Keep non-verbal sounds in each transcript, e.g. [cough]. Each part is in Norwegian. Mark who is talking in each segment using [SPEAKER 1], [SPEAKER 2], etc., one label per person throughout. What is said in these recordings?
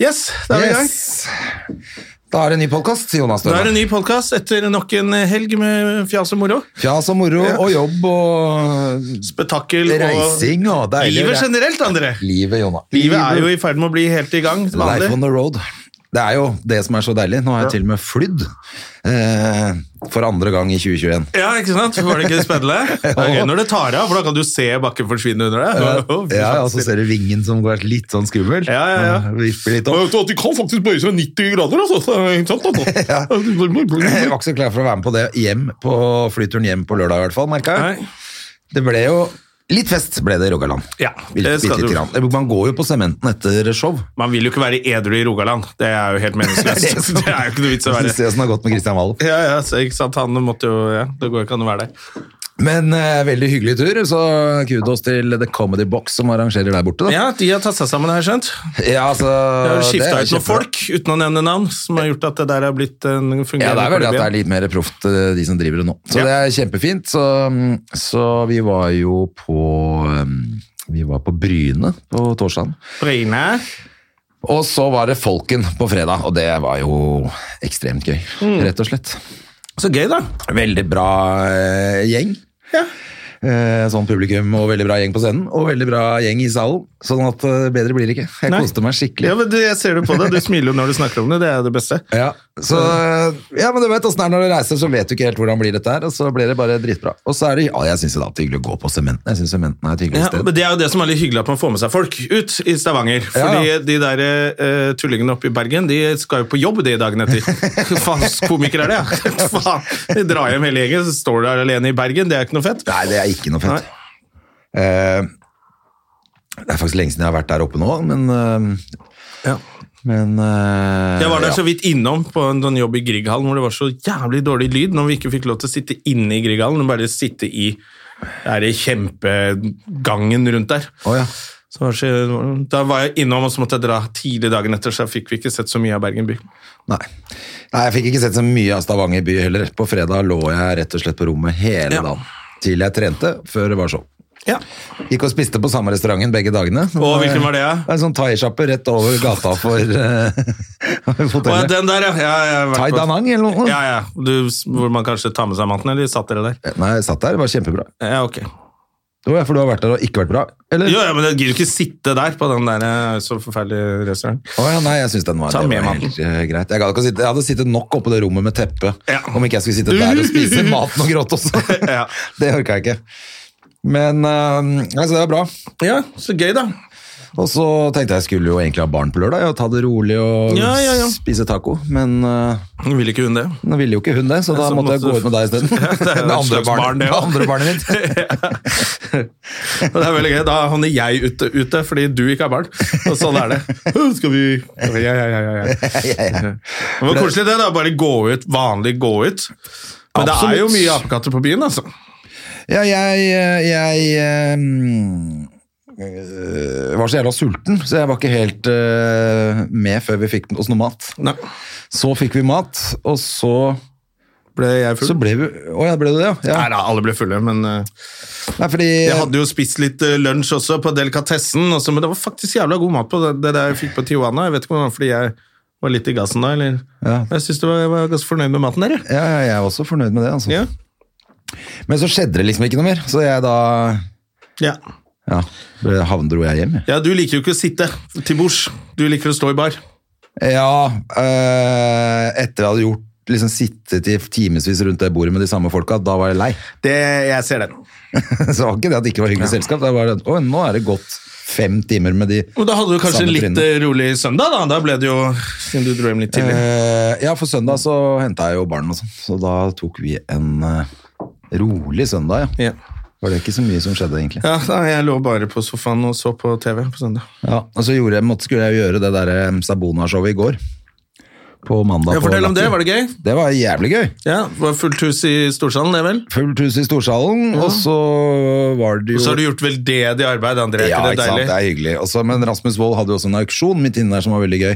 [SPEAKER 1] Yes, da er vi i gang.
[SPEAKER 2] Yes. Sånn. Da er det en ny podkast, Jonas.
[SPEAKER 1] Da er det
[SPEAKER 2] Støre.
[SPEAKER 1] en ny podkast etter nok en helg med fjas og moro.
[SPEAKER 2] Fjas og moro og jobb og
[SPEAKER 1] Spetakkel
[SPEAKER 2] reising og
[SPEAKER 1] og
[SPEAKER 2] deilig
[SPEAKER 1] Livet generelt, André.
[SPEAKER 2] Livet, Jonna.
[SPEAKER 1] Livet er jo i ferd med å bli helt i gang. som
[SPEAKER 2] Life on
[SPEAKER 1] vanlig.
[SPEAKER 2] the road. Det er jo det som er så deilig. Nå har jeg til og med flydd eh, for andre gang i 2021.
[SPEAKER 1] Ja, ikke sant? Var det ikke
[SPEAKER 2] [laughs]
[SPEAKER 1] spennende? Det er gøy når det tar av, for da kan du se bakken forsvinne under [laughs] deg.
[SPEAKER 2] Ja, og så ser du vingen som går litt sånn skummel.
[SPEAKER 1] Ja, ja, ja.
[SPEAKER 2] Og Vipper litt opp.
[SPEAKER 1] De kan faktisk bøye seg 90 grader, altså. Så er det Ikke
[SPEAKER 2] [clears throat] [laughs]
[SPEAKER 1] sant,
[SPEAKER 2] Jeg
[SPEAKER 1] altså?
[SPEAKER 2] var ikke så klar for å være med på det hjem på flyturen hjem på lørdag, i hvert fall. merket jeg.
[SPEAKER 1] Nei.
[SPEAKER 2] Det ble jo litt fest, ble det i Rogaland.
[SPEAKER 1] Ja,
[SPEAKER 2] Litt,
[SPEAKER 1] det skal
[SPEAKER 2] bitte
[SPEAKER 1] du-
[SPEAKER 2] grann. Man går jo på sementen etter show.
[SPEAKER 1] Man vil jo ikke være edru i Rogaland. Det er
[SPEAKER 2] [laughs]
[SPEAKER 1] jo helt
[SPEAKER 2] Det
[SPEAKER 1] meningsløst.
[SPEAKER 2] som-
[SPEAKER 1] [laughs] Det er jo ikke noe vits å
[SPEAKER 2] Så
[SPEAKER 1] være
[SPEAKER 2] Se åssen det har gått med Christian Valen.
[SPEAKER 1] Ja, ja, så, ikke sant? Han måtte jo ja. Det går ikke an å være der.
[SPEAKER 2] Men eh, veldig hyggelig tur, så kudos til The Comedy Box som arrangerer der borte. Da.
[SPEAKER 1] [laughs] Ja, de har tatt seg sammen, har jeg skjønt.
[SPEAKER 2] Ja, altså,
[SPEAKER 1] De har
[SPEAKER 2] det er
[SPEAKER 1] skifta ut noen
[SPEAKER 2] kjempebra.
[SPEAKER 1] folk, uten å nevne navn, som har gjort at det der har blitt en fungerende
[SPEAKER 2] Ja, det er vel det at det er
[SPEAKER 1] klubb igjen.
[SPEAKER 2] litt mer proft, eh, de som driver det nå. Så
[SPEAKER 1] Ja.
[SPEAKER 2] det er kjempefint. Så, mm, så vi var jo på mm, vi var på Bryne på torsdagen.
[SPEAKER 1] Bryne.
[SPEAKER 2] Og så var det Folken på fredag, og det var jo ekstremt gøy,
[SPEAKER 1] Mm.
[SPEAKER 2] rett og slett.
[SPEAKER 1] Så gøy, da.
[SPEAKER 2] Veldig bra eh, gjeng. Eh, sånn publikum og veldig bra gjeng på scenen, og veldig bra gjeng i salen. Sånn at eh, bedre blir det ikke. Jeg
[SPEAKER 1] Nei.
[SPEAKER 2] koste meg skikkelig.
[SPEAKER 1] Ja, men du, jeg ser det på deg. Du smiler jo når du snakker om det. Det er jo det beste.
[SPEAKER 2] Ja, så, ja, men du vet åssen det er når du reiser, så vet du ikke helt hvordan blir dette her, og så blir det bare dritbra. Og så er det, ja, jeg syns det er alltid hyggelig å gå på sementen. Jeg syns sementen er et hyggelig
[SPEAKER 1] Ja,
[SPEAKER 2] sted.
[SPEAKER 1] men Det er jo det som er litt hyggelig, at man får med seg folk ut i Stavanger. Fordi
[SPEAKER 2] Ja, ja.
[SPEAKER 1] de der eh, tullingene oppe i Bergen, de skal jo på jobb de
[SPEAKER 2] [laughs]
[SPEAKER 1] dagen etter. Faen, komikere er det, ja! [laughs] Faen, De drar hjem hele gjengen, så står du der alene i Bergen. Det er ikke noe fett.
[SPEAKER 2] Nei, det er ikke noe fett. Eh, det er faktisk lenge siden jeg har vært der oppe nå, men eh,
[SPEAKER 1] Ja.
[SPEAKER 2] Men eh,
[SPEAKER 1] Jeg var der
[SPEAKER 2] ja.
[SPEAKER 1] så vidt innom på en sånn jobb i Grieghallen hvor det var så jævlig dårlig lyd når vi ikke fikk lov til å sitte inne i Grieghallen, men bare sitte i der i kjempegangen rundt der.
[SPEAKER 2] Å, ja.
[SPEAKER 1] Så var det så- da var jeg innom, og så måtte jeg dra tidlig dagen etter, så fikk vi ikke sett så mye av Bergen by.
[SPEAKER 2] Nei. Nei, jeg fikk ikke sett så mye av Stavanger by heller. På fredag lå jeg rett og slett på rommet hele
[SPEAKER 1] Ja.
[SPEAKER 2] dagen. Til jeg trente, før det var show.
[SPEAKER 1] Ja.
[SPEAKER 2] Gikk og spiste på samme restauranten begge dagene.
[SPEAKER 1] Og hvilken var det, ja?
[SPEAKER 2] Det er En sånn thaisjappe rett over gata for eh, [laughs]
[SPEAKER 1] Å, ja,
[SPEAKER 2] hotellet.
[SPEAKER 1] den der, ja. ja, jeg har vært
[SPEAKER 2] Thai
[SPEAKER 1] på-
[SPEAKER 2] Danang eller noe?
[SPEAKER 1] Ja, ja. Du, hvor man kanskje tar med seg maten, eller satt dere der?
[SPEAKER 2] Nei, jeg satt der, det var kjempebra.
[SPEAKER 1] Ja, ok.
[SPEAKER 2] Det var For du har vært der og ikke vært bra? Eller?
[SPEAKER 1] Jo, ja, men jeg gidder ikke sitte der på den der eh, så forferdelige restauranten.
[SPEAKER 2] Å ja, nei, jeg syns den var,
[SPEAKER 1] Ta
[SPEAKER 2] det
[SPEAKER 1] med
[SPEAKER 2] var
[SPEAKER 1] maten.
[SPEAKER 2] helt eh, greit. Jeg, gadd ikke å sitte, jeg hadde sittet nok oppå det rommet med teppe
[SPEAKER 1] Ja.
[SPEAKER 2] om ikke jeg skulle sitte der og spise maten og gråte også.
[SPEAKER 1] [laughs] Ja.
[SPEAKER 2] Det orka jeg ikke. Men eh, altså, det var bra.
[SPEAKER 1] Ja, så gøy da.
[SPEAKER 2] Og så tenkte jeg jeg skulle jo egentlig ha barn på lørdag og ta det rolig og
[SPEAKER 1] Ja, ja, ja.
[SPEAKER 2] spise taco, men eh,
[SPEAKER 1] Nå Vil ikke hun det?
[SPEAKER 2] nå ville jo ikke hun det, så da
[SPEAKER 1] Så
[SPEAKER 2] måtte jeg
[SPEAKER 1] måtte
[SPEAKER 2] gå
[SPEAKER 1] du-
[SPEAKER 2] ut [laughs] med deg isteden.
[SPEAKER 1] [laughs] Ja, det er jo et slags barn, det
[SPEAKER 2] det
[SPEAKER 1] også.
[SPEAKER 2] andre barnet
[SPEAKER 1] [laughs]
[SPEAKER 2] mitt.
[SPEAKER 1] Og Det er veldig gøy. Da havner jeg ute, ute fordi du ikke er barn. Og sånn er det.
[SPEAKER 2] [laughs]
[SPEAKER 1] Skal vi Ja, ja, ja. ja, ja. Det var koselig, det. da, Bare gå ut. Vanlig gå ut. Men det er jo
[SPEAKER 2] Absolutt.
[SPEAKER 1] mye apekatter på byen, altså.
[SPEAKER 2] Ja, jeg, eh, jeg ehm, øh, var så jævla sulten, så jeg var ikke helt øh, med før vi fikk oss noe mat.
[SPEAKER 1] Nei.
[SPEAKER 2] Så fikk vi mat, og så,
[SPEAKER 1] Ble jeg full?
[SPEAKER 2] så ble vi Å ja, ble du det, ja?
[SPEAKER 1] Nei
[SPEAKER 2] ja.
[SPEAKER 1] da, alle ble fulle, men eh,
[SPEAKER 2] Nei, fordi
[SPEAKER 1] jeg hadde jo spist litt eh, lunsj også på delikatessen, og så- men det var faktisk jævla god mat på det, det der jeg fikk på Tijuana. Jeg vet ikke om det var fordi jeg var litt i gassen da, eller
[SPEAKER 2] Ja.
[SPEAKER 1] Jeg syns jeg var ganske fornøyd med maten der, jeg.
[SPEAKER 2] ja, ja, jeg er også fornøyd med det, altså.
[SPEAKER 1] Ja.
[SPEAKER 2] Men så skjedde det liksom ikke noe mer, så jeg da
[SPEAKER 1] ja.
[SPEAKER 2] ja, ble- havn dro jeg hjem. jeg.
[SPEAKER 1] Ja, du liker jo ikke å sitte til bords. Du liker å stå i bar.
[SPEAKER 2] Ja, øh, etter jeg hadde gjort liksom sittet i timevis rundt det bordet med de samme folka, da var jeg lei. [laughs]
[SPEAKER 1] Det, jeg ser den.
[SPEAKER 2] Så det var ikke det at det ikke var hyggelig selskap, det var bare at å, nå er det gått fem timer med de
[SPEAKER 1] Og da hadde du kanskje
[SPEAKER 2] Samme
[SPEAKER 1] en litt
[SPEAKER 2] trynet.
[SPEAKER 1] eh, rolig søndag, da. Da ble det jo Siden du dro hjem litt tidlig.
[SPEAKER 2] Eh, ja, for søndag så henta jeg jo barn og sånn, så da tok vi en eh, rolig søndag, ja.
[SPEAKER 1] Ja.
[SPEAKER 2] var det ikke så mye som skjedde, egentlig.
[SPEAKER 1] Ja, nei, jeg lå bare på sofaen og så på TV på søndag.
[SPEAKER 2] Ja, og så gjorde jeg, måtte, skulle jeg jo gjøre det der eh, Sabona-showet i går. På mandag.
[SPEAKER 1] Ja,
[SPEAKER 2] på
[SPEAKER 1] fortell om
[SPEAKER 2] Latter.
[SPEAKER 1] det, var det gøy?
[SPEAKER 2] Det var jævlig gøy.
[SPEAKER 1] Ja, det var fullt hus i Storsalen, det vel?
[SPEAKER 2] Fullt hus i storsalen, og så var det jo
[SPEAKER 1] Og så har du gjort veldedig arbeid, André.
[SPEAKER 2] ja,
[SPEAKER 1] ikke
[SPEAKER 2] ikke
[SPEAKER 1] det
[SPEAKER 2] sant, det
[SPEAKER 1] deilig?
[SPEAKER 2] er hyggelig. Og så- men Rasmus Wold hadde jo også en auksjon midt inne der som var veldig
[SPEAKER 1] [laughs]
[SPEAKER 2] gøy.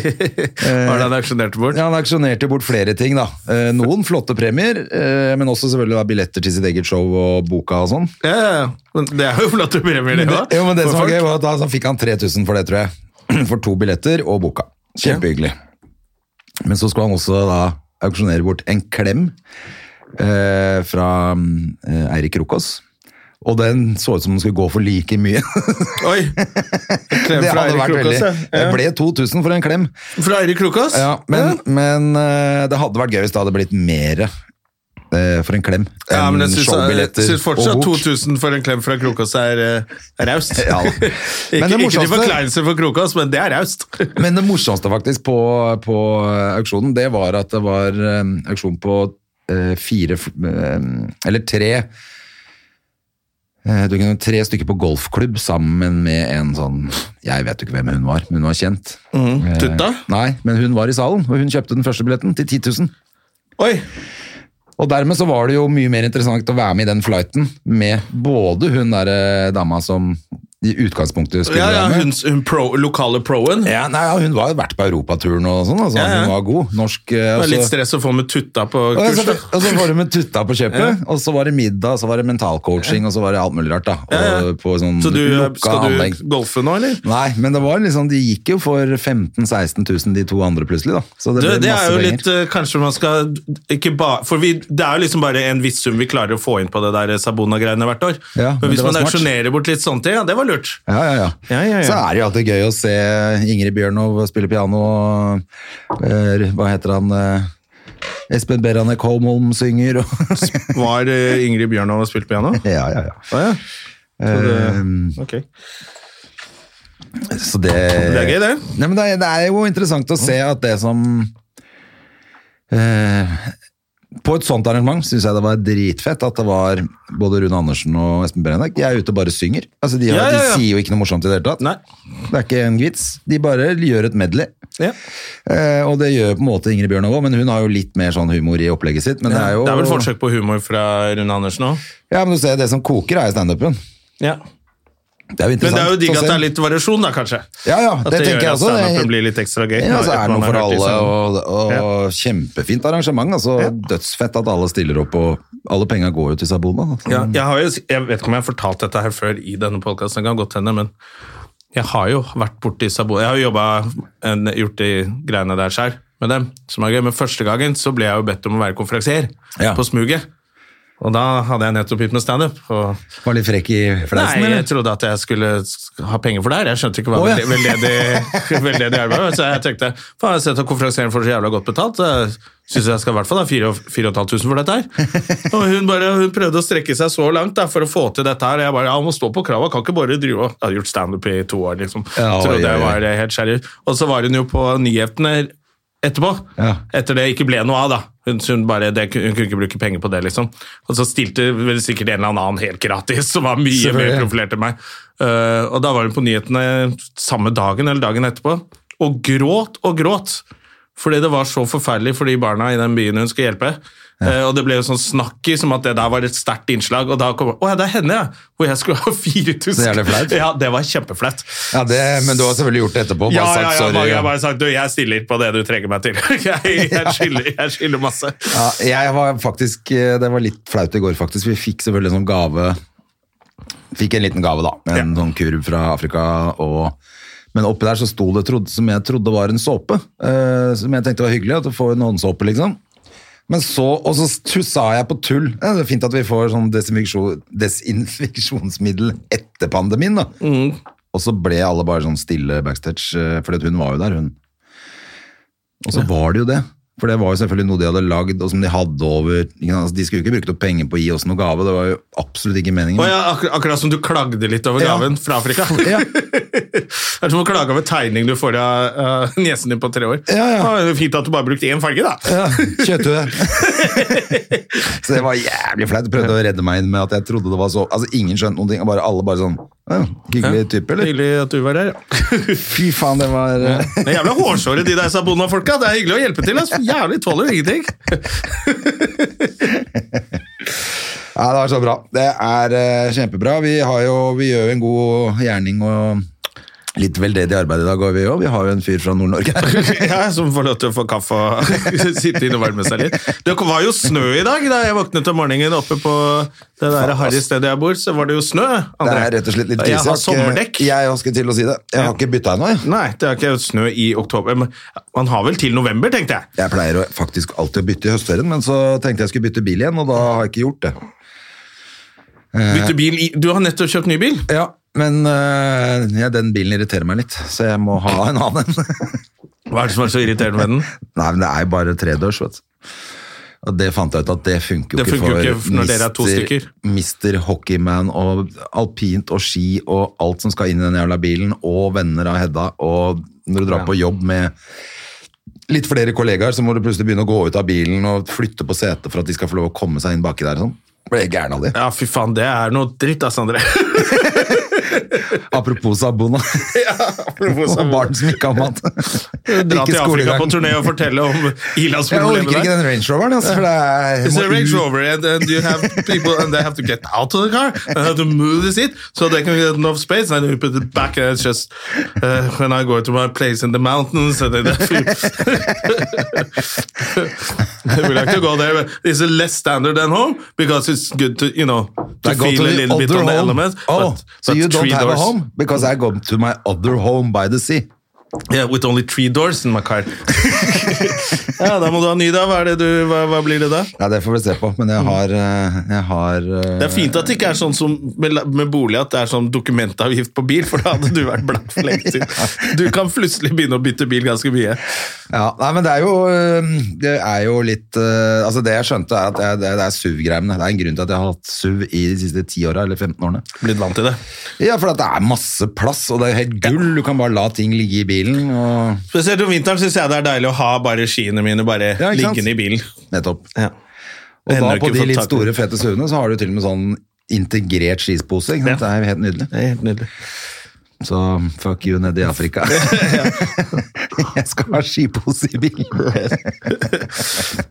[SPEAKER 1] Var det han auksjonerte bort?
[SPEAKER 2] Ja, Han auksjonerte bort flere ting, da. Eh, Noen flotte premier, eh, men også selvfølgelig da billetter til sitt eget show og boka og sånn.
[SPEAKER 1] Ja, ja, ja. Men Det er jo flotte premier, det òg.
[SPEAKER 2] Jo, men det som var gøy, var at da så fikk han 3000 for det, tror jeg. [clears throat] For to billetter og boka. Kjempehyggelig. Men så skulle han også da auksjonere bort en klem eh, fra mm, eh, Eirik Rokås. Og den så ut som den skulle gå for like mye. [laughs]
[SPEAKER 1] Oi! En Klem
[SPEAKER 2] det
[SPEAKER 1] fra
[SPEAKER 2] hadde
[SPEAKER 1] Eirik
[SPEAKER 2] vært veldig
[SPEAKER 1] Krokås, ja.
[SPEAKER 2] Det
[SPEAKER 1] ja.
[SPEAKER 2] ble 2000 for en klem.
[SPEAKER 1] Fra Eirik Krokås?
[SPEAKER 2] Ja, men men eh, det hadde vært gøy hvis det hadde blitt mere eh, for en klem
[SPEAKER 1] Ja, men jeg
[SPEAKER 2] enn
[SPEAKER 1] syns, jeg
[SPEAKER 2] showbilletter
[SPEAKER 1] syns fortsatt
[SPEAKER 2] og bok.
[SPEAKER 1] 2000 for en klem fra Krokås er eh, raust. [laughs]
[SPEAKER 2] Ja. Men det
[SPEAKER 1] ikke, ikke til
[SPEAKER 2] morsomste-
[SPEAKER 1] forkleinelse for Krokås, men det er raust.
[SPEAKER 2] Men det morsomste faktisk på, på auksjonen, det var at det var eh, auksjon på eh, fire f- eh, Eller tre eh, du kunne Tre stykker på golfklubb sammen med en sånn Jeg vet jo ikke hvem hun var, men hun var kjent. Eh,
[SPEAKER 1] Tutta?
[SPEAKER 2] Nei, men hun var i salen, og hun kjøpte den første billetten til 10 000.
[SPEAKER 1] Oi!
[SPEAKER 2] Og dermed så var det jo mye mer interessant å være med i den flighten med både hun der eh, dama som i utgangspunktet skulle
[SPEAKER 1] Ja, ja,
[SPEAKER 2] være med.
[SPEAKER 1] hun, hun pro, lokale proen.
[SPEAKER 2] Ja, nei, ja, hun var jo vært på europaturen og sånn, altså.
[SPEAKER 1] Ja, ja.
[SPEAKER 2] Hun var god. Norsk eh,
[SPEAKER 1] Det var
[SPEAKER 2] altså.
[SPEAKER 1] litt stress å få med tutta på
[SPEAKER 2] Og
[SPEAKER 1] kurs.
[SPEAKER 2] så,
[SPEAKER 1] da.
[SPEAKER 2] og så var det med tutta på kjøpet, og så var det middag, og så var det mentalcoaching, og så var det alt mulig rart, da. Og På sånn
[SPEAKER 1] Så du, eh,
[SPEAKER 2] lukka
[SPEAKER 1] skal
[SPEAKER 2] anlegg.
[SPEAKER 1] du golfe nå, eller?
[SPEAKER 2] Nei, men det var liksom, de gikk jo for 15 000-16 000, de to andre, plutselig, da. Så det
[SPEAKER 1] Du,
[SPEAKER 2] ble
[SPEAKER 1] det er
[SPEAKER 2] masse
[SPEAKER 1] jo
[SPEAKER 2] penger.
[SPEAKER 1] litt eh, Kanskje man skal ikke ba, For vi, det er jo liksom bare en viss sum vi klarer å få inn på det der Sabona-greiene hvert år.
[SPEAKER 2] Ja, men
[SPEAKER 1] men hvis
[SPEAKER 2] det var
[SPEAKER 1] man
[SPEAKER 2] smart.
[SPEAKER 1] auksjonerer bort litt sånne ting, ja, det var
[SPEAKER 2] [laughs]
[SPEAKER 1] lurt.
[SPEAKER 2] Ja, ja, ja.
[SPEAKER 1] Ja, ja, ja.
[SPEAKER 2] Så er det jo alltid gøy å se Ingrid Bjørnov spille piano og eh, Hva heter han eh, Espen Berane Kolmholm synger og
[SPEAKER 1] Var eh, Ingrid Bjørnov og spilt piano?
[SPEAKER 2] [laughs] Ja, ja, ja.
[SPEAKER 1] Å ja. Så
[SPEAKER 2] Ehm,
[SPEAKER 1] det, ok.
[SPEAKER 2] Så det
[SPEAKER 1] det er gøy, det.
[SPEAKER 2] Nei, men det, er, det er jo interessant å se at det som eh, På et sånt arrangement syns jeg det var dritfett at det var både Rune Andersen og Espen Berenek. De er ute og bare synger. Altså, de, har,
[SPEAKER 1] Ja, ja, ja.
[SPEAKER 2] de sier jo ikke noe morsomt i det hele tatt.
[SPEAKER 1] Nei.
[SPEAKER 2] Det er ikke en vits. De bare gjør et medley.
[SPEAKER 1] Ja.
[SPEAKER 2] Eh, og det gjør på en måte Ingrid Bjørnov òg, men hun har jo litt mer sånn humor i opplegget sitt. Men det er jo
[SPEAKER 1] Det er vel forsøk på humor fra Rune Andersen òg.
[SPEAKER 2] Ja, men du ser, det som koker, er jo standupen.
[SPEAKER 1] Ja.
[SPEAKER 2] Det er jo
[SPEAKER 1] Men
[SPEAKER 2] interessant.
[SPEAKER 1] det er jo digg
[SPEAKER 2] å
[SPEAKER 1] at
[SPEAKER 2] se.
[SPEAKER 1] det er litt variasjon, da, kanskje.
[SPEAKER 2] Ja, ja, det,
[SPEAKER 1] At det,
[SPEAKER 2] tenker
[SPEAKER 1] gjør
[SPEAKER 2] jeg
[SPEAKER 1] at
[SPEAKER 2] også.
[SPEAKER 1] standupen blir litt ekstra gøy.
[SPEAKER 2] ja, så
[SPEAKER 1] etter
[SPEAKER 2] er det
[SPEAKER 1] man
[SPEAKER 2] noe
[SPEAKER 1] har
[SPEAKER 2] for
[SPEAKER 1] hørt
[SPEAKER 2] alle,
[SPEAKER 1] liksom-
[SPEAKER 2] og, og kjempefint arrangement. altså Dødsfett at alle stiller opp, og alle penga går jo til Sabona. Altså.
[SPEAKER 1] Ja, jeg, har jo, jeg vet ikke om jeg har fortalt dette her før i denne podkasten, kan godt hende, men jeg har jo vært borti Sabona. Jeg har jo jobbet, en- gjort de greiene der sjøl med dem, som er gøy. Men første gangen så ble jeg jo bedt om å være konferansier
[SPEAKER 2] Ja.
[SPEAKER 1] på smuget. Og da hadde jeg nettopp begynt med standup. og-
[SPEAKER 2] Var litt frekk i fleisen,
[SPEAKER 1] Nei, jeg
[SPEAKER 2] eller?
[SPEAKER 1] trodde at jeg skulle ha penger for det her. Jeg skjønte ikke hva
[SPEAKER 2] Å, ja.
[SPEAKER 1] velde- veldedig [laughs] veldedig arbeid var. Så jeg tenkte faen, jeg har sett at konferansieren får så jævla godt betalt. Jeg syns jeg skal i hvert fall ha 4500 for dette her.
[SPEAKER 2] [laughs]
[SPEAKER 1] Og hun, bare, hun prøvde å strekke seg så langt da, for å få til dette her. Og jeg bare ja, hun må stå på krava, kan ikke bare drive og Jeg hadde gjort standup i to år, liksom.
[SPEAKER 2] Ja, oi,
[SPEAKER 1] trodde
[SPEAKER 2] oi,
[SPEAKER 1] jeg
[SPEAKER 2] oi.
[SPEAKER 1] var eh, helt seriøs. Og så var hun jo på nyhetene etterpå.
[SPEAKER 2] Ja.
[SPEAKER 1] Etter det ikke ble noe av, da. Hun, hun, bare, det, hun kunne ikke bruke penger på det, liksom. Og så stilte vel sikkert en eller annen helt gratis, som var mye mer
[SPEAKER 2] Selvfølgelig.
[SPEAKER 1] profilert enn meg. Eh, og da var hun på nyhetene samme dagen eller dagen etterpå, og gråt og gråt. Fordi det var så forferdelig for de barna i den byen hun skulle hjelpe. Eh, og det ble jo sånn snakk i som at det der var et sterkt innslag, og da kom Å ja, det er henne, ja! Hvor jeg skulle ha [laughs] 4000.
[SPEAKER 2] Så jævlig flaut.
[SPEAKER 1] Ja, det var kjempeflaut.
[SPEAKER 2] Ja, det, men du har selvfølgelig gjort det etterpå. Bare
[SPEAKER 1] Ja, ja,
[SPEAKER 2] sagt
[SPEAKER 1] ja,
[SPEAKER 2] sorry.
[SPEAKER 1] Mange
[SPEAKER 2] ja.
[SPEAKER 1] har bare sagt du, jeg stiller på det du trenger meg til. [laughs] jeg, jeg, skylder, jeg skylder masse.
[SPEAKER 2] Ja, jeg var faktisk, eh, det var litt flaut i går faktisk. Vi fikk selvfølgelig en sånn gave, fikk en liten gave da, en sånn kurv fra Afrika og... Men oppi der så sto det trodde, som jeg trodde var en såpe, eh, som jeg tenkte var hyggelig, at du får en håndsåpe liksom. Men så, og så tu- sa jeg på tull, ja, det er fint at vi får sånn desinfeksjon, desinfeksjonsmiddel etter pandemien da. Og så ble alle bare sånn stille backstage, eh, fordi at hun var jo der, hun. Og så var det jo det. For det var jo selvfølgelig noe de hadde lagd, og som de hadde over. Ikke sant? Altså, de skulle jo ikke brukt opp penger på å gi oss noe gave, det var jo absolutt ikke meningen.
[SPEAKER 1] Å ja, ak akkurat som du klagde litt over
[SPEAKER 2] Ja.
[SPEAKER 1] gaven fra Afrika.
[SPEAKER 2] [laughs] Ja.
[SPEAKER 1] det er som å klage over tegning du får av eh, niesen din på tre år.
[SPEAKER 2] Ja, ja.
[SPEAKER 1] Ah, fint at du bare brukte én farge, da. [laughs]
[SPEAKER 2] Ja, kjøtthue. [laughs] så det var jævlig flaut. Prøvde å redde meg inn med at jeg trodde det var så Altså, ingen skjønte noen ting. og Bare, alle bare sånn ja, Hyggelig type, eller?
[SPEAKER 1] Hyggelig at du var her, ja.
[SPEAKER 2] Fy faen, det var
[SPEAKER 1] Det er jævla hårsåre de der Sabona-folka. Det er hyggelig å hjelpe til. ass. Jævlig tåler ingenting.
[SPEAKER 2] [laughs] Ja, det var så bra. Det er eh, kjempebra. Vi, har jo, vi gjør jo en god gjerning og litt veldedig arbeid i dag, og vi òg. Vi har jo en fyr fra Nord-Norge her.
[SPEAKER 1] [laughs] Ja, som får lov til å få kaffe og [laughs] sitte inn og varme seg litt. Det var jo snø i dag da jeg våknet om morgenen oppe på det der harry stedet jeg bor. Så var det jo snø.
[SPEAKER 2] Det
[SPEAKER 1] André.
[SPEAKER 2] er rett og slett litt
[SPEAKER 1] Jeg
[SPEAKER 2] krise.
[SPEAKER 1] har sommerdekk.
[SPEAKER 2] Jeg også skulle til å si det. Jeg har ikke bytta ennå, jeg.
[SPEAKER 1] Nei, det er ikke snø i oktober. Men man har vel til november, tenkte jeg.
[SPEAKER 2] Jeg pleier å, faktisk alltid å bytte i høstferien, men så tenkte jeg skulle bytte bil igjen, og da har jeg ikke gjort det.
[SPEAKER 1] Bytte bil i Du har nettopp kjøpt ny bil.
[SPEAKER 2] Ja, men øh, ja, den bilen irriterer meg litt, så jeg må ha en [laughs] annen.
[SPEAKER 1] Hva er det som er så irriterende med den?
[SPEAKER 2] Nei, men det er jo bare tredørs, vet du. Og det fant jeg ut at det funker jo
[SPEAKER 1] Det
[SPEAKER 2] ikke
[SPEAKER 1] funker jo
[SPEAKER 2] for
[SPEAKER 1] ikke når dere er to
[SPEAKER 2] mister-
[SPEAKER 1] stykker.
[SPEAKER 2] Mister Hockeyman og alpint og ski og alt som skal inn i den jævla bilen, og venner av Hedda, og når du drar på jobb med litt flere kollegaer, så må du plutselig begynne å gå ut av bilen og flytte på setet for at de skal få lov å komme seg inn baki der og sånn. Ble jeg gæren av det.
[SPEAKER 1] Ja, fy faen, det er noe dritt, ass, André.
[SPEAKER 2] Apropos Sabona.
[SPEAKER 1] [laughs] apropos Sabona.
[SPEAKER 2] Og barn som ikke har mat.
[SPEAKER 1] Dra til Afrika
[SPEAKER 2] skolegang.
[SPEAKER 1] på turné og fortelle [laughs] om
[SPEAKER 2] Jeg
[SPEAKER 1] ilandsproblemet
[SPEAKER 2] orker ikke
[SPEAKER 1] der.
[SPEAKER 2] den Range Roveren. Altså, for det er, jeg
[SPEAKER 1] It's
[SPEAKER 2] må
[SPEAKER 1] a Range
[SPEAKER 2] ut-
[SPEAKER 1] Rover, and, and you have people, and they have to get out of the car, and have to move the seat, so they can get enough space, and you put it back, and it's just, uh, when I go to my place in the mountains, and then [laughs] I would like to go there, but it's a less standard than home, because it's good to, you know, to
[SPEAKER 2] I go
[SPEAKER 1] feel
[SPEAKER 2] to
[SPEAKER 1] a
[SPEAKER 2] the
[SPEAKER 1] little bit
[SPEAKER 2] other
[SPEAKER 1] on the
[SPEAKER 2] home.
[SPEAKER 1] elements,
[SPEAKER 2] Oh,
[SPEAKER 1] but,
[SPEAKER 2] so
[SPEAKER 1] but
[SPEAKER 2] you don't
[SPEAKER 1] three
[SPEAKER 2] have
[SPEAKER 1] doors,
[SPEAKER 2] a home? Because I go to my other home by the sea.
[SPEAKER 1] yeah, with only three doors in
[SPEAKER 2] [laughs]
[SPEAKER 1] my car. [laughs] ja, da må du ha ny da, hva er det du, hva, hva blir det da?
[SPEAKER 2] Nei, det får vi se på, men
[SPEAKER 1] Mm.
[SPEAKER 2] jeg har, eh, jeg har eh,
[SPEAKER 1] Det er fint at det ikke er sånn som med, med bolig at det er sånn dokumentavgift på bil, for da hadde du vært blakk for lenge siden. Du kan plutselig begynne å bytte bil ganske mye.
[SPEAKER 2] Ja, nei, men det er jo, øhm, det er jo litt øh, Altså, det jeg skjønte, er at jeg, det, det er SUV-greiene. Det er en grunn til at jeg har hatt SUV i de siste 10 åra, eller 15 årene.
[SPEAKER 1] Blitt vant til det.
[SPEAKER 2] Ja, for at det er masse plass, og det er helt gull. Du kan bare la ting ligge i bilen. og...
[SPEAKER 1] Spesielt om vinteren syns jeg det er deilig å ha bare skiene mine bare
[SPEAKER 2] Ja, ikke sant?
[SPEAKER 1] liggende i bilen.
[SPEAKER 2] Nettopp.
[SPEAKER 1] Ja.
[SPEAKER 2] Og da
[SPEAKER 1] Ender du
[SPEAKER 2] på
[SPEAKER 1] ikke
[SPEAKER 2] de
[SPEAKER 1] fått
[SPEAKER 2] litt
[SPEAKER 1] tak i
[SPEAKER 2] store, fete SUV-ene, så har du til og med sånn integrert skispose. Ikke sant? Det er jo helt nydelig.
[SPEAKER 1] Det er helt nydelig.
[SPEAKER 2] Så fuck you nede i
[SPEAKER 1] [laughs]
[SPEAKER 2] Afrika. [laughs] jeg skal ha skipose i bilen.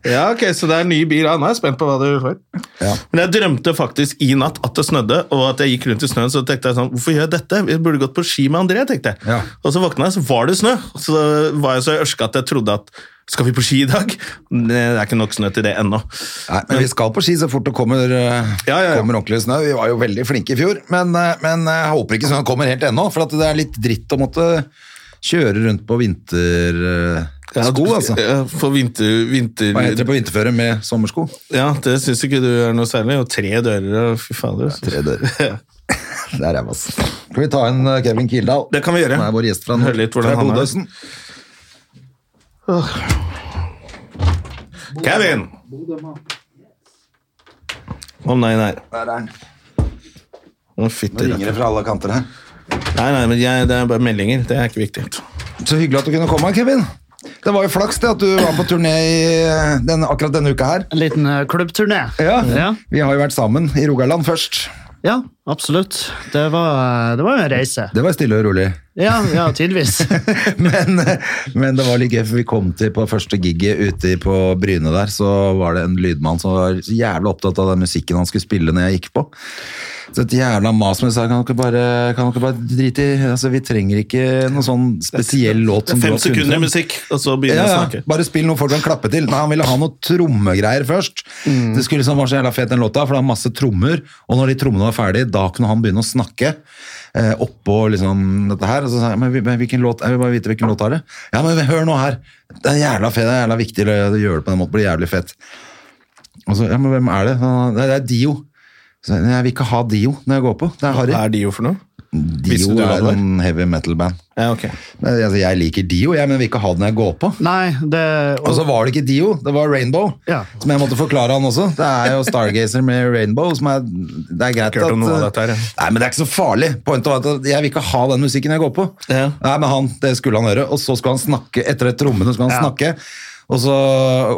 [SPEAKER 1] Ja, ok, Så det er ny bil. Ja, nå er jeg spent på hva du får.
[SPEAKER 2] Ja.
[SPEAKER 1] Men jeg drømte faktisk i natt at det snødde, og at jeg gikk rundt i snøen. Så tenkte jeg sånn, hvorfor gjør jeg dette? Jeg burde gått på ski med André, tenkte jeg.
[SPEAKER 2] Ja.
[SPEAKER 1] Og så våkna jeg, så var det snø. Og så var jeg så ørska at jeg trodde at skal vi på ski i dag? Det er ikke nok snø til det ennå.
[SPEAKER 2] Nei, men vi skal på ski så fort det kommer, eh,
[SPEAKER 1] Ja, ja, ja.
[SPEAKER 2] kommer ordentlig snø. Vi var jo veldig flinke i fjor, men, eh, men jeg håper ikke snøen kommer helt ennå. For at det er litt dritt å måtte kjøre rundt på vintersko, altså.
[SPEAKER 1] Ja, For vinter... vinter
[SPEAKER 2] Hva heter det på vinterføre med sommersko?
[SPEAKER 1] Ja, det syns ikke du er noe særlig. Og tre dører og fy fader. altså.
[SPEAKER 2] Tre dører.
[SPEAKER 1] [laughs]
[SPEAKER 2] Det er ræva, altså. Skal vi ta en eh, Kevin Kildahl?
[SPEAKER 1] Det kan vi gjøre.
[SPEAKER 2] Han er vår gjest fra,
[SPEAKER 1] Hør litt hvordan
[SPEAKER 2] fra
[SPEAKER 1] han er.
[SPEAKER 2] Bodøsen.
[SPEAKER 1] Kevin! Å nei, nei.
[SPEAKER 2] Der er han.
[SPEAKER 1] Å,
[SPEAKER 2] Nå
[SPEAKER 1] fytti
[SPEAKER 2] ringer det fra alle kanter her.
[SPEAKER 1] Nei, nei, men jeg, det er bare meldinger. Det er ikke viktig.
[SPEAKER 2] Så hyggelig at du kunne komme, Kevin. Det var jo flaks det at du var på turné i eh, den, akkurat denne uka her.
[SPEAKER 3] En liten eh, klubbturné.
[SPEAKER 2] Ja.
[SPEAKER 3] ja.
[SPEAKER 2] Vi har jo vært sammen i Rogaland først.
[SPEAKER 3] Ja, absolutt. Det var, det var jo en reise.
[SPEAKER 2] Det var stille og rolig.
[SPEAKER 3] Ja, ja tidvis.
[SPEAKER 2] [laughs] men, men det var litt gøy, for vi kom til på første gigget ute på Bryne der, så var det en lydmann som var så jævlig opptatt av den musikken han skulle spille når jeg gikk på. Så et jævla mas med sa, kan dere bare, kan dere bare drite i, altså vi trenger ikke noen sånn spesiell låt som du
[SPEAKER 1] Fem
[SPEAKER 2] har funnet
[SPEAKER 1] sekunder
[SPEAKER 2] frem.
[SPEAKER 1] musikk, og så begynner
[SPEAKER 2] Ja,
[SPEAKER 1] jeg å
[SPEAKER 2] ja.
[SPEAKER 1] snakke.
[SPEAKER 2] Bare spill noe folk kan klappe til. Nei, han ville ha noe trommegreier først. Det skulle liksom være så jævla fet den låta, for det var masse trommer. Og når de trommene var ferdige, da kunne han begynne å snakke eh, oppå liksom dette her. Og så sa jeg, men hvil- men hvilken låt, jeg vil bare vite hvilken låt er det. Ja, men hør nå her. Det er jævla fet, det er jævla viktig å gjøre det på den måten, det blir jævlig fett. Og så, ja, men hvem er det? «Nei, Det er Dio. Så, jeg «Nei, jeg vil ikke ha Dio når jeg går på, det er Harry.
[SPEAKER 1] Hva er Dio for noe?
[SPEAKER 2] Dio
[SPEAKER 1] Visste du hva
[SPEAKER 2] er
[SPEAKER 1] det var?
[SPEAKER 2] sånn heavy metal-band.
[SPEAKER 1] Ja, ok.
[SPEAKER 2] Men, Altså, jeg liker Dio, jeg, men vil ikke ha det når jeg går på.
[SPEAKER 3] Nei, det
[SPEAKER 2] Og så var det ikke Dio, det var Rainbow.
[SPEAKER 3] Ja.
[SPEAKER 2] Som jeg måtte forklare han også. Det er jo Stargazer med Rainbow. Som er, det er greit
[SPEAKER 1] Ikke hørt om noe av
[SPEAKER 2] at
[SPEAKER 1] dette her, ja.
[SPEAKER 2] Nei, men det er ikke så farlig. Pointet var at jeg vil ikke ha den musikken jeg går på.
[SPEAKER 1] Ja.
[SPEAKER 2] Nei, men han, Det skulle han høre. Og så skulle han snakke etter et trommene. skulle han
[SPEAKER 3] Ja.
[SPEAKER 2] snakke og så,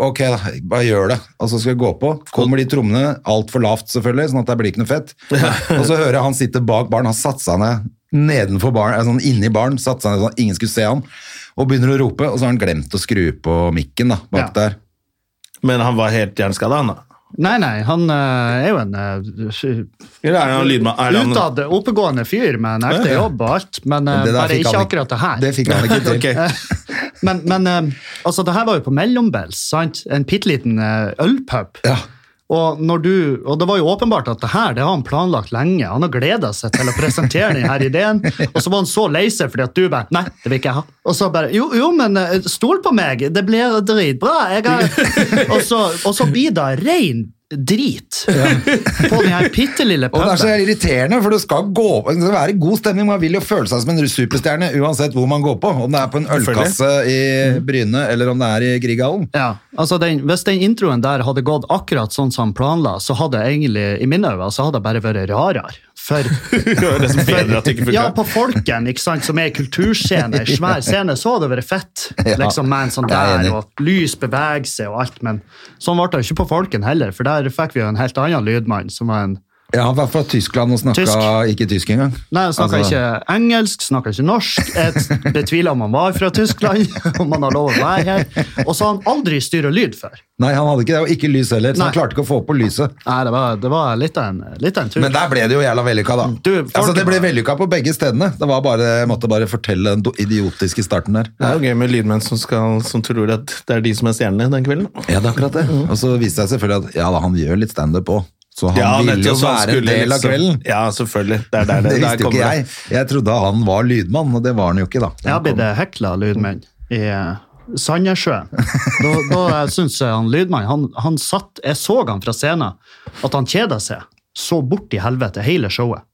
[SPEAKER 2] ok, da, bare gjør det. Og så skal jeg gå på. Kommer de trommene altfor lavt, selvfølgelig, sånn at det blir ikke noe fett.
[SPEAKER 3] [laughs]
[SPEAKER 2] Og så hører jeg han sitter bak baren, han satte seg ned nedenfor baren, eh, sånn inni baren, satte seg ned sånn at ingen skulle se han, og begynner å rope, og så har han glemt å skru på mikken da, bak
[SPEAKER 3] Ja.
[SPEAKER 2] der.
[SPEAKER 1] Men han var helt hjerneskada, han da?
[SPEAKER 3] Nei, nei, han eh, er jo en eh,
[SPEAKER 1] Eller er han lydmann? Er han-
[SPEAKER 3] utad, oppegående fyr med en ekte jobb og alt, men eh,
[SPEAKER 2] Det der
[SPEAKER 3] bare
[SPEAKER 2] fikk
[SPEAKER 3] ikke
[SPEAKER 2] han
[SPEAKER 3] akkurat det her.
[SPEAKER 2] Det fikk han
[SPEAKER 3] [laughs]
[SPEAKER 2] ikke til.
[SPEAKER 1] Ok.
[SPEAKER 3] Men, men eh, altså, det her var jo på mellombels, sant? En bitte liten eh, ølpub.
[SPEAKER 2] Ja.
[SPEAKER 3] Og, når du, og det var jo åpenbart at det her det har han planlagt lenge. Han har gleda seg til å presentere denne ideen, og så var han så lei seg fordi at du bare Nei, det vil ikke jeg ha. Og så bare Jo, jo men eh, stol på meg, det blir dritbra. Jeg har og, så, og så blir det rein drit på den her bitte lille
[SPEAKER 2] Og det er så
[SPEAKER 3] puben.
[SPEAKER 2] irriterende, for det skal, gå, det skal være god stemning. Man vil jo føle seg som en superstjerne uansett hvor man går på. Om det er på en ølkasse i Bryne, eller om det er i Grieghallen.
[SPEAKER 3] Ja, altså den, Hvis den introen der hadde gått akkurat sånn som han planla, så hadde det egentlig i mine øyne så hadde det bare vært rarere. For
[SPEAKER 1] [laughs] Det var nesten bedre at det ikke funket.
[SPEAKER 3] Ja, på Folken, ikke sant, som er en
[SPEAKER 2] [laughs]
[SPEAKER 3] kulturscene, en svær scene, så hadde det vært fett.
[SPEAKER 2] Ja.
[SPEAKER 3] Liksom med en
[SPEAKER 2] Jeg
[SPEAKER 3] sånn
[SPEAKER 2] er
[SPEAKER 3] der,
[SPEAKER 2] enig.
[SPEAKER 3] og lys bevegelse og alt, men sånn ble det jo ikke på Folken heller, for der fikk vi jo en helt annen lydmann, som var en
[SPEAKER 2] Ja, han var fra Tyskland og snakka
[SPEAKER 3] Tysk.
[SPEAKER 2] ikke tysk engang.
[SPEAKER 3] Nei, han snakka
[SPEAKER 2] Altså,
[SPEAKER 3] ikke engelsk, snakka ikke norsk. Jeg betviler om han var fra Tyskland, [laughs] om han har lov å være her. Og så har han aldri styra lyd før.
[SPEAKER 2] Nei, han hadde ikke det, og ikke lys heller, så
[SPEAKER 3] Nei.
[SPEAKER 2] han klarte ikke å få på lyset.
[SPEAKER 3] Nei, det var, det var litt av en, litt av en tur.
[SPEAKER 2] Men der ble det jo jævla vellykka, da.
[SPEAKER 3] Du, folk-
[SPEAKER 2] altså, det ble vellykka på begge stedene. Det var bare, jeg måtte bare fortelle den do- idiotiske starten der.
[SPEAKER 1] Det er jo gøy med lydmenn som, skal, som tror at det er de som er stjernene den kvelden.
[SPEAKER 2] Ja, det er akkurat det. Og så viste det seg selvfølgelig at ja da, han gjør litt standup òg. Så han ville jo
[SPEAKER 1] nettopp, så han
[SPEAKER 2] være en
[SPEAKER 1] skulle
[SPEAKER 2] del av
[SPEAKER 1] liksom-
[SPEAKER 2] kvelden.
[SPEAKER 1] Ja, selvfølgelig. Det er der det,
[SPEAKER 2] Det
[SPEAKER 1] der
[SPEAKER 2] visste jo
[SPEAKER 1] kommer
[SPEAKER 2] ikke
[SPEAKER 1] det.
[SPEAKER 2] jeg. Jeg trodde han var lydmann, og det var han jo ikke, da.
[SPEAKER 3] Jeg har blitt hekla lydmenn i eh, Sandnessjøen. Da, da syns jeg han lydmannen han, han satt, Jeg så han fra scenen, at han kjeda seg så bort i helvete hele showet.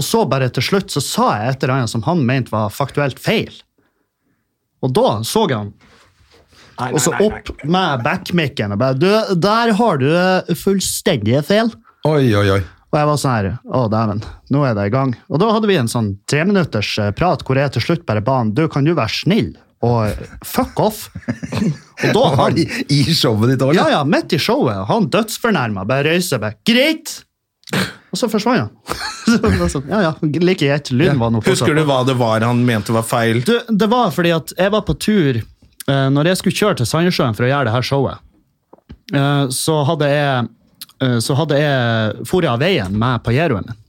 [SPEAKER 3] Og så bare til slutt så sa jeg et eller annet som han mente var faktuelt feil. Og da så jeg han. Og så opp med backmicken og bare du, 'Der har du det fullstendig feil'.
[SPEAKER 2] Oi, oi, oi.
[SPEAKER 3] Og jeg var sånn her, å dæven, nå er det i gang. Og da hadde vi en sånn treminutters eh, prat hvor jeg til slutt bare ba han, du kan du være snill og eh, fuck off?
[SPEAKER 2] [laughs]
[SPEAKER 3] Og da
[SPEAKER 2] Var
[SPEAKER 3] han,
[SPEAKER 2] de i showet ditt òg?
[SPEAKER 3] ja ja, midt i showet, han dødsfornærma, bare røyser bare, greit! Og så forsvant han. [laughs] Så det var sånn, ja ja, like greit, lyden var noe
[SPEAKER 1] Husker du hva det var han mente var feil?
[SPEAKER 3] du, det var fordi at jeg var på tur eh, Når jeg skulle kjøre til Sandnessjøen for å gjøre det her showet, eh, så hadde jeg eh, så hadde jeg for jeg av veien med Pajeroen min.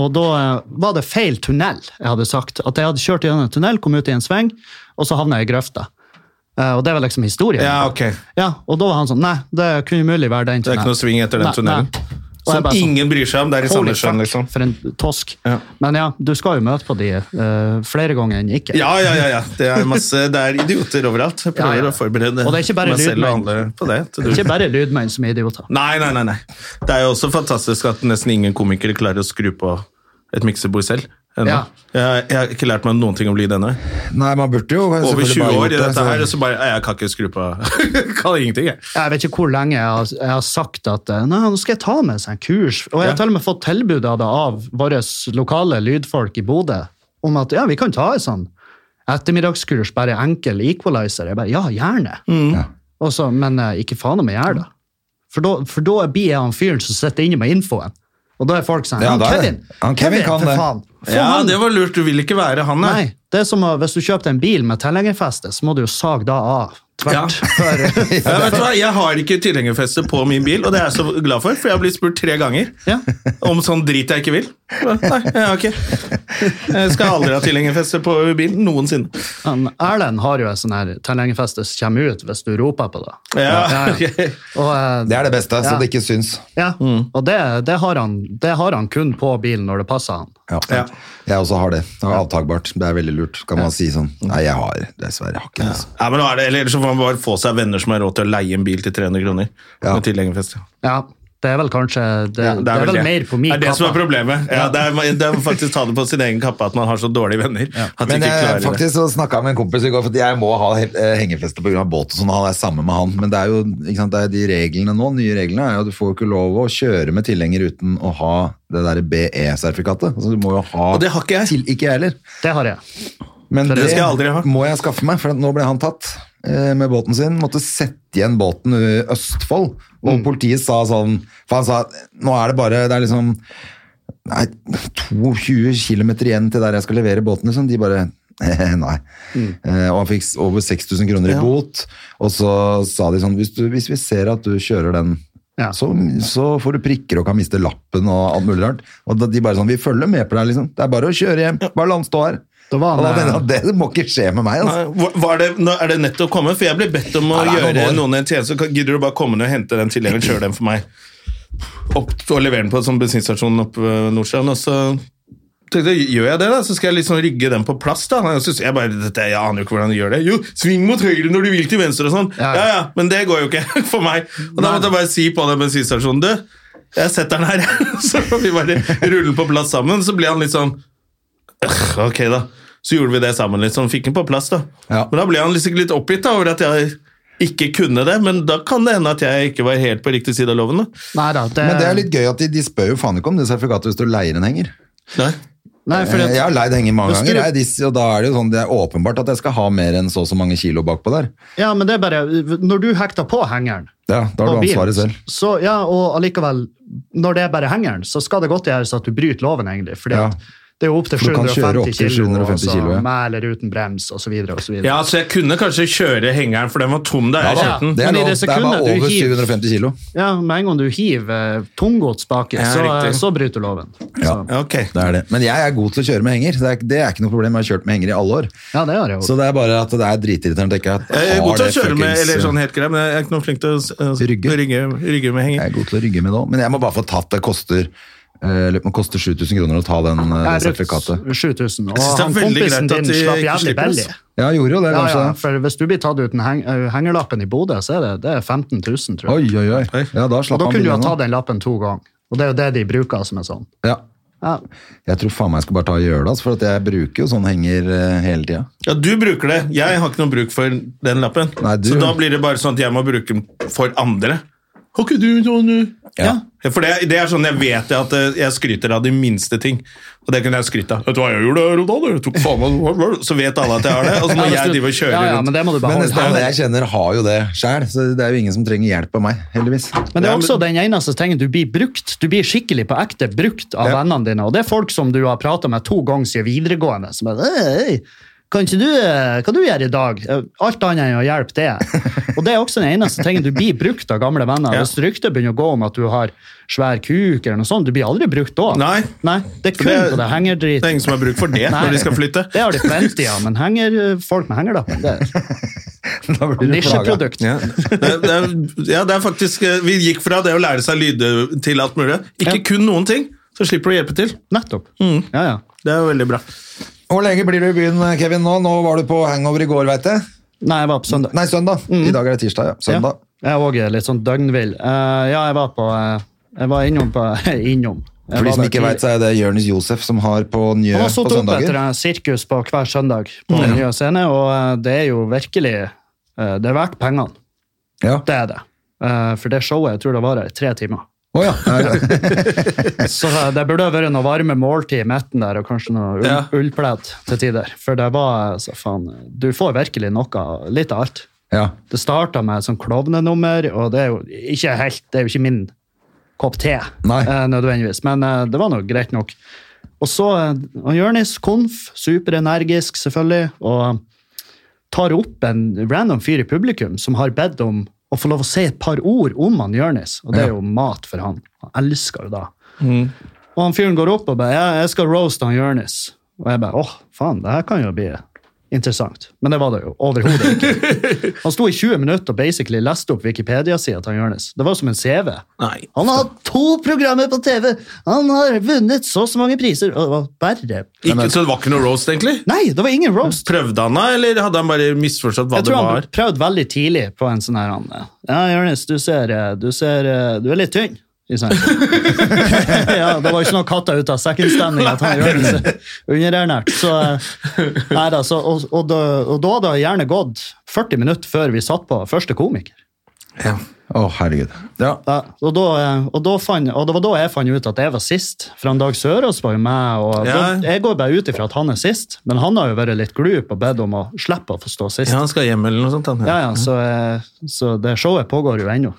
[SPEAKER 3] Og da eh, var det feil tunnel, jeg hadde sagt. At jeg hadde kjørt gjennom en tunnel, kom ut i en sving, og så havna jeg i grøfta. Eh, og det var liksom historien.
[SPEAKER 1] Ja, ok.
[SPEAKER 3] Ja, og da var han sånn Nei, det kunne umulig være den
[SPEAKER 1] Det er ikke noe
[SPEAKER 3] tunnelen.
[SPEAKER 1] sving etter den
[SPEAKER 3] Nei,
[SPEAKER 1] tunnelen.
[SPEAKER 3] nei. Og jeg
[SPEAKER 1] Som
[SPEAKER 3] bare sånn,
[SPEAKER 1] ingen bryr seg om. Det er i
[SPEAKER 3] Holy
[SPEAKER 1] Sandnessjøen,
[SPEAKER 3] fuck,
[SPEAKER 1] liksom.
[SPEAKER 3] for en tosk.
[SPEAKER 1] Ja.
[SPEAKER 3] Men ja, du skal jo møte på de eh, flere ganger enn ikke.
[SPEAKER 1] Ja, ja, ja. ja. Det, er masse, det er idioter overalt. Jeg
[SPEAKER 3] Ja,
[SPEAKER 1] prøver å
[SPEAKER 3] ja.
[SPEAKER 1] forberede
[SPEAKER 3] Og det er ikke bare
[SPEAKER 1] meg selv og
[SPEAKER 3] lydmenn.
[SPEAKER 1] andre på det. til du-
[SPEAKER 3] Ikke bare lydmenn som er idioter.
[SPEAKER 1] Nei, nei, nei, nei. Det er jo også fantastisk at nesten ingen komikere klarer å skru på et miksebord selv. ennå.
[SPEAKER 3] Ja.
[SPEAKER 1] Jeg, jeg har ikke lært meg noen ting om lyd ennå.
[SPEAKER 2] Nei, man burde jo selvfølgelig
[SPEAKER 1] Over 20
[SPEAKER 2] bare
[SPEAKER 1] år
[SPEAKER 2] gjort
[SPEAKER 1] i
[SPEAKER 2] det,
[SPEAKER 1] dette
[SPEAKER 2] så-
[SPEAKER 1] her, og så bare «Nei, Jeg kan ikke skru på [laughs] Kan ingenting, jeg.
[SPEAKER 3] Jeg vet ikke hvor lenge jeg har, jeg har sagt at eh, nei, nå skal jeg ta med seg en kurs. Og jeg
[SPEAKER 1] Ja.
[SPEAKER 3] har til og med fått tilbud av det av våre lokale lydfolk i Bodø om at ja, vi kan ta en sånn ettermiddagskurs, bare enkel equalizer. Jeg bare ja, gjerne.
[SPEAKER 1] Mm.
[SPEAKER 3] Og så, men eh, ikke faen om jeg gjør det. For da, for da blir jeg han fyren som sitter inne med infoen. Og da er folk sånn
[SPEAKER 2] Ja,
[SPEAKER 3] «Han
[SPEAKER 2] da er det.
[SPEAKER 3] Kevin,
[SPEAKER 2] Han Kevin kan
[SPEAKER 3] for
[SPEAKER 2] det.»
[SPEAKER 3] faen. Få
[SPEAKER 1] Ja,
[SPEAKER 3] han.
[SPEAKER 1] det var lurt. Du vil ikke være han,
[SPEAKER 3] Nei, det er som å, hvis du kjøpte en bil med tilhengerfeste, så må du jo sage da
[SPEAKER 2] [laughs]
[SPEAKER 3] av
[SPEAKER 1] Ja.
[SPEAKER 3] tvert. For,
[SPEAKER 1] Ja, vet du hva? Jeg har ikke tilhengerfeste på min bil, og det er jeg så glad for, for jeg har blitt spurt tre ganger
[SPEAKER 3] Ja.
[SPEAKER 1] om sånn drit jeg ikke vil. Nei, jeg har ikke. Jeg skal aldri ha tilhengerfeste på bilen noensinne.
[SPEAKER 3] Han, Erlend har jo en sånn her tilhengerfeste som kommer ut hvis du roper på det.
[SPEAKER 1] Ja,
[SPEAKER 3] ja.
[SPEAKER 1] [laughs] ok.
[SPEAKER 3] Og, eh,
[SPEAKER 2] Det er det beste, så
[SPEAKER 3] Ja.
[SPEAKER 2] det ikke syns.
[SPEAKER 3] ja.
[SPEAKER 2] Mm.
[SPEAKER 3] og det, det, har han, det har han kun på bilen når det passer han.
[SPEAKER 2] Ja.
[SPEAKER 1] Ja.
[SPEAKER 2] Jeg også har det. Det er avtagbart. Det er veldig lurt. Kan man si sånn Nei, jeg har dessverre jeg har ikke det. altså.
[SPEAKER 1] Nei, men nå er det, eller Ellers så får man bare få seg venner som har råd til å leie en bil til 300 kroner.
[SPEAKER 2] Ja.
[SPEAKER 1] med tilhengerfeste.
[SPEAKER 3] Ja, Det er vel kanskje Det,
[SPEAKER 1] Ja,
[SPEAKER 3] det, er, vel
[SPEAKER 1] det.
[SPEAKER 3] mer på min
[SPEAKER 1] Det er det som er
[SPEAKER 3] kappe.
[SPEAKER 1] problemet. Ja, det, er, det er faktisk ta det på sin egen kappe at man har så dårlige venner. At de
[SPEAKER 2] Men
[SPEAKER 1] ikke
[SPEAKER 2] jeg,
[SPEAKER 1] klarer det.
[SPEAKER 2] faktisk så snakka jeg med en kompis i går, for jeg må ha he- eh, hengefeste pga. båt og sånn, og han er sammen med han. Men det er jo ikke sant, det er de reglene nå, nye reglene er jo at du får jo ikke lov å kjøre med tilhenger uten å ha det derre BE-sertifikatet. Altså, du må jo ha
[SPEAKER 1] Og det har ikke jeg.
[SPEAKER 2] Til, ikke jeg heller.
[SPEAKER 3] Det har jeg.
[SPEAKER 2] Men
[SPEAKER 3] Det
[SPEAKER 2] det,
[SPEAKER 1] skal jeg aldri ha.
[SPEAKER 2] må jeg skaffe meg, for at nå ble han tatt eh, med båten sin. Måtte sette igjen båten i Østfold. Og
[SPEAKER 1] Mm.
[SPEAKER 2] politiet sa sånn For han sa nå er det bare Det er liksom nei, 22 km igjen til der jeg skal levere båten. Liksom. De bare Nei.
[SPEAKER 1] Mm.
[SPEAKER 2] Eh, og han fikk s- over 6000 kroner i bot. Og så sa de sånn Hvis, du, hvis vi ser at du kjører den
[SPEAKER 3] Ja.
[SPEAKER 2] så, så får du prikker og kan miste lappen og alt mulig rart. Og da, de bare sånn Vi følger med på deg, liksom. Det er bare å kjøre hjem. Bare la han stå her.
[SPEAKER 3] Da var han,
[SPEAKER 2] Og da tenkte jeg
[SPEAKER 3] eh,
[SPEAKER 2] at det må ikke skje med meg. Altså.
[SPEAKER 1] Nei, hvor- Var det, nå er det nett å komme? For jeg ble bedt om
[SPEAKER 2] Nei,
[SPEAKER 1] å
[SPEAKER 2] det er
[SPEAKER 1] gjøre
[SPEAKER 2] noen år.
[SPEAKER 1] noen en tjeneste. Kan- Gidder du bare komme ned og hente den tilhengeren og kjøre den for meg? Opp, og levere den på en sånn bensinstasjon oppe ved Nordsjøen. Og så tenkte jeg, gjør jeg det, da? Så skal jeg liksom rygge den på plass, da. Jeg, synes, jeg bare, dette, jeg aner jo ikke hvordan du gjør det. Jo, sving mot høyre når du vil til venstre og sånn.
[SPEAKER 3] Ja,
[SPEAKER 1] Ja,
[SPEAKER 3] ja.
[SPEAKER 1] ja, men det går jo ikke [laughs] for meg. Og da måtte jeg bare si på den bensinstasjonen, du, jeg setter den her. [laughs] Så vi bare ruller den på plass sammen. Så ble han litt sånn «Øh, Ok, da. Så gjorde vi det sammen, liksom. Fikk den på plass, da.
[SPEAKER 2] Ja.
[SPEAKER 1] Men da ble han liksom litt oppgitt da, over at jeg ikke kunne det, men da kan det hende at jeg ikke var helt på riktig side av loven. da.
[SPEAKER 3] Nei da, det,
[SPEAKER 2] Men det er litt gøy at de, de spør jo faen ikke om det sertifikatet hvis du leier en henger.
[SPEAKER 1] Nei.
[SPEAKER 3] Nei, for
[SPEAKER 2] Eh,
[SPEAKER 3] at,
[SPEAKER 2] Jeg har leid henger mange
[SPEAKER 3] Hvis du-
[SPEAKER 2] ganger, jeg, disse, og da er det jo sånn, det er åpenbart at jeg skal ha mer enn så og så mange kilo bakpå der.
[SPEAKER 3] ja, men det er bare Når du hekter på hengeren
[SPEAKER 2] Ja, Da har
[SPEAKER 3] på
[SPEAKER 2] du
[SPEAKER 3] bilen,
[SPEAKER 2] ansvaret selv.
[SPEAKER 3] Så, ja, og allikevel, når det er bare hengeren, så skal det godt gjøres at du bryter loven, egentlig. fordi
[SPEAKER 2] Ja.
[SPEAKER 3] at det er jo opptil
[SPEAKER 2] For du kan kjøre
[SPEAKER 3] 750
[SPEAKER 2] opp til
[SPEAKER 3] kilo, og
[SPEAKER 2] 750
[SPEAKER 3] så
[SPEAKER 2] kilo, ja.
[SPEAKER 3] med eller uten brems, og så videre, og så videre.
[SPEAKER 1] Ja, så jeg kunne kanskje kjøre hengeren, for den var tom da jeg
[SPEAKER 2] da,
[SPEAKER 1] kjøpte den.
[SPEAKER 2] det, er
[SPEAKER 3] Men i
[SPEAKER 2] lov, det er
[SPEAKER 3] det
[SPEAKER 2] bare
[SPEAKER 3] sekundet du
[SPEAKER 2] over
[SPEAKER 3] hiver-
[SPEAKER 2] 750 kilo.
[SPEAKER 3] Ja, med en gang du hiver eh, tunggods baki,
[SPEAKER 1] Ja,
[SPEAKER 3] så,
[SPEAKER 1] riktig.
[SPEAKER 3] så bryter loven. Så,
[SPEAKER 1] Ja, Ok.
[SPEAKER 2] Det er det. Men jeg er god til å kjøre med henger. Det er, det er ikke noe problem, jeg har kjørt med henger i alle år.
[SPEAKER 3] ja, det gjør jeg
[SPEAKER 2] Så
[SPEAKER 3] jo.
[SPEAKER 2] det er bare at det er dritirriterende, tenker jeg. at
[SPEAKER 1] Jeg er
[SPEAKER 2] har
[SPEAKER 1] god til å
[SPEAKER 2] det
[SPEAKER 1] kjøre med,
[SPEAKER 2] fuckings- eh,
[SPEAKER 1] eller sånn helt grei, men jeg er ikke noe flink til å s- å
[SPEAKER 2] Rygge.
[SPEAKER 1] rygge, rygge med
[SPEAKER 2] Jeg
[SPEAKER 1] henger.
[SPEAKER 2] er god til å rygge med det òg, men jeg må bare få tatt det. koster eh, det koster 7000 kroner å ta den, eh, det
[SPEAKER 3] Jeg har
[SPEAKER 2] sertifikatet.
[SPEAKER 3] brukt 7000, og
[SPEAKER 1] Jeg synes det er
[SPEAKER 3] han
[SPEAKER 1] veldig
[SPEAKER 3] kompisen
[SPEAKER 1] greit at
[SPEAKER 3] din
[SPEAKER 1] de
[SPEAKER 3] slapp
[SPEAKER 1] ikke
[SPEAKER 3] jævlig
[SPEAKER 1] slipper
[SPEAKER 3] billig.
[SPEAKER 1] oss.
[SPEAKER 2] Ja, jeg gjorde jo det,
[SPEAKER 3] Ja,
[SPEAKER 2] kanskje.
[SPEAKER 3] ja,
[SPEAKER 2] det.
[SPEAKER 3] for hvis du blir tatt uten heng eh, hengerlappen i Bodø, så er det, det er 15 000, tror
[SPEAKER 2] Oi,
[SPEAKER 3] jeg.
[SPEAKER 2] oi, oi. Ja, da
[SPEAKER 3] Og
[SPEAKER 2] slapp
[SPEAKER 3] da
[SPEAKER 2] han
[SPEAKER 3] kunne du ha
[SPEAKER 2] billigere nå.
[SPEAKER 3] tatt den lappen to ganger. Og det er jo det de bruker som en sånn.
[SPEAKER 2] Ja.
[SPEAKER 3] Ja,
[SPEAKER 2] Jeg tror faen meg jeg skal bare ta og gjøre det, altså, for at jeg bruker jo sånn henger eh, hele tida.
[SPEAKER 1] Ja, du bruker det. Jeg har ikke noe bruk for den lappen.
[SPEAKER 2] Nei, du-
[SPEAKER 1] Så da blir det bare sånn at jeg må bruke den for andre. Har ikke du sånn du?
[SPEAKER 2] Ja.
[SPEAKER 1] Ja, For det, det er sånn jeg vet at eh, jeg skryter av de minste ting. Og det kunne jeg skrytt av. Vet du hva jeg gjorde der og da? Jeg tok faen meg Så vet alle at jeg har det. Og så må
[SPEAKER 3] Ja, hvis
[SPEAKER 1] jeg
[SPEAKER 3] du-
[SPEAKER 1] drive og kjøre
[SPEAKER 3] ja, ja,
[SPEAKER 1] rundt.
[SPEAKER 3] men det må du
[SPEAKER 2] Men nesten
[SPEAKER 3] beholde.
[SPEAKER 2] alle jeg kjenner har jo det sjæl, så det er jo ingen som trenger hjelp av meg, heldigvis. [laughs]
[SPEAKER 3] Men det
[SPEAKER 1] Ja,
[SPEAKER 3] er
[SPEAKER 1] men-
[SPEAKER 3] også den eneste tingen du blir brukt. Du blir skikkelig på ekte brukt av
[SPEAKER 2] Ja.
[SPEAKER 3] vennene dine. Og det er folk som du har prata med to ganger siden videregående. som er, «Ei, kan ikke du, eh, hva du gjør i dag? Eh, Alt annet enn å
[SPEAKER 1] [laughs]
[SPEAKER 3] hjelpe det. Og det er også den eneste tingen du blir brukt av gamle venner.
[SPEAKER 1] Ja.
[SPEAKER 3] Hvis ryktet begynner å gå om at du har svær kuk, eller noe sånt, du blir aldri brukt da.
[SPEAKER 1] Nei.
[SPEAKER 3] det
[SPEAKER 1] For
[SPEAKER 3] er kun
[SPEAKER 1] det-
[SPEAKER 3] på det
[SPEAKER 1] Det
[SPEAKER 3] hengerdrit.
[SPEAKER 1] er ingen som har bruk for det
[SPEAKER 3] Nei.
[SPEAKER 1] når de skal flytte.
[SPEAKER 3] Det har de plenty av, men henger, eh, folk med hengerlappen, det
[SPEAKER 1] [laughs]
[SPEAKER 3] er
[SPEAKER 2] Da blir du plaga.
[SPEAKER 3] nisjeprodukt.
[SPEAKER 1] Ja. [laughs] Det, det, er- ja, det er faktisk eh, Vi gikk fra det å lære seg lyder til alt mulig. Ikke
[SPEAKER 3] Ja.
[SPEAKER 1] kun noen ting, så slipper du å hjelpe til.
[SPEAKER 3] Nettopp.
[SPEAKER 1] Mm.
[SPEAKER 3] Ja, ja.
[SPEAKER 1] Det er jo veldig bra.
[SPEAKER 2] [laughs] Hvor lenge blir du i byen, Kevin? Nå Nå var du på hangover i går, veit jeg.
[SPEAKER 3] Nei, jeg var på søndag. Mm.
[SPEAKER 2] Nei, søndag. I dag er det tirsdag, ja. Søndag.
[SPEAKER 3] Ja. Jeg er også litt sånn døgnvill. Eh, ja, jeg var på eh, Jeg var innom på [laughs] Innom. Jeg
[SPEAKER 2] For de
[SPEAKER 3] var
[SPEAKER 2] som ikke
[SPEAKER 3] der tidlig.
[SPEAKER 2] veit, så er det Jonis Josef som har på Njø
[SPEAKER 3] Han har
[SPEAKER 2] på
[SPEAKER 3] sittet opp etter
[SPEAKER 2] søndager.
[SPEAKER 3] en sirkus på hver søndag på den nye scene, og eh, det er jo virkelig eh, Det er verdt pengene.
[SPEAKER 2] Ja.
[SPEAKER 3] Det er det. Eh, for det showet jeg tror det varer i tre timer.
[SPEAKER 2] Å ja. ja. ja.
[SPEAKER 3] Så eh, det burde ha vært noe varme måltid i midten der, og kanskje noe ull,
[SPEAKER 1] Ja.
[SPEAKER 3] ullpledd til tider. For det var eh, så faen Du får virkelig noe, litt av alt.
[SPEAKER 2] ja.
[SPEAKER 3] Det starta med et sånt klovnenummer, og det er jo ikke helt, det er jo ikke min kopp te,
[SPEAKER 2] Nei.
[SPEAKER 3] eh, nødvendigvis, men eh, det var nå greit nok. Og så eh, og Jonis Konf, superenergisk selvfølgelig, og tar opp en random fyr i publikum som har bedt om å få lov å si et par ord om han Jonis, og det er jo mat for han. Han elsker jo det. Og han fyren går opp og bare «Ja, 'Jeg skal roaste han Jonis'. Og jeg bare 'Åh, faen, det her kan jo bli interessant'. Men det var det jo overhodet ikke. Han sto i 20 minutter og basically leste opp Wikipedia-sida til han Jonis. Det var som en CV.
[SPEAKER 1] Nei.
[SPEAKER 3] Han har hatt to programmer på TV! Han har vunnet så og så mange priser! Og det var bare
[SPEAKER 1] Ikke, så det var ikke noe roast, egentlig?
[SPEAKER 3] Nei, det var ingen roast!
[SPEAKER 1] Prøvde han da, eller hadde han bare misforstått hva
[SPEAKER 3] Jeg
[SPEAKER 1] det
[SPEAKER 3] tror
[SPEAKER 1] var?
[SPEAKER 3] han prøvde veldig tidlig på en sånn her han, Ja, Jonis, du ser eh, Du ser eh, Du er litt tynn. i sengen. [laughs] ja, det var ikke noe katta ut av sekken-stemning at han gjør det så underernært. Så, eh, nei da, så, og, og, da, og da hadde det gjerne gått 40 minutter før vi satt på første komiker.
[SPEAKER 1] Ja.
[SPEAKER 2] Å, herregud. Ja.
[SPEAKER 3] Ja, og, da, eh, og, da fann, og det var da jeg fant ut at jeg var sist. For han Dag Sørås var jo meg. Og
[SPEAKER 1] Ja.
[SPEAKER 3] da, jeg går bare ut ifra at han er sist, men han har jo vært litt glup og bedt om å slippe å få stå sist.
[SPEAKER 1] ja, han skal hjem eller noe sånt. Han,
[SPEAKER 3] Ja, ja, så, eh, så det showet pågår jo ennå.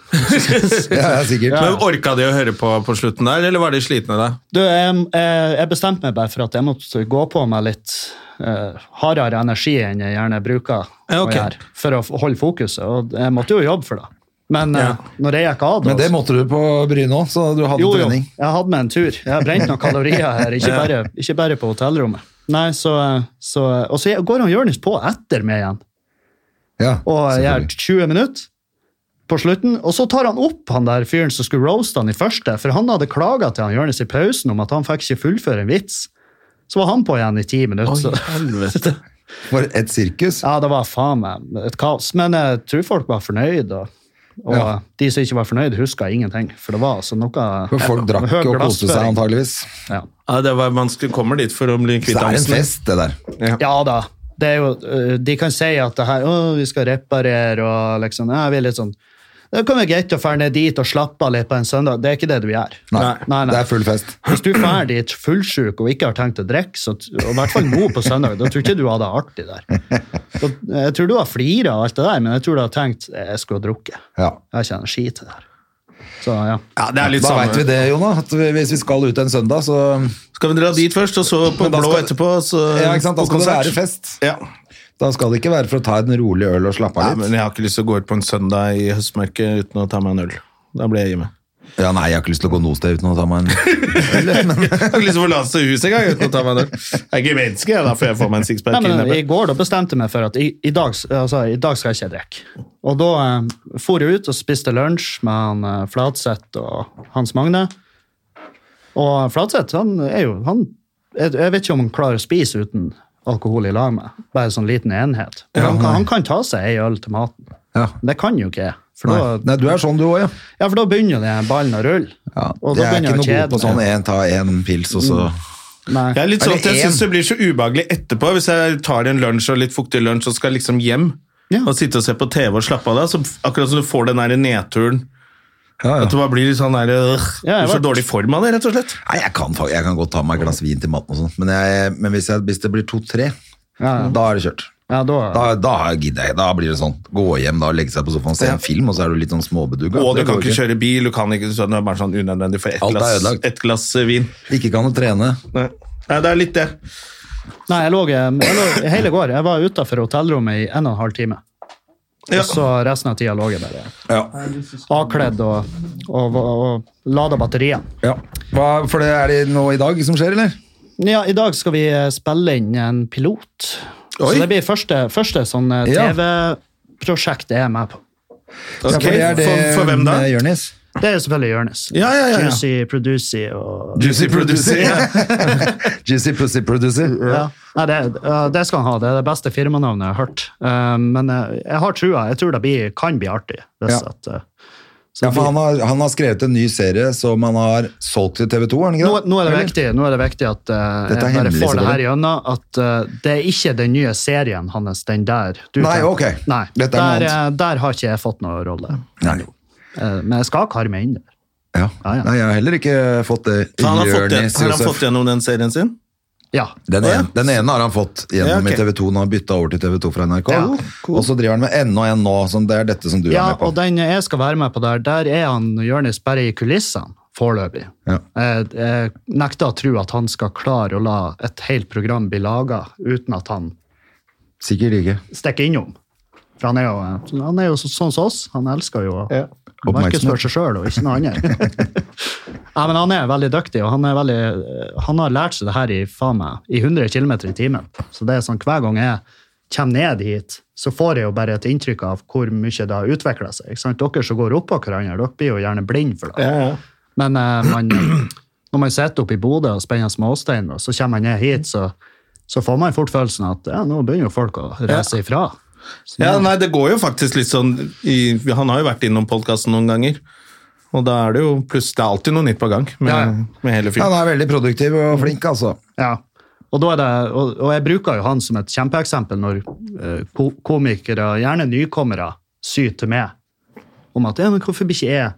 [SPEAKER 2] ja, ja, sikkert.
[SPEAKER 1] Men Orka de å høre på på slutten der, eller var de slitne da?
[SPEAKER 3] Du, jeg, jeg jeg bestemte meg bare for at jeg måtte gå på meg litt eh, hardere energi enn jeg gjerne bruker
[SPEAKER 1] Ja, ok.
[SPEAKER 3] å gjøre, for å f- holde fokuset. Og jeg måtte jo jobbe for det. Men eh,
[SPEAKER 1] Ja.
[SPEAKER 3] når jeg gikk av da,
[SPEAKER 2] Men det
[SPEAKER 3] så-
[SPEAKER 2] måtte du på Bryne òg, så du hadde
[SPEAKER 3] jo, jo,
[SPEAKER 2] trening.
[SPEAKER 3] jeg hadde med en tur. Jeg har brent noen kalorier her,
[SPEAKER 2] [laughs]
[SPEAKER 3] ikke bare, ikke bare på hotellrommet. Nei, så, eh, så, og så går han Jonis på etter meg igjen
[SPEAKER 2] Ja,
[SPEAKER 3] og eh, gjør
[SPEAKER 2] selvfølgelig.
[SPEAKER 3] 20 minutter på slutten. Og så tar han opp han der fyren som skulle roaste han i første, for han hadde klaga til han Jonis i pausen om at han fikk ikke fullføre en vits. Så var han på igjen i ti minutter. Så.
[SPEAKER 1] helvete.
[SPEAKER 2] For et sirkus.
[SPEAKER 3] Ja, det var faen meg et kaos. Men jeg tror folk var fornøyd. og og
[SPEAKER 2] Ja.
[SPEAKER 3] de som ikke var fornøyd, huska ingenting. For det var altså noe
[SPEAKER 2] For folk drakk
[SPEAKER 3] høy
[SPEAKER 2] og koste seg
[SPEAKER 3] glassføring.
[SPEAKER 2] antageligvis.
[SPEAKER 3] Ja.
[SPEAKER 1] [laughs] Ja, det var, man skulle- kommer dit for å bli
[SPEAKER 2] Så
[SPEAKER 1] kvitt
[SPEAKER 2] det er en
[SPEAKER 1] angsten.
[SPEAKER 2] fest, det der.
[SPEAKER 3] ja da. Det er jo, øh, de kan si at det her, å, vi skal reparere og liksom ja, vi er litt sånn, Det kan være greit å dra ned dit og slappe av litt på en søndag. Det er ikke det du gjør.
[SPEAKER 2] Nei,
[SPEAKER 3] Nei, nei.
[SPEAKER 2] det er full fest.
[SPEAKER 3] Hvis du drar dit fullsjuk og ikke har tenkt å drikke, så, og i hvert fall nå på søndag, da tror jeg ikke du hadde artig der. Da, jeg tror du har flira og alt det der, men jeg tror du har tenkt jeg skulle ha drukket.
[SPEAKER 2] Ja.
[SPEAKER 3] Jeg har ikke energi til det her. Så ja.
[SPEAKER 1] Ja, det er litt
[SPEAKER 2] Da veit vi
[SPEAKER 1] samme.
[SPEAKER 2] det, Jona. At vi- hvis vi skal ut en søndag, så
[SPEAKER 1] Skal vi dra dit først, og så på
[SPEAKER 2] Men da
[SPEAKER 1] blå
[SPEAKER 2] skal-
[SPEAKER 1] etterpå?
[SPEAKER 3] Eh,
[SPEAKER 1] Så,
[SPEAKER 2] Ja, ikke sant? Da
[SPEAKER 1] på
[SPEAKER 2] skal det
[SPEAKER 1] konsert?
[SPEAKER 2] være fest.
[SPEAKER 1] Ja.
[SPEAKER 2] Da skal det ikke være for å ta en rolig øl og slappe
[SPEAKER 1] Nei,
[SPEAKER 2] av
[SPEAKER 1] men
[SPEAKER 2] litt.
[SPEAKER 1] jeg har ikke lyst til å gå ut på en søndag i høstmørket uten å ta meg en øl. Da blir jeg
[SPEAKER 2] [laughs]
[SPEAKER 1] hjemme.
[SPEAKER 2] Ja, nei, jeg har ikke lyst til å gå noe sted uten å ta meg
[SPEAKER 3] [laughs]
[SPEAKER 2] en
[SPEAKER 1] Jeg har ikke lyst til å forlate huset engang uten å ta meg en øl. Jeg er ikke menneske, jeg, da får jeg få meg en sixpack.
[SPEAKER 3] Nei, men
[SPEAKER 1] kidnapper.
[SPEAKER 3] I går da bestemte jeg meg for at i, i, dag, altså, i dag skal jeg ikke drikke. Og da eh, for jeg ut og spiste lunsj med han eh, Fladseth og Hans Magne. Og Fladseth, han er jo han, jeg, jeg vet ikke om han klarer å spise uten alkohol i lag med. Bare en sånn liten enhet. Men han, kan, han kan ta seg ei øl til maten.
[SPEAKER 2] Ja.
[SPEAKER 3] Det kan jo ikke jeg. For
[SPEAKER 2] Nei.
[SPEAKER 3] da,
[SPEAKER 2] nei, du er sånn du òg, ja.
[SPEAKER 3] ja, for da begynner jo den ballen å rulle.
[SPEAKER 2] ja. Jeg
[SPEAKER 3] Og da
[SPEAKER 2] er ikke
[SPEAKER 3] begynner
[SPEAKER 2] noe god på
[SPEAKER 3] jeg å kjede
[SPEAKER 2] sånn
[SPEAKER 3] meg. Mm.
[SPEAKER 2] en, ta en pils, og så
[SPEAKER 3] Nei.
[SPEAKER 1] Jeg er litt sånn at jeg
[SPEAKER 2] Eller en.
[SPEAKER 1] syns det blir så ubehagelig etterpå. Hvis jeg tar en lunsj og litt fuktig lunsj og skal liksom hjem
[SPEAKER 3] Ja.
[SPEAKER 1] og sitte og se på TV og slappe av da, så akkurat som du får den der nedturen
[SPEAKER 2] ja, ja.
[SPEAKER 1] At du bare blir litt sånn der øh,
[SPEAKER 3] Ja, jeg
[SPEAKER 1] Du får
[SPEAKER 3] vet.
[SPEAKER 1] dårlig form av det, rett og slett.
[SPEAKER 2] Nei, jeg kan, fa- jeg kan godt ta meg et glass vin til maten og sånt, men, jeg, men hvis, jeg, hvis det blir to-tre,
[SPEAKER 3] Ja, ja.
[SPEAKER 2] da er det kjørt.
[SPEAKER 3] Ja, da,
[SPEAKER 2] Da, da gidder jeg. Da blir det sånn. Gå hjem, da, legge seg på sofaen, se en film, og så er du litt sånn småbedugga.
[SPEAKER 1] Og du
[SPEAKER 2] Det
[SPEAKER 1] kan
[SPEAKER 2] går
[SPEAKER 1] ikke kjøre bil, du kan ikke så det er bare sånn unødvendig for ett
[SPEAKER 2] Alt er
[SPEAKER 1] glass,
[SPEAKER 2] ødelagt.
[SPEAKER 1] et glass øh, vin.
[SPEAKER 2] Ikke kan å trene.
[SPEAKER 1] Nei. Nei, det er litt det.
[SPEAKER 3] Nei, jeg lå, eh, jeg lå hele går. Jeg var utafor hotellrommet i en og en halv time.
[SPEAKER 1] Ja.
[SPEAKER 3] Og så resten av tida lå jeg bare
[SPEAKER 2] Ja.
[SPEAKER 3] avkledd og, og, og, og lada batteriene.
[SPEAKER 2] ja. Hva, for det er det noe i dag som skjer, eller?
[SPEAKER 3] Ja, I dag skal vi eh, spille inn en pilot.
[SPEAKER 1] Oi.
[SPEAKER 3] Så det blir første, første sånn eh,
[SPEAKER 2] Ja.
[SPEAKER 3] TV-prosjekt jeg er med på.
[SPEAKER 2] Ja,
[SPEAKER 1] Ok,
[SPEAKER 2] for, det er det,
[SPEAKER 1] for, for hvem da?
[SPEAKER 2] med Jørnis.
[SPEAKER 3] Det er selvfølgelig Jonis.
[SPEAKER 1] Ja, ja, ja, ja.
[SPEAKER 3] Juicy, producy og
[SPEAKER 1] Juicy Producer. Ja.
[SPEAKER 2] [laughs] Juicy Pussy Producer.
[SPEAKER 3] ja. Nei, det, ja, det skal han ha. Det er det beste firmanavnet jeg har hørt. Eh, men eh, jeg har trua. Jeg tror det blir, kan bli artig. Hvis
[SPEAKER 2] Ja.
[SPEAKER 3] at, eh, så
[SPEAKER 2] Ja,
[SPEAKER 3] blir-
[SPEAKER 2] for han har, han har skrevet en ny serie som han har solgt til TV 2, er han ikke
[SPEAKER 3] nå,
[SPEAKER 2] det?
[SPEAKER 3] nå, er det
[SPEAKER 2] Eller?
[SPEAKER 3] viktig, nå er det viktig at eh,
[SPEAKER 2] Dette er
[SPEAKER 3] jeg bare
[SPEAKER 2] hemmelig,
[SPEAKER 3] får det her
[SPEAKER 2] selvfølgelig.
[SPEAKER 3] gjennom, at eh, det er ikke den nye serien hans, den der. du
[SPEAKER 2] Nei,
[SPEAKER 3] tenker.
[SPEAKER 2] ok.
[SPEAKER 3] Nei,
[SPEAKER 2] Dette er noe
[SPEAKER 3] der,
[SPEAKER 2] annet.
[SPEAKER 3] eh, der har ikke jeg fått noen rolle.
[SPEAKER 2] Nei.
[SPEAKER 3] Eh, men jeg skal karme inn der.
[SPEAKER 2] Ja.
[SPEAKER 3] Ja, Ah, ja.
[SPEAKER 2] Nei, jeg har heller ikke fått det.
[SPEAKER 1] Så han har fått, igjen-
[SPEAKER 2] Jørnis
[SPEAKER 1] har han
[SPEAKER 2] Josef.
[SPEAKER 1] fått gjennom den serien sin?
[SPEAKER 3] Ja.
[SPEAKER 2] Den
[SPEAKER 1] Å, ja.
[SPEAKER 2] ene, den ene har han fått
[SPEAKER 1] Ja,
[SPEAKER 2] gjennom
[SPEAKER 1] ok.
[SPEAKER 2] i TV 2 når han bytta over til TV 2 fra NRK.
[SPEAKER 3] Ja,
[SPEAKER 2] Og så driver han med enda en nå, som det er dette som du
[SPEAKER 3] ja,
[SPEAKER 2] er med på.
[SPEAKER 3] og den jeg skal være med på der, der er han Jonis bare i kulissene, foreløpig.
[SPEAKER 2] Ja.
[SPEAKER 3] Jeg, jeg nekter å tro at han skal klare å la et helt program bli laga uten at han
[SPEAKER 2] Sikkert ikke.
[SPEAKER 3] stikker innom. For han er jo, eh, han er jo så, sånn som oss. Han elsker jo å markedsføre seg sjøl og ikke noe annet. Nei, men han er veldig dyktig, og han, er veldig, eh, han har lært seg det her i, faen meg, i 100 km i timen. Så det er sånn, hver gang jeg kommer ned hit, så får jeg jo bare et inntrykk av hvor mye det har utvikla seg. Ikke sant? Dere som går oppå hverandre, dere blir jo gjerne blinde for det. Men eh, man, [clears throat] når man sitter oppe i Bodø og spenner småstein, og så kommer man ned hit, så, så får man fort følelsen at ja, nå begynner jo folk å reise ifra. Så
[SPEAKER 1] Ja,
[SPEAKER 3] nå-
[SPEAKER 1] nei, det går jo faktisk litt sånn i, Han har jo vært innom podkasten noen ganger. Og da er det jo pluss Det er alltid noe nytt på gang med,
[SPEAKER 3] Ja, ja.
[SPEAKER 1] med hele
[SPEAKER 2] Han
[SPEAKER 1] fyren.
[SPEAKER 2] er veldig produktiv og flink, altså.
[SPEAKER 3] Ja. Og, da er det, og, og jeg bruker jo han som et kjempeeksempel når eh, ko komikere, gjerne nykommere, syter med om at ja, men hvorfor blir ikke jeg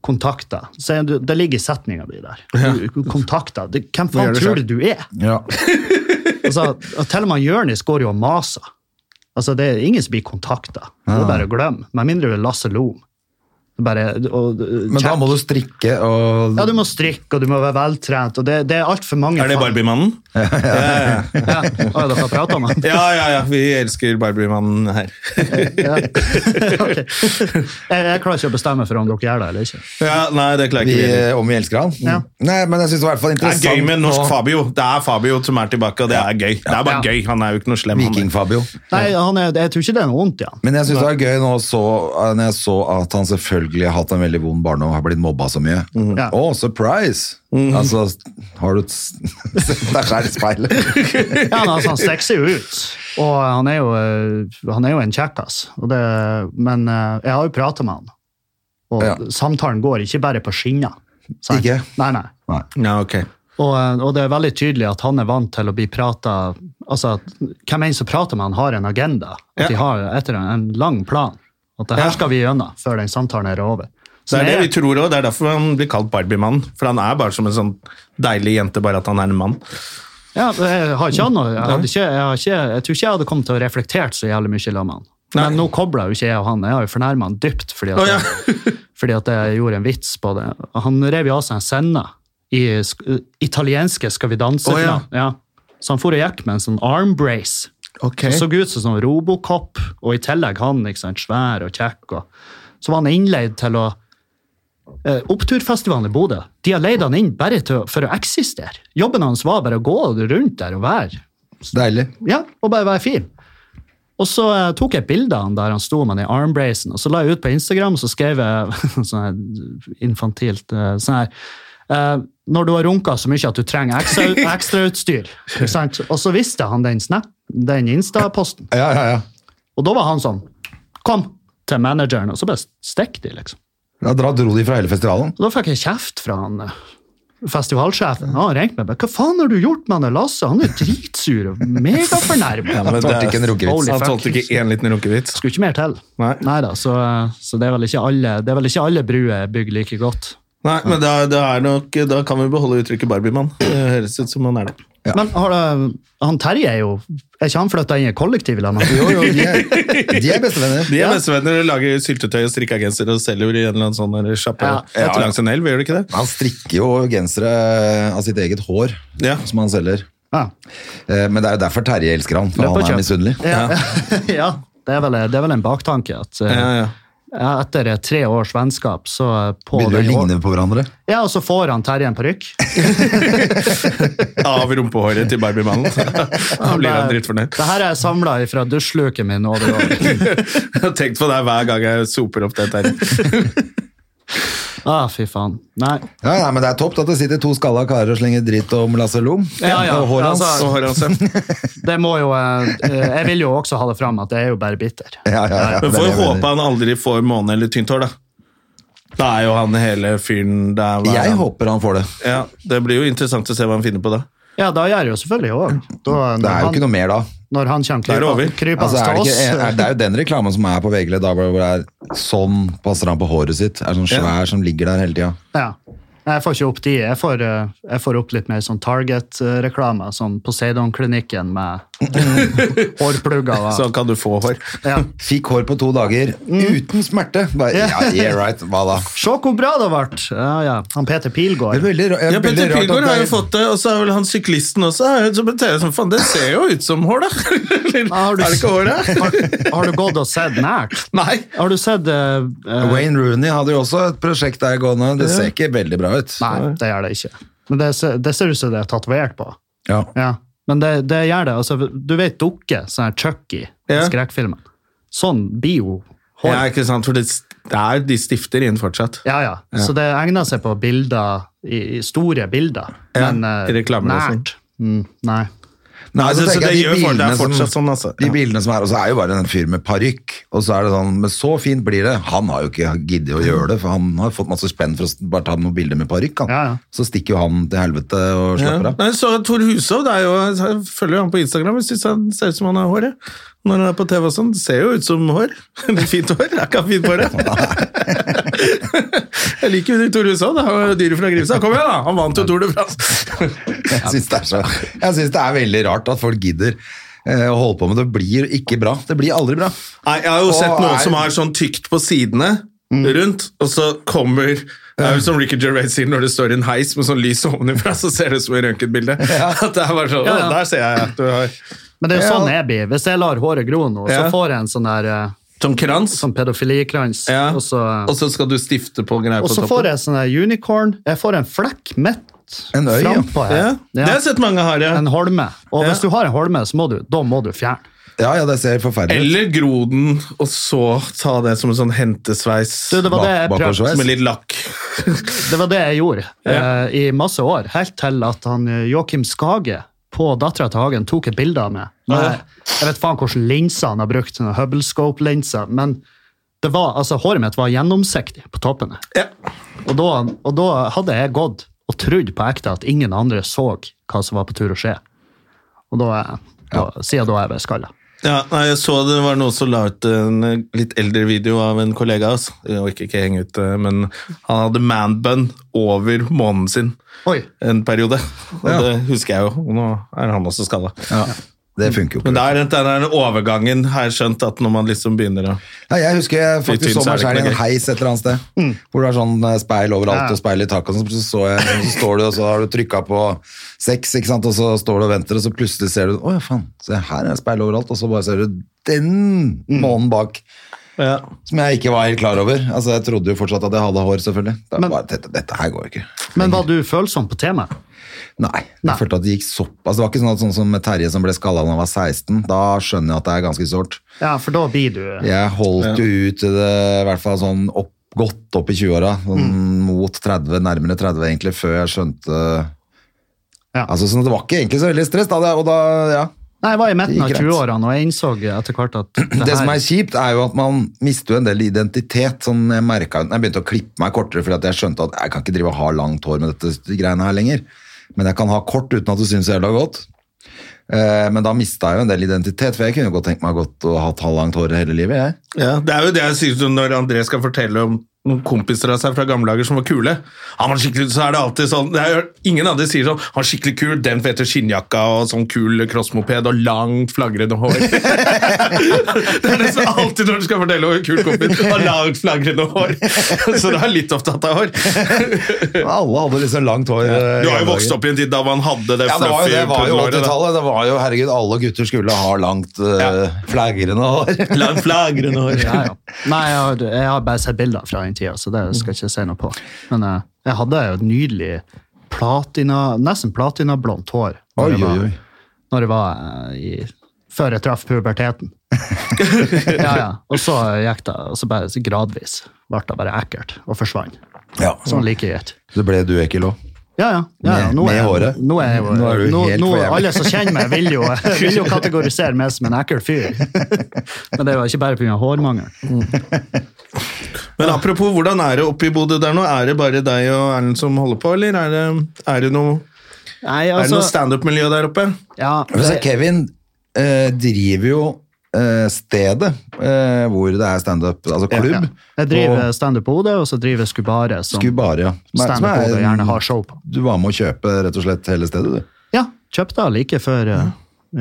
[SPEAKER 3] kontakta? Det ligger i setninga di der. Du- Kontakta. Det- Hvem
[SPEAKER 1] gjør
[SPEAKER 3] faen
[SPEAKER 1] det
[SPEAKER 3] tror
[SPEAKER 1] selv.
[SPEAKER 3] du du er?
[SPEAKER 2] Ja.
[SPEAKER 3] Altså, og til og med Jonis går jo og maser. Altså, det er ingen som blir kontakta. Det er bare å glemme. Med mindre du er Lasse Lohm. Det er Bare, og,
[SPEAKER 2] Men da må du strikke og
[SPEAKER 3] Ja, du må strikke, og du må være veltrent, og det, det er altfor mange
[SPEAKER 1] Er det
[SPEAKER 3] faen-
[SPEAKER 1] Barbiemannen?
[SPEAKER 3] Ja. Å, dere har pratet om han?
[SPEAKER 1] Ja, ja, ja. Vi elsker Barbiemannen her.
[SPEAKER 3] Ja. Ok. jeg, jeg klarer ikke å bestemme for om dere gjør det eller ikke.
[SPEAKER 1] [laughs] Ja, Nei, det klarer
[SPEAKER 2] vi,
[SPEAKER 1] ikke vi.
[SPEAKER 3] eh,
[SPEAKER 1] heller.
[SPEAKER 2] om vi elsker han.
[SPEAKER 3] Ja.
[SPEAKER 2] Nei, men jeg syns i hvert fall
[SPEAKER 1] Det er
[SPEAKER 2] interessant
[SPEAKER 1] gøy med norsk
[SPEAKER 2] nå-
[SPEAKER 1] Fabio. Det er Fabio som er tilbake, og det er gøy. Det er bare gøy. Han er jo ikke noe slem. han.
[SPEAKER 2] Viking-Fabio.
[SPEAKER 3] Nei, han er, Jeg tror ikke det er noe
[SPEAKER 1] [laughs]
[SPEAKER 3] vondt i han.
[SPEAKER 2] Men jeg syns det var gøy nå så, eh, når jeg så at han selvfølgelig har hatt en veldig vond barndom og har blitt mobba så mye. Å,
[SPEAKER 1] Mhm.
[SPEAKER 3] Ja.
[SPEAKER 2] surprise! Altså, har du et s- [laughs] sett deg sjøl i speilet?
[SPEAKER 3] Ja, men altså, Han sexer jo ut, og han er jo, eh, han er jo en kjekkas. Og det- Men eh, jeg har jo prata med han, og
[SPEAKER 2] Ja.
[SPEAKER 3] samtalen går ikke bare på skinner. sant?
[SPEAKER 2] Ikke?
[SPEAKER 3] Nei, nei.
[SPEAKER 2] Nei.
[SPEAKER 1] Ja, ok.
[SPEAKER 3] Og, eh, og det er veldig tydelig at han er vant til å bli prata Altså, at hvem enn som prater med han, har en agenda.
[SPEAKER 1] Ja.
[SPEAKER 3] At de har etter en, en lang plan. At det her
[SPEAKER 1] Ja.
[SPEAKER 3] skal vi gjennom før den samtalen er over. Så
[SPEAKER 1] Det er det
[SPEAKER 3] jeg-
[SPEAKER 1] vi tror også, Det er derfor han blir kalt Barbie-mann. For han er bare som en sånn deilig jente, bare at han er en mann.
[SPEAKER 3] Ja, men jeg har ikke annet. Jeg, hadde ikke, jeg, har ikke, jeg tror ikke jeg hadde kommet til å reflektert så jævlig mye sammen med han. Men nå kobler jo ikke jeg og han. Jeg har jo fornærma han dypt fordi at,
[SPEAKER 1] Å, ja.
[SPEAKER 3] jeg, fordi at jeg gjorde en vits på det. Han rev jo av seg en senne i sk eh, italienske Skal vi danse.
[SPEAKER 1] Å, ja.
[SPEAKER 3] finalen. Ja. Så han for og gikk med en sånn arm brace.
[SPEAKER 1] Okay.
[SPEAKER 3] Så ut som sånn Robocop, og i tillegg han ikke sant, svær og kjekk. Og, så var han innleid til å eh, Oppturfestivalen i Bodø de har leid han inn bare til, å- for å eksistere. Jobben hans var bare å gå rundt der og være
[SPEAKER 2] Deilig.
[SPEAKER 3] ja, og bare være fin. Og så eh, tok jeg et bilde av han der han sto med den armbracen, og så la jeg ut på Instagram, og så skrev jeg [laughs] sånn her infantilt eh, sånn her eh, Når du har runka så mye at du trenger ekstra- ekstrautstyr. ikke sant? og så visste han den, snap- den Insta-posten,
[SPEAKER 2] Ja, ja, ja.
[SPEAKER 3] og da var han sånn Kom! Til manageren, og så bare stikk de, liksom.
[SPEAKER 2] Da dra- dro de fra hele festivalen.
[SPEAKER 3] Og da fikk jeg kjeft fra han eh, festivalsjefen. Han ringte meg og bare 'Hva faen har du gjort med han der Lasse? Han er dritsur og megafornærma'.
[SPEAKER 1] men
[SPEAKER 2] Tålte
[SPEAKER 1] det-
[SPEAKER 2] ikke en
[SPEAKER 3] Holy
[SPEAKER 2] runkevits.
[SPEAKER 1] Han
[SPEAKER 3] fuck.
[SPEAKER 1] tålte ikke én liten runkevits.
[SPEAKER 3] skulle ikke mer til.
[SPEAKER 1] Nei.
[SPEAKER 3] Neida, så, så det, er vel ikke alle, det er vel ikke alle bruer er bygd like godt.
[SPEAKER 1] Nei, men da, da, er nok, da kan vi beholde uttrykket Barbie-mann. Det høres ut som han er det.
[SPEAKER 3] Men har det, han Terje er jo Er ikke han flytta inn i kollektivet? eller noe?
[SPEAKER 2] Jo, jo, de
[SPEAKER 1] [laughs]
[SPEAKER 2] er, de er bestevenner.
[SPEAKER 1] De er bestevenner og lager syltetøy og strikka genser og selger i en eller annen sånn der sjappe
[SPEAKER 3] Ja.
[SPEAKER 1] ja, langs en elv, gjør de ikke det?
[SPEAKER 2] Han strikker jo gensere eh, av sitt eget hår,
[SPEAKER 1] Ja.
[SPEAKER 2] som han selger.
[SPEAKER 3] Ja.
[SPEAKER 2] Eh, Men det er jo derfor Terje elsker han, for
[SPEAKER 3] Løp og
[SPEAKER 2] han er
[SPEAKER 3] kjøp.
[SPEAKER 2] misunnelig.
[SPEAKER 3] Ja. [laughs] ja. Det er, vel, det er vel en baktanke at eh,
[SPEAKER 1] Ja, ja.
[SPEAKER 3] ja, etter eh, tre års vennskap så eh, på
[SPEAKER 2] Begynner
[SPEAKER 3] det
[SPEAKER 2] å
[SPEAKER 3] år-
[SPEAKER 2] ligne på hverandre.
[SPEAKER 3] Ja, og så får han Terje
[SPEAKER 2] [laughs]
[SPEAKER 3] en parykk.
[SPEAKER 1] [laughs] Av rumpehåret til Barbie-mannen. Da blir han drittfornøyd.
[SPEAKER 3] Det her er samla fra dusjluken min over
[SPEAKER 2] [laughs]
[SPEAKER 3] år.
[SPEAKER 1] Jeg har tenkt på deg hver gang jeg soper opp dette her.
[SPEAKER 3] Ah, fy faen. Nei.
[SPEAKER 2] Ja, nei, men Det er topp at det sitter to skalla karer og slenger dritt om Lasse Lom.
[SPEAKER 3] Ja, ja,
[SPEAKER 2] Og håret hans.
[SPEAKER 3] altså-
[SPEAKER 1] Og håret hans, ja.
[SPEAKER 3] Det må jo eh, eh, Jeg vil jo også ha det fram at jeg er jo bare bitter.
[SPEAKER 2] Ja, ja, ja,
[SPEAKER 1] Men
[SPEAKER 2] det er
[SPEAKER 1] får
[SPEAKER 2] det
[SPEAKER 1] jo
[SPEAKER 2] jeg mener.
[SPEAKER 1] håpe han aldri får måne eller tynt hår, da. Da er jo han hele fyren der. hva er
[SPEAKER 2] Jeg
[SPEAKER 1] han?
[SPEAKER 2] håper han får det.
[SPEAKER 1] Ja, det blir jo interessant å se hva han finner på da.
[SPEAKER 3] Ja, da gjør jeg jo selvfølgelig òg.
[SPEAKER 2] Det er jo ikke noe mer da.
[SPEAKER 3] Når han kommer
[SPEAKER 1] Da er det
[SPEAKER 3] krypa-
[SPEAKER 1] over.
[SPEAKER 3] krypende
[SPEAKER 2] Altså, er det,
[SPEAKER 3] til
[SPEAKER 2] ikke, er, det
[SPEAKER 3] oss.
[SPEAKER 2] er jo den reklamen som er på VG da, hvor det er sånn passer han på håret sitt. Er sånn svær som ligger der hele tida.
[SPEAKER 3] Ja. Jeg får ikke opp de. Jeg får, eh, jeg får opp litt mer sånn Target-reklame. Sånn Poseidon-klinikken
[SPEAKER 2] [laughs]
[SPEAKER 3] med hårplugger.
[SPEAKER 1] Så
[SPEAKER 2] Sånn.
[SPEAKER 3] Og,
[SPEAKER 1] kan du få hår.
[SPEAKER 3] ja.
[SPEAKER 2] Fikk hår på to dager
[SPEAKER 1] Mm.
[SPEAKER 2] uten smerte. Bare, ja, yeah right, hva da?
[SPEAKER 3] Se hvor bra det ble! Ja, ja. Han Peter
[SPEAKER 2] Det er
[SPEAKER 3] Pilgaard.
[SPEAKER 2] veldig, ra-
[SPEAKER 1] Ja,
[SPEAKER 2] veldig
[SPEAKER 1] Petter
[SPEAKER 2] rart at
[SPEAKER 1] Pilgaard
[SPEAKER 2] det
[SPEAKER 1] har
[SPEAKER 2] er-
[SPEAKER 1] jo fått det, og så er vel han syklisten også. er jo- Så på TV som, faen, det ser jo ut som hår, da. [laughs] Eller,
[SPEAKER 3] Ja, har du-
[SPEAKER 1] er det ikke håret?
[SPEAKER 3] [laughs] Har, har du gått og sett nært?
[SPEAKER 1] Nei.
[SPEAKER 3] Har du sett eh, eh,
[SPEAKER 2] Wayne Rooney hadde jo også et prosjekt der gående. Det ser ikke veldig bra ut.
[SPEAKER 3] Nei, det gjør det ikke. Men det, ser- det ser ut som det er tatovert på.
[SPEAKER 2] Ja.
[SPEAKER 3] Ja. Men det, det gjør det. Altså, du vet dukke, sånn her Chucky,
[SPEAKER 1] Ja.
[SPEAKER 3] skrekkfilmen. Sånn blir jo håret.
[SPEAKER 1] Ja, ikke sant, for det, det er, de stifter inn fortsatt.
[SPEAKER 3] Ja, ja. Så det egner seg på bilder, i, i store bilder.
[SPEAKER 1] Ja, liksom.
[SPEAKER 3] Men eh,
[SPEAKER 1] i reklamer og
[SPEAKER 3] nært. Mm, nei.
[SPEAKER 2] Nei,
[SPEAKER 1] Altså,
[SPEAKER 2] så
[SPEAKER 1] så
[SPEAKER 2] tenker jeg
[SPEAKER 1] det
[SPEAKER 2] de
[SPEAKER 1] gjør folk- det er
[SPEAKER 2] bildene som-
[SPEAKER 1] fortsatt sånn, altså.
[SPEAKER 2] De
[SPEAKER 1] Ja.
[SPEAKER 2] bildene som er, og så er jo bare en fyr med parykk, og så er det sånn, men så fint blir det. Han har jo ikke giddet å gjøre det, for han har fått masse spenn for å s- bare ta noen bilder med parykk. han.
[SPEAKER 3] Ja, ja.
[SPEAKER 2] Så stikker jo han til helvete og
[SPEAKER 1] Ja.
[SPEAKER 2] slapper av.
[SPEAKER 1] Nei, så Tor Hushov, det er jo, jeg følger jo han på Instagram, jeg synes han ser ut som han har hår, jeg. Når han er på TV og sånn, det ser jo ut som hår. [laughs] Det er fint hår, det er ikke han fint på det. [laughs] Jeg liker jo Tor Hushov, det er jo dyret fra Grimstad. Kom igjen da, han vant jo Tour de
[SPEAKER 2] [laughs]
[SPEAKER 1] France. [laughs]
[SPEAKER 2] Jeg syns det, er så- jeg synes det er veldig rart at folk gidder eh, å holde på med det. Det blir ikke bra. Det blir aldri bra.
[SPEAKER 1] Nei, jeg har jo
[SPEAKER 2] Og
[SPEAKER 1] sett noen
[SPEAKER 2] er-
[SPEAKER 1] som har sånn tykt på sidene rundt, og så kommer det er jo som Ricky Gervais sier, når det står i en heis med sånn lys ovenfra, så ser det ut som et røntgenbilde. [laughs] At det er bare sånn,
[SPEAKER 3] Ja, ja.
[SPEAKER 1] «Å, Der ser jeg at du har
[SPEAKER 3] Men det er jo
[SPEAKER 2] Ja.
[SPEAKER 3] sånn jeg blir. Hvis jeg lar håret gro nå, så
[SPEAKER 1] Ja.
[SPEAKER 3] får jeg en sånn der eh,
[SPEAKER 1] sånn krans,
[SPEAKER 3] sånn pedofilikrans.
[SPEAKER 1] Ja.
[SPEAKER 3] Og så,
[SPEAKER 1] og så skal du stifte på greier
[SPEAKER 3] og
[SPEAKER 1] på
[SPEAKER 3] så
[SPEAKER 1] toppen.
[SPEAKER 3] får jeg sånn der unicorn. Jeg får en flekk midt
[SPEAKER 2] En øy, ja.
[SPEAKER 3] frampå her.
[SPEAKER 1] Ja. Det har
[SPEAKER 3] Ja.
[SPEAKER 1] jeg sett mange har, ja.
[SPEAKER 3] En holme. Og
[SPEAKER 1] Ja.
[SPEAKER 3] hvis du har en holme, så må du, da må du fjerne.
[SPEAKER 2] Ja, ja, det ser forferdelig ut.
[SPEAKER 1] Eller gro den, og så ta det som en sånn hentesveis
[SPEAKER 3] Du, det var det jeg
[SPEAKER 2] Bak-
[SPEAKER 3] prøvde.
[SPEAKER 2] bakoversveis.
[SPEAKER 1] med litt lakk.
[SPEAKER 3] Det var det jeg gjorde
[SPEAKER 1] Ja.
[SPEAKER 3] eh, i masse år, helt til at han eh, Joakim Skage på dattera til Hagen tok et bilde av meg. Med,
[SPEAKER 1] Ja.
[SPEAKER 3] Jeg vet faen hvilke linser han har brukt, sånne Hubble Scope-linser, men det var, altså, håret mitt var gjennomsiktig på toppen.
[SPEAKER 1] Ja.
[SPEAKER 3] Og da, og da hadde jeg gått og trodd på ekte at ingen andre så hva som var på tur å skje. Og da, da siden da er jeg ved skalla.
[SPEAKER 1] Ja, nei, jeg så det var noen som la ut en eh, litt eldre video av en kollega av oss. Jeg orker ikke henge ut, eh, men han hadde manbun over månen sin
[SPEAKER 3] Oi,
[SPEAKER 1] en periode. Og
[SPEAKER 2] Ja.
[SPEAKER 1] det husker jeg jo, og nå er han også skalla.
[SPEAKER 2] Ja, det funker jo ikke.
[SPEAKER 1] Men der, den der overgangen har jeg skjønt at når man liksom begynner å
[SPEAKER 2] Nei, jeg husker jeg
[SPEAKER 1] Litt
[SPEAKER 2] faktisk
[SPEAKER 1] tynn,
[SPEAKER 2] så
[SPEAKER 1] så er
[SPEAKER 2] meg
[SPEAKER 1] det
[SPEAKER 2] selv i
[SPEAKER 1] ikke
[SPEAKER 2] en
[SPEAKER 1] noe
[SPEAKER 2] heis et eller annet sted. Hvor det er sånn eh, speil overalt
[SPEAKER 3] Mm. Ja.
[SPEAKER 2] og speil i taket. og sånn, Så, så, jeg, så står du, og så har du trykka på seks, ikke sant? og så står du og venter, og så plutselig ser du Å ja, faen. Se, her er det speil overalt. Og så bare ser du den
[SPEAKER 3] Mm.
[SPEAKER 2] månen bak.
[SPEAKER 1] ja.
[SPEAKER 2] Som jeg ikke var helt klar over. Altså, Jeg trodde jo fortsatt at jeg hadde hår, selvfølgelig. Da
[SPEAKER 3] Men-
[SPEAKER 2] bare, dette, dette her går jo ikke.
[SPEAKER 3] men var du følsom på temaet?
[SPEAKER 2] Nei.
[SPEAKER 3] Nei.
[SPEAKER 2] Jeg følte at det gikk sopp. Altså, det var ikke sånn at sånn som med Terje som ble skalla da han var 16. Da skjønner jeg at det er ganske sårt.
[SPEAKER 3] Ja, for da blir du
[SPEAKER 2] Jeg holdt jo ut til det, i hvert fall sånn opp, godt opp i 20-åra, sånn
[SPEAKER 1] Mm.
[SPEAKER 2] mot 30, nærmere 30 egentlig, før jeg skjønte
[SPEAKER 3] Ja.
[SPEAKER 2] Altså, sånn, at Det var ikke egentlig så veldig stress, da. Det, og da ja.
[SPEAKER 3] Nei, jeg var i midten av
[SPEAKER 2] Det gikk greit.
[SPEAKER 3] 20-årene, og jeg innså etter hvert at
[SPEAKER 2] det,
[SPEAKER 3] her-
[SPEAKER 2] som er kjipt, er jo at man mister jo en del identitet. Sånn, jeg, merket, jeg begynte å klippe meg kortere fordi at jeg skjønte at jeg kan ikke drive og ha langt hår med dette greiene her lenger. Men jeg kan ha kort uten at det synes jævla godt. Eh, men da mista jeg jo en del identitet, for jeg kunne jo godt tenkt meg godt å ha halvlangt hår hele livet. jeg.
[SPEAKER 1] Ja, det er jo det jeg synes når André skal fortelle om noen kompiser av seg fra gamle dager som var kule. Han var skikkelig, så er det alltid sånn, det er, Ingen andre sier sånn 'Han er skikkelig kul, den fete skinnjakka og sånn kul crossmoped og langt, flagrende hår'. [laughs] det er nesten alltid når du skal fortelle om en kul kompis. Har langt, flagrende hår. [laughs] så du er litt opptatt av hår. [laughs]
[SPEAKER 2] Alle hadde liksom langt hår. eh,
[SPEAKER 1] Du har
[SPEAKER 2] i
[SPEAKER 1] jo
[SPEAKER 2] gamle
[SPEAKER 1] vokst
[SPEAKER 2] dager.
[SPEAKER 1] opp i en tid da man hadde det
[SPEAKER 2] Ja, det var jo,
[SPEAKER 1] fluffy
[SPEAKER 2] det var jo
[SPEAKER 1] pudelhåret, da.
[SPEAKER 2] 80-tallet. Det var jo, herregud, alle gutter skulle ha langt, uh,
[SPEAKER 1] Ja.
[SPEAKER 2] flagrende hår.
[SPEAKER 1] Langt, flagrende hår.
[SPEAKER 3] Ja, ja. Nei, jeg har, jeg har bare sett bilder fra den tida, så det skal jeg ikke si noe på. Men eh, jeg hadde jo et nydelig platina, nesten platinablondt hår
[SPEAKER 2] Oi,
[SPEAKER 3] når jeg
[SPEAKER 2] oi,
[SPEAKER 3] var,
[SPEAKER 2] oi.
[SPEAKER 3] når jeg var eh, i, før jeg traff puberteten. [laughs] ja, ja. Og så gikk det og så bare så gradvis. Ble det bare ekkelt og forsvant.
[SPEAKER 2] Ja.
[SPEAKER 3] Sånn like greit.
[SPEAKER 2] Så ble du ekkel òg.
[SPEAKER 3] Ja, ja. ja, ja.
[SPEAKER 2] Med-
[SPEAKER 3] Nå,
[SPEAKER 2] med
[SPEAKER 3] er,
[SPEAKER 2] håret.
[SPEAKER 3] nå er jeg jo
[SPEAKER 2] Nå er du
[SPEAKER 3] nå,
[SPEAKER 2] helt
[SPEAKER 3] nå,
[SPEAKER 2] for jævlig.
[SPEAKER 3] Alle som kjenner meg, vil
[SPEAKER 2] [laughs]
[SPEAKER 3] jo, vil jo kategorisere meg som en ekkel fyr. Men det var ikke bare pga. hårmangel.
[SPEAKER 1] Men apropos, hvordan er det oppe i Bodø der nå? Er det bare deg og Erlend som holder på, eller er det, er det noe,
[SPEAKER 3] Nei,
[SPEAKER 1] er det
[SPEAKER 3] altså
[SPEAKER 1] noe standup-miljø der oppe?
[SPEAKER 3] ja,
[SPEAKER 2] Så
[SPEAKER 3] det-
[SPEAKER 2] Kevin eh, driver jo eh, stedet eh, hvor det er standup, altså klubb.
[SPEAKER 3] Ja. Jeg driver
[SPEAKER 2] Og
[SPEAKER 3] standup på Bodø, og så driver jeg Skubare, som
[SPEAKER 2] Skubare, ja. Som er- som
[SPEAKER 3] standup på
[SPEAKER 2] er-
[SPEAKER 3] Bodø gjerne har show på.
[SPEAKER 2] Du var med å kjøpe rett og slett hele stedet, du.
[SPEAKER 3] Ja, kjøpte jeg like før eh,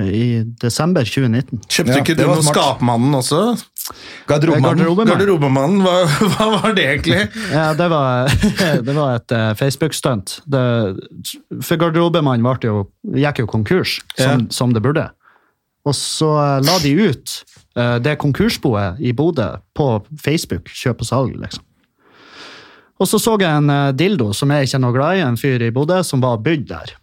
[SPEAKER 3] i desember 2019.
[SPEAKER 1] Kjøpte
[SPEAKER 2] Ja,
[SPEAKER 1] ikke
[SPEAKER 2] det
[SPEAKER 1] du
[SPEAKER 2] var
[SPEAKER 1] noen
[SPEAKER 2] smart.
[SPEAKER 1] Skapmannen også?
[SPEAKER 2] Garderobemannen.
[SPEAKER 3] Garderobe- Garderobemannen.
[SPEAKER 1] Garderobemannen, hva, [laughs] hva var det egentlig?
[SPEAKER 3] Ja, det var, det var [laughs] et eh, Facebook-stunt. Det- For garderobemannen vart jo- gikk jo konkurs, som,
[SPEAKER 1] Ja.
[SPEAKER 3] som det burde. Og så eh, la de ut eh, det konkursboet i Bodø på Facebook, kjøp og salg, liksom. Og så så jeg en eh, dildo som jeg ikke er noe glad i, en fyr i Bodø, som var bydd der.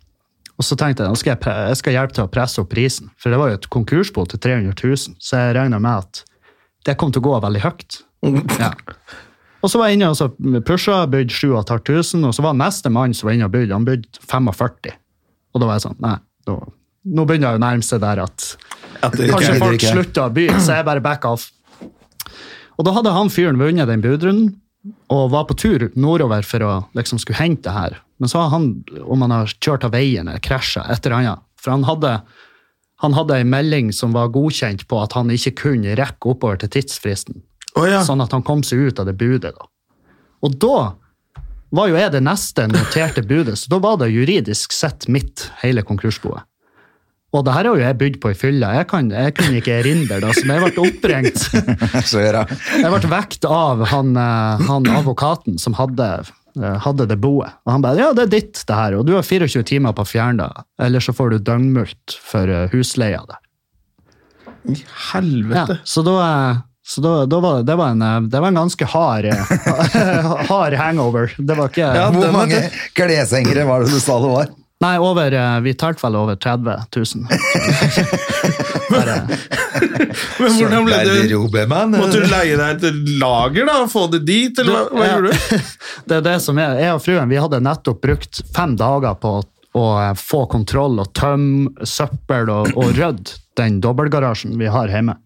[SPEAKER 3] Og så tenkte jeg nå skal jeg, pre- jeg skal hjelpe til å presse opp prisen, for det var jo et konkursbo til 300 000, så jeg regna med at det kom til å gå veldig høyt. Ja. Og så var jeg inne og så pusha, bøyd 7500, og så var neste mann som var inne og bøyd, han bøyd 45 000. Og da var jeg sånn, nei, da, nå begynner jeg å nærme seg der at
[SPEAKER 1] At det ikke
[SPEAKER 3] Kanskje
[SPEAKER 1] er
[SPEAKER 2] gidder
[SPEAKER 3] folk
[SPEAKER 2] ikke.
[SPEAKER 3] slutter å by, så jeg bare back off. Og da hadde han fyren vunnet den budrunden og var på tur nordover for å liksom skulle hente det her. Men så har han, om han har kjørt av veien eller krasja, et eller annet. For han hadde, han hadde ei melding som var godkjent på at han ikke kunne rekke oppover til tidsfristen.
[SPEAKER 1] Å ja.
[SPEAKER 3] Sånn at han kom seg ut av det budet. da. Og da var jo jeg det neste noterte budet, så da var det juridisk sett mitt, hele konkursboet. Og det her har jo jeg bydd på i fylla. Jeg, kan, jeg kunne ikke erindre det. Altså, men jeg ble oppringt.
[SPEAKER 2] [laughs] Så gjør jeg.
[SPEAKER 3] Jeg ble vekt av han, eh, han advokaten som hadde, eh, hadde det boet. Og han bare 'ja, det er ditt, det her, og du har 24 timer på å fjerne det', eller så får du døgnmulkt for eh, husleia der.
[SPEAKER 1] I
[SPEAKER 3] Ja,
[SPEAKER 1] helvete.
[SPEAKER 3] så da, eh, så da, da var det, det, var en, eh, det var en ganske hard, eh, [laughs] hard hangover. Det var ikke
[SPEAKER 1] Ja,
[SPEAKER 2] Hvor
[SPEAKER 1] den er
[SPEAKER 2] mange
[SPEAKER 1] tøff.
[SPEAKER 2] kleshengere var det du sa det var?
[SPEAKER 3] Nei, over, eh, vi talte vel over 30
[SPEAKER 1] [laughs]
[SPEAKER 3] 000.
[SPEAKER 1] Men hvordan ble
[SPEAKER 2] Veldig
[SPEAKER 1] det?
[SPEAKER 2] ro, Beman.
[SPEAKER 1] Måtte du leie deg et lager da, og få det dit, eller hva, hva
[SPEAKER 3] Ja.
[SPEAKER 1] gjorde du?
[SPEAKER 3] [laughs] Det er det som er. Jeg og fruen vi hadde nettopp brukt fem dager på å, å eh, få kontroll og tømme søppel og, og rydde den dobbeltgarasjen vi har hjemme.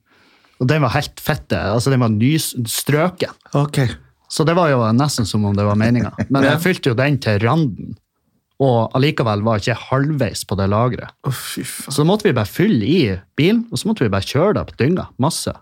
[SPEAKER 3] Og den var helt fette. altså Den var nystrøken.
[SPEAKER 1] Ok.
[SPEAKER 3] Så det var jo nesten som om det var meninga. Men jeg fylte jo den til randen. Og allikevel var ikke jeg halvveis på det lageret.
[SPEAKER 1] Å, fy faen.
[SPEAKER 3] Så da måtte vi bare fylle i bilen, og så måtte vi bare kjøre det på dynga. Masse.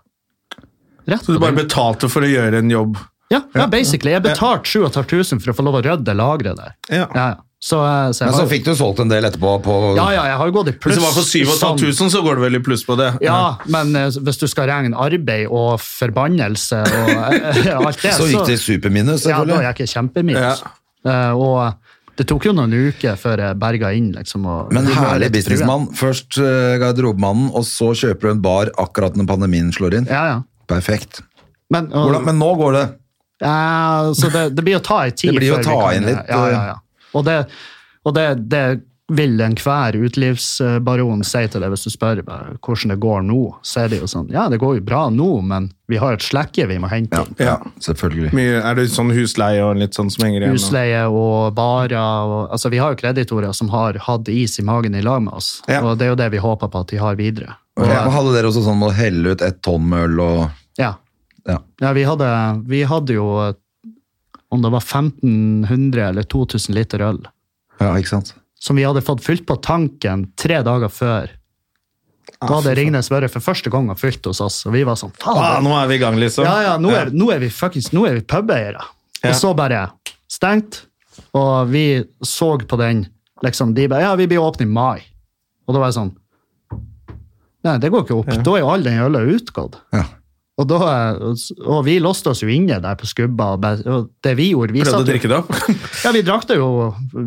[SPEAKER 3] Rett
[SPEAKER 1] Så du
[SPEAKER 3] på
[SPEAKER 1] bare
[SPEAKER 3] dynga.
[SPEAKER 1] betalte for å gjøre en jobb?
[SPEAKER 3] Ja, ja, basically. Jeg betalte 7500 for å få lov å rydde lageret der.
[SPEAKER 1] Ja.
[SPEAKER 3] Ja, ja. Så, eh, så jeg
[SPEAKER 2] Men så
[SPEAKER 3] har-
[SPEAKER 2] fikk du solgt en del etterpå på
[SPEAKER 3] ja, ja, jeg har jo gått i pluss.
[SPEAKER 1] Hvis det var for
[SPEAKER 3] sånn-
[SPEAKER 1] 7500, så går det vel i pluss på det?
[SPEAKER 3] Ja, men eh, hvis du skal regne arbeid og forbannelse og eh, [laughs] alt det,
[SPEAKER 2] Så gikk det i superminus,
[SPEAKER 3] Ja, da
[SPEAKER 2] selvfølgelig.
[SPEAKER 3] gikk jeg kjempeminus. Eh, og det tok jo noen uker før jeg berga inn, liksom. Og,
[SPEAKER 2] Men
[SPEAKER 3] Det var
[SPEAKER 2] herlig
[SPEAKER 3] litt
[SPEAKER 2] businessmann. Først eh, garderobemannen, og så kjøper du en bar akkurat når pandemien slår inn.
[SPEAKER 3] true. Ja, ja.
[SPEAKER 2] Perfekt.
[SPEAKER 3] Men, og,
[SPEAKER 2] Hvordan, men nå går det.
[SPEAKER 3] Ja, så det, det blir å ta i tid.
[SPEAKER 2] Det blir å
[SPEAKER 3] før vi
[SPEAKER 2] ta
[SPEAKER 3] kan-
[SPEAKER 2] inn litt, eh.
[SPEAKER 3] Ja, ja, ja. Og, det, og det, det vil enhver utelivsbaron si til deg hvis du spør bare, hvordan det går nå. Så er det jo sånn Ja, det går jo bra nå, men vi har et slekke vi må hente inn.
[SPEAKER 1] Ja.
[SPEAKER 2] Selvfølgelig.
[SPEAKER 1] Mye, er det sånn husleie og litt sånn som henger igjen? og-
[SPEAKER 3] Husleie og barer og Altså, vi har jo kreditorer som har hatt is i magen i lag med oss,
[SPEAKER 1] Ja.
[SPEAKER 3] og det er jo det vi håper på at de har videre.
[SPEAKER 2] Og hadde dere også sånn med å helle ut et tonn med øl og
[SPEAKER 3] Ja.
[SPEAKER 2] Ja.
[SPEAKER 3] vi, hadde, vi hadde jo om det var 1500 eller 2000 liter øl.
[SPEAKER 2] Ja, ikke sant?
[SPEAKER 3] som vi hadde fått fylt på tanken tre dager før. Da hadde Ringnes Børre for første gang og fylt hos oss, og vi var sånn
[SPEAKER 1] Ah,
[SPEAKER 3] faen.
[SPEAKER 1] nå er vi i gang, liksom.
[SPEAKER 3] Ja, ja, nå er, nå er vi fuckings, nå er vi pubeiere.
[SPEAKER 1] Ja.
[SPEAKER 3] Og så bare stengt, og vi så på den, liksom, de bare, ja, vi blir åpne i mai. Og da var jeg sånn, nei, det går ikke opp. Da er jo all den øla utgått.
[SPEAKER 2] Ja.
[SPEAKER 3] Og, da, og vi låste oss jo inne der på skubba, og bare- og det vi gjorde, vi
[SPEAKER 1] Prøvde å
[SPEAKER 3] satt jo-
[SPEAKER 1] drikke [laughs] det opp?
[SPEAKER 3] ja, vi drakk, det jo,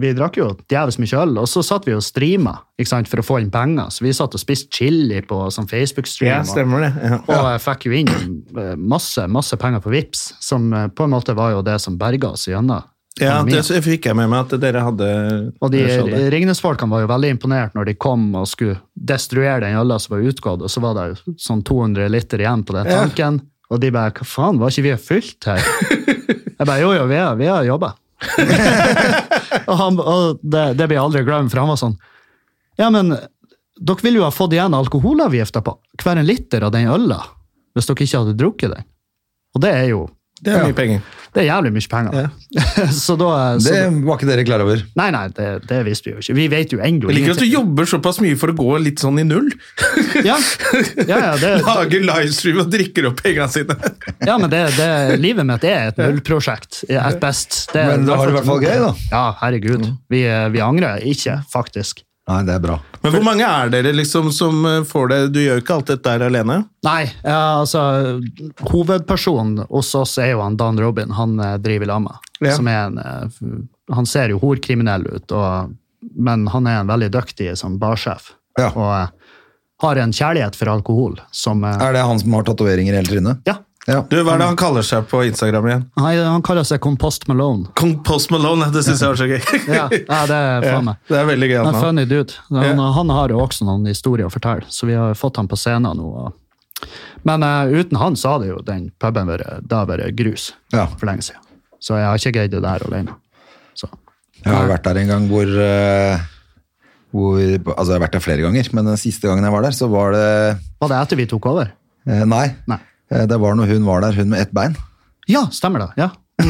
[SPEAKER 3] vi drakk jo djevelsk mye øl, og så satt vi og streama ikke sant, for å få inn penger. Så vi satt og spiste chili på sånn Facebook-stream, og,
[SPEAKER 1] det.
[SPEAKER 3] og jeg fikk jo inn eh, masse masse penger på Vips, som eh, på en måte var jo det som berga oss gjennom.
[SPEAKER 1] Ja,
[SPEAKER 3] pandemien.
[SPEAKER 1] det så fikk jeg med meg at dere hadde
[SPEAKER 3] Og de
[SPEAKER 1] jeg så det.
[SPEAKER 3] Ringnes-folkene var jo veldig imponert når de kom og skulle destruere den øla som var utgått, og så var det jo sånn 200 liter igjen på den tanken. Og de bare 'hva faen, var ikke vi fylt her?' Jeg bare 'jo, jo, vi har, vi har jobba'. [laughs] og han, og det, det blir jeg aldri glemt, for han var sånn 'ja, men dere ville jo ha fått igjen alkoholavgifta på hver en liter av den øla' hvis dere ikke hadde drukket den. Og det er jo
[SPEAKER 1] Det er mye penger.
[SPEAKER 3] det er jævlig mye penger. [laughs] så da, så
[SPEAKER 2] Det var ikke dere klar over.
[SPEAKER 3] Nei, nei, det, det visste vi jo ikke. Vi vet jo ennå
[SPEAKER 1] Jeg liker at du
[SPEAKER 3] ingenting.
[SPEAKER 1] jobber såpass mye for å gå litt sånn i null.
[SPEAKER 3] Ja, ja, ja, det,
[SPEAKER 1] [laughs] Lager livestream og drikker opp pengene sine.
[SPEAKER 3] ja men det, det, livet mitt er et nullprosjekt, at best. Det,
[SPEAKER 2] Men da har du i hvert fall gøy, da. Mm.
[SPEAKER 3] Ja, herregud. Vi, vi angrer ikke, faktisk.
[SPEAKER 2] Nei, det er bra.
[SPEAKER 1] [laughs] Men hvor mange er dere liksom som eh, får det? Du gjør jo ikke alt dette her alene.
[SPEAKER 3] Nei, ja, altså Hovedpersonen hos oss er jo han Dan Robin. Han eh, driver i lag med.
[SPEAKER 1] Ja.
[SPEAKER 3] Som er en eh, f- Han ser jo horkriminell ut, og, men han er en veldig dyktig som barsjef.
[SPEAKER 2] Ja.
[SPEAKER 3] Og eh, har en kjærlighet for alkohol som eh,
[SPEAKER 2] Er det han som har tatoveringer i hele trynet?
[SPEAKER 3] Ja.
[SPEAKER 2] Ja.
[SPEAKER 1] Du, Hva er det han kaller seg på Instagram igjen?
[SPEAKER 3] Han, han kaller seg Compost Malone.
[SPEAKER 1] Kong Post Malone, det syns jeg var så gøy.
[SPEAKER 2] [laughs]
[SPEAKER 3] Ja, ja det er faen meg.
[SPEAKER 1] [laughs] Det er veldig gøy.
[SPEAKER 3] Han er
[SPEAKER 1] Han.
[SPEAKER 3] funny dude. Han, han har jo også noen historier å fortelle, så vi har fått han på scenen nå. Og... Men eh, uten han så hadde jo den puben vært, det hadde vært grus
[SPEAKER 2] Ja.
[SPEAKER 3] for lenge siden. Så jeg har ikke greid det der alene. Så.
[SPEAKER 2] Jeg har vært der en gang hvor eh, Hvor, altså jeg har vært der flere ganger, men den siste gangen jeg var der, så var det
[SPEAKER 3] Var det etter vi tok over?
[SPEAKER 2] eh, Nei.
[SPEAKER 3] Nei.
[SPEAKER 2] Eh, Det var når hun var der, hun med ett bein.
[SPEAKER 3] Ja, stemmer det. ja.
[SPEAKER 2] [laughs]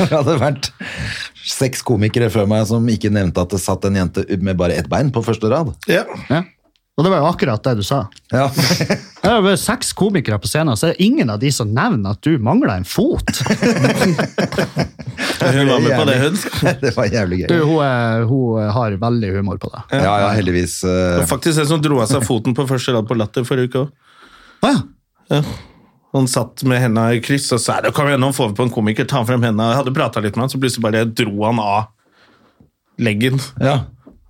[SPEAKER 2] Det hadde vært seks komikere før meg som ikke nevnte at det satt en jente med bare ett bein på første rad.
[SPEAKER 1] Ja.
[SPEAKER 3] ja. Og det var jo akkurat det du sa.
[SPEAKER 2] Ja. [laughs]
[SPEAKER 3] Det er jo seks komikere på scenen, så er det ingen av de som nevner at du mangler en
[SPEAKER 2] [laughs]
[SPEAKER 3] fot.
[SPEAKER 1] Hun var med på det, hun.
[SPEAKER 2] Det var jævlig
[SPEAKER 3] Du,
[SPEAKER 2] gøy.
[SPEAKER 3] hun, er, hun har veldig humor på det.
[SPEAKER 2] Ja, ja, heldigvis. eh,
[SPEAKER 1] Og faktisk en som dro av seg foten på første rad på Latter forrige uke òg.
[SPEAKER 3] Å ja.
[SPEAKER 1] Han satt med henda i kryss og sa det, kom igjen, nå får vi på en komiker, ta frem henda. Jeg hadde prata litt med han, så plutselig bare dro han av leggen.
[SPEAKER 2] Ja.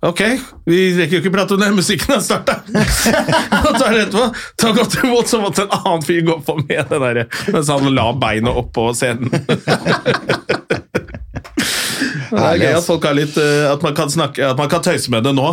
[SPEAKER 1] Ok, vi rekker jo ikke prate om det, musikken har starta! og så er det etterpå, ta godt imot, så måtte en annen fyr gå på med det der, mens han la beinet oppå scenen. Det er
[SPEAKER 2] Herlig,
[SPEAKER 1] gøy at,
[SPEAKER 2] ass.
[SPEAKER 1] folk har litt, eh, at, man kan snakke, at man kan tøyse med det nå.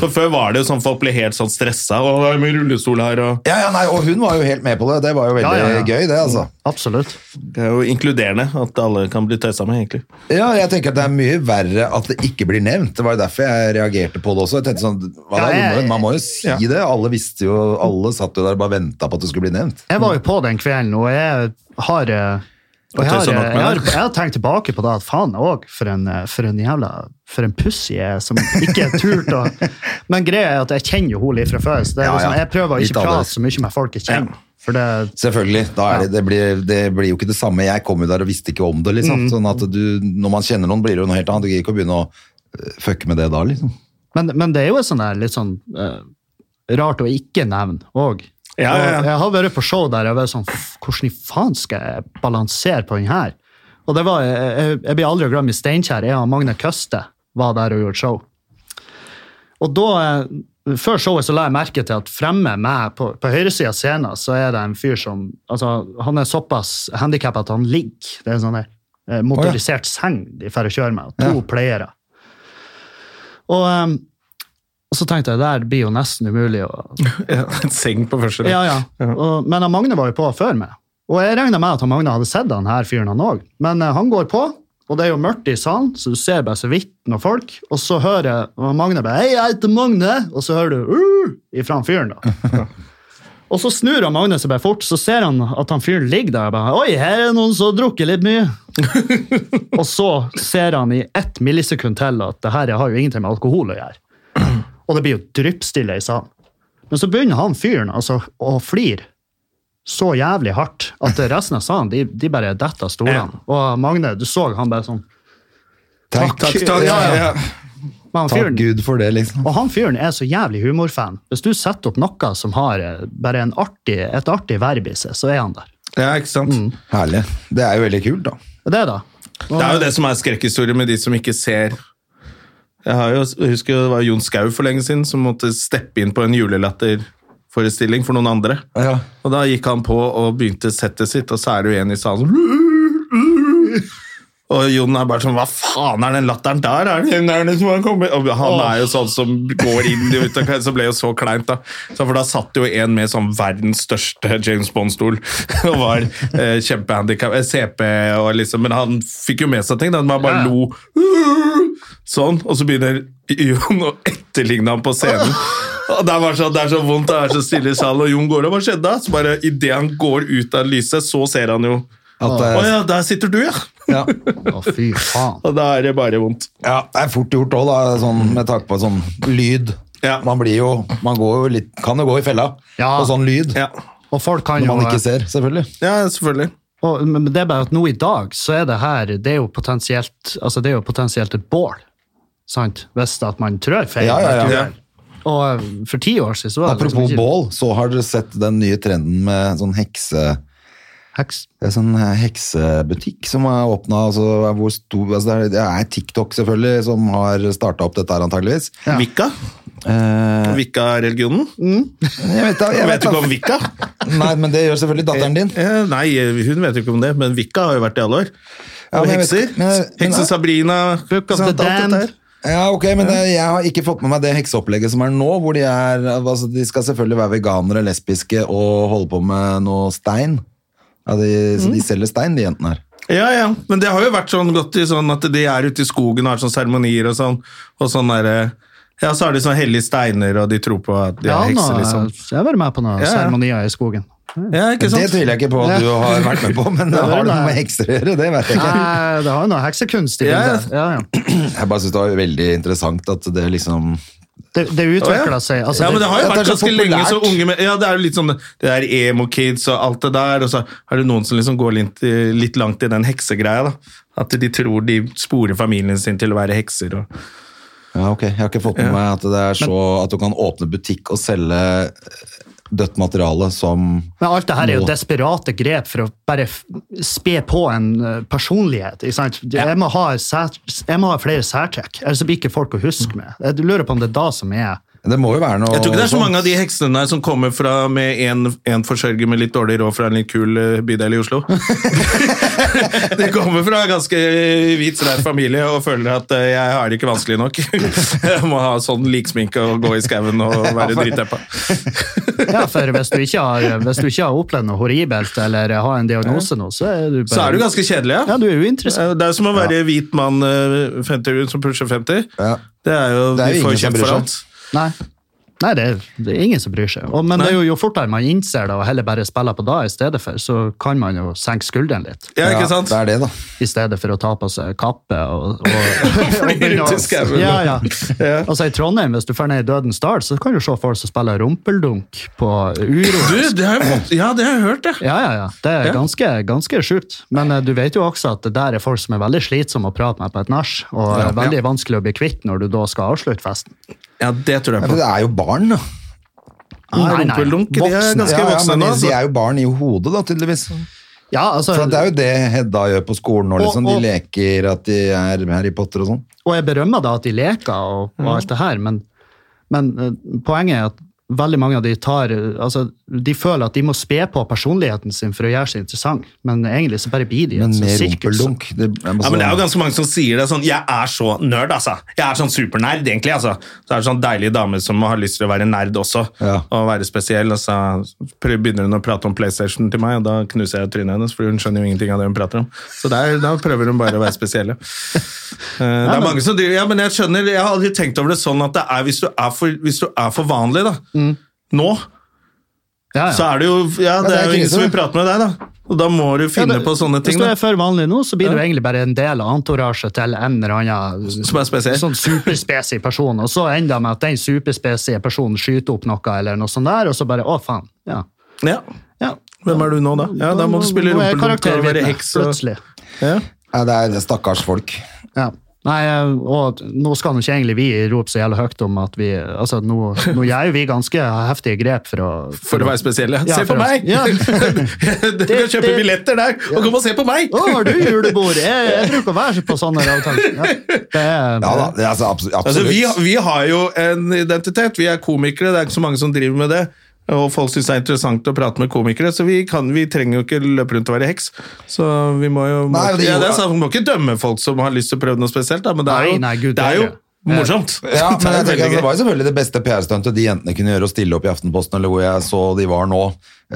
[SPEAKER 1] For Før var det jo sånn folk ble helt sånn stressa. Og det er mye rullestol her, og
[SPEAKER 2] Ja, ja, nei, og hun var jo helt med på det. Det var jo veldig
[SPEAKER 3] Ja, ja, ja.
[SPEAKER 2] gøy, det, altså.
[SPEAKER 3] Absolutt.
[SPEAKER 1] Det er jo inkluderende at alle kan bli tøysa med, egentlig.
[SPEAKER 2] Ja, jeg tenker at det er mye verre at det ikke blir nevnt. Det var jo derfor jeg reagerte på det også. Jeg tenkte sånn, hva da,
[SPEAKER 3] Ja, jeg-
[SPEAKER 2] unge, Man må jo si
[SPEAKER 1] Ja.
[SPEAKER 2] det. Alle visste jo, alle satt jo der og bare venta på at det skulle bli nevnt.
[SPEAKER 3] Jeg var jo på den kvelden, og jeg har eh, og jeg, har,
[SPEAKER 2] sånn
[SPEAKER 1] tøysa
[SPEAKER 3] eh,
[SPEAKER 1] nok med
[SPEAKER 3] jeg, har,
[SPEAKER 1] det.
[SPEAKER 3] jeg har tenkt tilbake på det at faen òg, for, en, eh, for en jævla For en pussy jeg er som ikke er turt å
[SPEAKER 2] [laughs]
[SPEAKER 3] Men greia er at jeg kjenner jo henne litt fra før, så det er
[SPEAKER 2] Ja,
[SPEAKER 3] liksom,
[SPEAKER 2] ja.
[SPEAKER 3] jeg prøver å
[SPEAKER 2] Litt
[SPEAKER 3] ikke prate
[SPEAKER 2] annerledes.
[SPEAKER 3] så mye med folk jeg kjenner. For det,
[SPEAKER 2] Selvfølgelig. Da er det, det, blir, det blir jo ikke det samme. Jeg kom jo der og visste ikke om det. liksom. Sånn at du, Når man kjenner noen, blir det jo noe helt annet. Du gidder ikke å begynne å øh, fucke med det da, liksom.
[SPEAKER 3] men, men det er jo sånn der, litt sånn eh, rart å ikke nevne òg.
[SPEAKER 1] Ja, ja, ja.
[SPEAKER 3] Jeg har vært på show der jeg har vært sånn "F- Hvordan i faen skal jeg balansere på den her? Og det var, jeg, jeg, jeg blir aldri glemt i Steinkjer. Jeg og Magne Køste var der og gjorde show. Og da, eh, Før showet så la jeg merke til at fremme meg på, på høyresida av scenen så er det en fyr som altså, Han er såpass handikappa at han ligger. Det er en sånn der, eh, motorisert seng de får kjøre med. og To pleiere. Og, eh, og så tenkte jeg der blir jo nesten umulig å
[SPEAKER 1] Ja, en seng på første rad.
[SPEAKER 3] ja, ja. Og, men han Magne var jo på før meg. Og jeg regna med at han Magne hadde sett han her fyren, han òg. Men eh, han går på, og det er jo mørkt i salen, så du ser bare så vidt noen folk. Og så hører jeg og Magne bare 'Hei, jeg heter Magne', og så hører du uh, ifra han fyren, da. Og så snur han Magne seg bare fort, så ser han at han fyren ligger der. og bare, Oi, her er noen som har drukket litt mye. og så ser han i ett millisekund til at det her har jo ingenting med alkohol å gjøre. Og det blir jo dryppstille i salen. Men så begynner han fyren altså, å flire så jævlig hardt
[SPEAKER 2] [laughs]
[SPEAKER 3] at resten av salen de, de bare detter av stolene. Og Magne, du så han bare sånn
[SPEAKER 2] Takk,
[SPEAKER 1] Takk, takk. Ja, ja.
[SPEAKER 3] men han
[SPEAKER 2] Takk
[SPEAKER 3] fyren,
[SPEAKER 2] Gud for det, liksom.
[SPEAKER 3] Og han fyren er så jævlig humorfan. Hvis du setter opp noe som har eh, bare en artig, et artig verb i seg, så er han der.
[SPEAKER 1] Ja, ikke sant?
[SPEAKER 2] Herlig. Det er jo veldig kult, da.
[SPEAKER 3] Og Det, da.
[SPEAKER 1] Det er jo det som er skrekkhistorie med de som ikke ser. Jeg, har jo, jeg husker jo det var Jon Skau for lenge siden som måtte steppe inn på en julelatterforestilling for noen andre.
[SPEAKER 2] Ja.
[SPEAKER 1] Og da gikk han på og begynte settet sitt, og så er det jo en i salen som og Jon er bare sånn Hva faen er den latteren der? Er det, er det som har kommet? Og han er jo sånn som går inn i ut av Så ble jo så kleint, da. Så for da satt jo en med sånn verdens største James Bond-stol og var eh, kjempehandikap, eh, CP og liksom Men han fikk jo med seg ting. da, Man bare
[SPEAKER 3] Ja.
[SPEAKER 1] lo sånn, og så begynner Jon å etterligne ham på scenen. Og det, er bare sånn, det er så vondt, det er så stille i salen, og Jon går og hva skjedde da? Så bare idet han går ut av lyset, så ser han jo
[SPEAKER 2] At
[SPEAKER 1] Å
[SPEAKER 2] det,
[SPEAKER 1] ja, der sitter du, ja!
[SPEAKER 2] ja.
[SPEAKER 3] Å, fy faen.
[SPEAKER 1] Og da er det bare vondt.
[SPEAKER 2] ja, det er fort gjort òg, da, sånn, med tanke på sånn lyd.
[SPEAKER 1] Ja.
[SPEAKER 2] Man blir jo Man går jo litt, kan jo gå i fella
[SPEAKER 3] Ja.
[SPEAKER 2] på sånn lyd.
[SPEAKER 1] Ja,
[SPEAKER 3] Og folk kan
[SPEAKER 2] Når
[SPEAKER 3] jo eh,
[SPEAKER 2] man ikke ser, selvfølgelig.
[SPEAKER 1] ja selvfølgelig.
[SPEAKER 3] og, Men det er bare at nå i dag, så er det her Det er jo potensielt, altså det er jo potensielt et bål. Sant? Hvis at man trør feil.
[SPEAKER 2] Ja, ja, ja.
[SPEAKER 1] Ja.
[SPEAKER 3] Og eh, for ti år siden så var det liksom
[SPEAKER 2] Apropos
[SPEAKER 3] ikke-
[SPEAKER 2] bål, så har dere sett den nye trenden med sånn hekse...
[SPEAKER 3] Heks.
[SPEAKER 2] Det er sånn eh, heksebutikk som er åpna. Altså, hvor stor- altså, det er- det er TikTok selvfølgelig som har starta opp dette her, antageligvis.
[SPEAKER 1] Vikka?
[SPEAKER 2] Eh,
[SPEAKER 1] Vikka-religionen?
[SPEAKER 2] jeg vet, da- jeg
[SPEAKER 1] Vet
[SPEAKER 2] vet,
[SPEAKER 1] du ikke om
[SPEAKER 2] da-
[SPEAKER 1] Vikka?
[SPEAKER 2] Nei, men det gjør selvfølgelig datteren din.
[SPEAKER 1] Eh, Nei, hun vet jo ikke om det, men Vikka har jo vært i alle år.
[SPEAKER 2] Ja,
[SPEAKER 1] Og
[SPEAKER 2] men jeg vet
[SPEAKER 1] hekser.
[SPEAKER 2] ikke, men- men-
[SPEAKER 1] Hekse Sabrina.
[SPEAKER 3] Book of the
[SPEAKER 1] sant, alt dette
[SPEAKER 3] damned.
[SPEAKER 1] her.
[SPEAKER 2] Ja, ok, men det, Jeg har ikke fått med meg det hekseopplegget som er nå. hvor De, er, altså, de skal selvfølgelig være veganere, lesbiske og holde på med noe stein. Ja, de, så
[SPEAKER 3] Mm.
[SPEAKER 2] de selger stein, de jentene her.
[SPEAKER 1] Ja, ja. Men det har jo vært sånn godt i sånn at de er ute i skogen og har sånn seremonier og sånn. Og sånn derre Ja, så har de sånne hellige steiner, og de tror på at de
[SPEAKER 3] Ja,
[SPEAKER 1] er
[SPEAKER 3] nå,
[SPEAKER 1] hekser, liksom.
[SPEAKER 3] jeg har vært med på noen
[SPEAKER 1] Ja, ja. [laughs]
[SPEAKER 3] seremonier i skogen.
[SPEAKER 1] Ja, ikke
[SPEAKER 2] Det
[SPEAKER 1] sant?
[SPEAKER 2] tviler jeg ikke på at du har vært med på, men
[SPEAKER 3] [laughs] Ja, det er
[SPEAKER 2] har det noe
[SPEAKER 3] det.
[SPEAKER 2] med hekser å gjøre? Det vet jeg ikke.
[SPEAKER 3] Nei, det har jo noe heksekunst i
[SPEAKER 1] Ja, ja.
[SPEAKER 3] bildet. Ja, ja.
[SPEAKER 2] Jeg bare synes det var veldig interessant at det liksom
[SPEAKER 3] Det, det
[SPEAKER 1] Å, ja.
[SPEAKER 3] utvikla seg. Altså,
[SPEAKER 1] ja, men det har jo
[SPEAKER 2] det er
[SPEAKER 1] vært
[SPEAKER 2] så
[SPEAKER 1] ganske lenge så
[SPEAKER 2] populært.
[SPEAKER 1] unge men, Ja, det er jo litt sånn det der emo-kids og alt det der, og så er det noen som liksom går litt, litt langt i den heksegreia, da. At de tror de sporer familien sin til å være hekser og
[SPEAKER 2] Ja, ok. Jeg har ikke fått med meg at det er så At du kan åpne butikk og selge eh, dødt materiale som
[SPEAKER 3] Men alt det her er jo
[SPEAKER 2] Nå.
[SPEAKER 3] desperate grep for å bare f- spe på en eh, personlighet. Ikke sant? Jeg, må ha sær, jeg må ha flere særtrekk, ellers blir ikke folk å huske med. Jeg lurer på om det er da som er
[SPEAKER 2] Det må jo være noe
[SPEAKER 1] Jeg tror ikke det er så
[SPEAKER 2] sånt.
[SPEAKER 1] mange av de heksene der som kommer fra med en, en forsørger med litt dårlig råd fra en litt kul eh, bydel i [laughs] Oslo. de kommer fra en ganske hvit, sterk familie og føler at eh, jeg har det ikke vanskelig nok. [laughs] jeg må ha sånn liksminke og gå i skauen og [laughs] være dritdeppa.
[SPEAKER 3] Ja, for hvis du ikke har, hvis du ikke har opplevd noe horribelt eller har en diagnose nå, så er du bare
[SPEAKER 1] Så er du ganske kjedelig,
[SPEAKER 3] Ja,
[SPEAKER 1] ja.
[SPEAKER 3] du er uinteressant.
[SPEAKER 1] Det er som å være hvit mann eh, 50, som pusher 50.
[SPEAKER 2] Ja.
[SPEAKER 1] Det er jo,
[SPEAKER 2] Det er jo
[SPEAKER 1] Vi
[SPEAKER 2] ingen
[SPEAKER 1] får
[SPEAKER 2] som
[SPEAKER 1] kjeft
[SPEAKER 2] bryr
[SPEAKER 1] for
[SPEAKER 2] seg.
[SPEAKER 1] alt.
[SPEAKER 3] Nei. Nei, det er, det er ingen som bryr seg. Og, men det er jo, jo fortere man innser det og heller bare spiller på da i stedet for, så kan man jo senke skulderen litt.
[SPEAKER 1] Ja, ikke sant?
[SPEAKER 2] Det er det, da.
[SPEAKER 3] I stedet for å ta på seg kappe og,
[SPEAKER 1] [laughs]
[SPEAKER 3] og, og
[SPEAKER 1] Fly rundt i skauen.
[SPEAKER 3] Ja, ja. Altså I Trondheim, hvis du drar ned i Dødens Dal, så kan du se folk som spiller rumpeldunk på uro.
[SPEAKER 1] Du, det har jeg fått, ja, det har jeg hørt, ja.
[SPEAKER 3] Ja, ja, ja. Det er
[SPEAKER 1] Ja.
[SPEAKER 3] ganske, ganske sjukt. Men eh, du vet jo også at det der er folk som er veldig slitsomme å prate med på et nach, og
[SPEAKER 2] Ja,
[SPEAKER 3] er veldig vanskelig å bli kvitt når du da skal avslutte festen.
[SPEAKER 1] Ja, det tror
[SPEAKER 2] Ja,
[SPEAKER 1] jeg
[SPEAKER 2] for
[SPEAKER 1] på.
[SPEAKER 2] det er jo barn, da.
[SPEAKER 3] Nei, nei.
[SPEAKER 1] Rumpeldunk, de er
[SPEAKER 3] Voksne.
[SPEAKER 1] ganske
[SPEAKER 2] Ja, ja,
[SPEAKER 1] voksne
[SPEAKER 2] men
[SPEAKER 1] nå.
[SPEAKER 2] de
[SPEAKER 1] altså.
[SPEAKER 2] er jo barn i hodet, da, tydeligvis.
[SPEAKER 3] Ja, altså,
[SPEAKER 2] For at det er jo det Hedda gjør på skolen nå,
[SPEAKER 3] Og-
[SPEAKER 2] liksom.
[SPEAKER 3] og-
[SPEAKER 2] De leker at de er med Harry Potter og sånn.
[SPEAKER 3] Og jeg berømmer da at de leker og, og alt det her, men, men eh, poenget er at veldig mange av de tar eh, altså, De føler at de må spe på personligheten sin for å gjøre seg interessant, men egentlig så bare blir de
[SPEAKER 2] Men
[SPEAKER 3] et sånt
[SPEAKER 2] med
[SPEAKER 3] sirkus.
[SPEAKER 2] rumpeldunk det, jeg må
[SPEAKER 3] Altså-
[SPEAKER 1] Ja, men Det er jo
[SPEAKER 2] sånn-
[SPEAKER 1] ganske mange som sier det sånn Jeg er så nerd, altså. Jeg er sånn supernerd, egentlig. altså. Så er det sånn deilige damer som har lyst til å være nerd også,
[SPEAKER 2] Ja.
[SPEAKER 1] og være spesiell. Og så prø- begynner hun å prate om PlayStation til meg, og da knuser jeg trynet hennes, for hun skjønner jo ingenting av det hun prater om. Så der, da prøver hun bare å være spesiell. ja. Eh, Det er mange som driver, ja, men Jeg skjønner, jeg har aldri tenkt over det sånn at det er hvis du er for, hvis du er for vanlig, da. Nå,
[SPEAKER 3] Mm. Ja,
[SPEAKER 1] så
[SPEAKER 3] ja.
[SPEAKER 1] er det jo Ja, det
[SPEAKER 2] det er
[SPEAKER 1] er jo ingen
[SPEAKER 2] krise.
[SPEAKER 1] som vil prate med deg, da. Og da må du
[SPEAKER 3] Ja,
[SPEAKER 1] finne
[SPEAKER 3] det-
[SPEAKER 1] på sånne ting.
[SPEAKER 3] Hvis du
[SPEAKER 1] da.
[SPEAKER 3] er for vanlig nå, så blir du egentlig bare en del av entorasjet til en eller annen
[SPEAKER 1] Som er spesiell.
[SPEAKER 3] sånn superspesig person, og så ender det med at den superspesige personen skyter opp noe, eller noe sånt der, og så bare Å, faen. Ja.
[SPEAKER 1] Ja.
[SPEAKER 3] ja.
[SPEAKER 1] Hvem er du nå, da? Ja, Da må du spille
[SPEAKER 3] Mm. Nå er jeg
[SPEAKER 1] rumpeldunk og være
[SPEAKER 3] karaktervitne,
[SPEAKER 1] heks. Og...
[SPEAKER 3] Plutselig.
[SPEAKER 1] Ja.
[SPEAKER 2] Ja, det er stakkars folk.
[SPEAKER 3] Ja. Nei, og nå skal nå ikke egentlig vi rope så jævla høyt om at vi altså Nå, nå gjør jo vi ganske heftige grep for å
[SPEAKER 1] For å være spesiell, ja.
[SPEAKER 3] Ja,
[SPEAKER 1] Se på
[SPEAKER 3] for å-
[SPEAKER 1] meg! [laughs]
[SPEAKER 3] Ja.
[SPEAKER 1] du kan
[SPEAKER 3] Det-
[SPEAKER 1] kjøpe
[SPEAKER 3] det-
[SPEAKER 1] billetter der, og kom og se på meg!
[SPEAKER 3] Å, har du julebord? Jeg, jeg bruker å være på sånne avtaler. Ja, det er,
[SPEAKER 2] Ja da, det er altså, abso- absolutt.
[SPEAKER 1] Altså, vi, vi har jo en identitet. Vi er komikere, det er ikke så mange som driver med det. Og folk syns det er interessant å prate med komikere, så vi, kan, vi trenger jo ikke løpe rundt og være heks. Så vi må jo
[SPEAKER 2] Nei, det
[SPEAKER 1] ja, det er
[SPEAKER 2] gjorde-
[SPEAKER 1] sant, Vi må ikke dømme folk som har lyst til å prøve noe spesielt, da, men det er
[SPEAKER 3] Nei,
[SPEAKER 1] jo,
[SPEAKER 3] nei, Gud,
[SPEAKER 1] det er jo
[SPEAKER 3] det
[SPEAKER 1] morsomt. [laughs]
[SPEAKER 2] Ja, men jeg
[SPEAKER 1] Det er veldig
[SPEAKER 2] tenker, altså,
[SPEAKER 1] gøy.
[SPEAKER 2] Det var jo selvfølgelig det beste PR-stuntet de jentene kunne gjøre å stille opp i Aftenposten, eller hvor jeg så de var nå,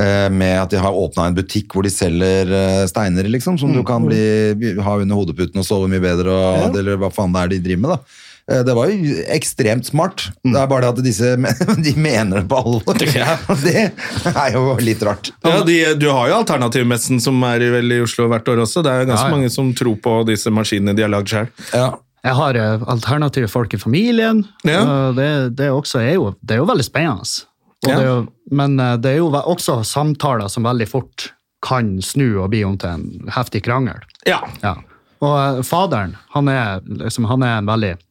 [SPEAKER 2] eh, med at de har åpna en butikk hvor de selger eh, steiner, liksom, som du kan bli, ha under hodeputen og sove mye bedre, og, eller hva faen det er de driver med, da. Eh, Det var jo ekstremt smart. Det er bare det at disse [laughs] de mener det på alvor.
[SPEAKER 1] Ja.
[SPEAKER 2] [laughs] Det er jo litt rart.
[SPEAKER 1] Ja, de, Du har jo Alternativmessen som er i, vel, i Oslo hvert år også. Det er jo ganske
[SPEAKER 3] Ja, ja.
[SPEAKER 1] mange som tror på disse maskinene de har lagd selv.
[SPEAKER 2] Ja.
[SPEAKER 3] jeg har eh, alternative folk i familien.
[SPEAKER 1] Ja.
[SPEAKER 3] og Det, det, er også, er jo, det er jo veldig spennende. Og
[SPEAKER 1] Ja.
[SPEAKER 3] det er jo, men eh, det er jo ve- også samtaler som veldig fort kan snu og bli om til en heftig krangel.
[SPEAKER 1] Ja.
[SPEAKER 3] Ja. Og eh, faderen, han er, liksom, han er en veldig eh,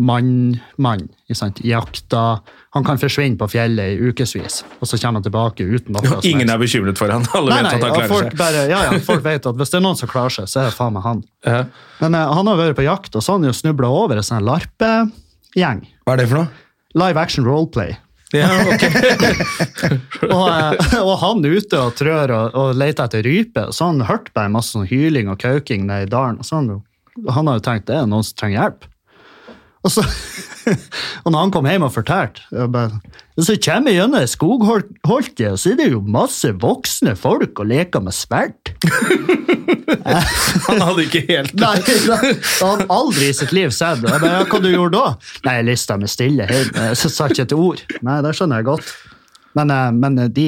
[SPEAKER 3] mann, mann, ikke sant? jakta. Han kan forsvinne på fjellet i ukevis, og så kommer han tilbake uten noe. som
[SPEAKER 1] Ingen
[SPEAKER 3] helst.
[SPEAKER 1] er bekymret for han. Alle
[SPEAKER 3] Nei,
[SPEAKER 1] vet
[SPEAKER 3] nei,
[SPEAKER 1] at han
[SPEAKER 3] og
[SPEAKER 1] klarer
[SPEAKER 3] folk,
[SPEAKER 1] seg.
[SPEAKER 3] bare, ja, ja, folk vet at hvis det er noen som klarer seg, så er det faen meg han.
[SPEAKER 1] Ja.
[SPEAKER 3] Men eh, han har vært på jakt, og så har han jo snubla over en sånn larpegjeng.
[SPEAKER 2] Hva er det for noe?
[SPEAKER 3] Live action roleplay. [laughs]
[SPEAKER 1] Ja, ok.
[SPEAKER 3] Og, eh, og han er ute og trør og, og leter etter rype, så han hørte bare masse sånn hyling og kauking nede i dalen. og Så han, jo- han har jo tenkt det er noen som trenger hjelp. Og, så, [laughs] og når han kom hjem og fortalte jeg bare, «Og Så kommer jeg gjennom skogholtet, og så er det jo masse voksne folk og leker med sverd.
[SPEAKER 1] Han hadde ikke helt
[SPEAKER 3] [laughs] Nei, det hadde han aldri i sitt liv sett. Jeg bare, «Ja, Hva du gjorde da? Nei, jeg lista meg stille hjemme. Så sa jeg ikke et ord. Nei, det skjønner jeg godt. Men, eh, men de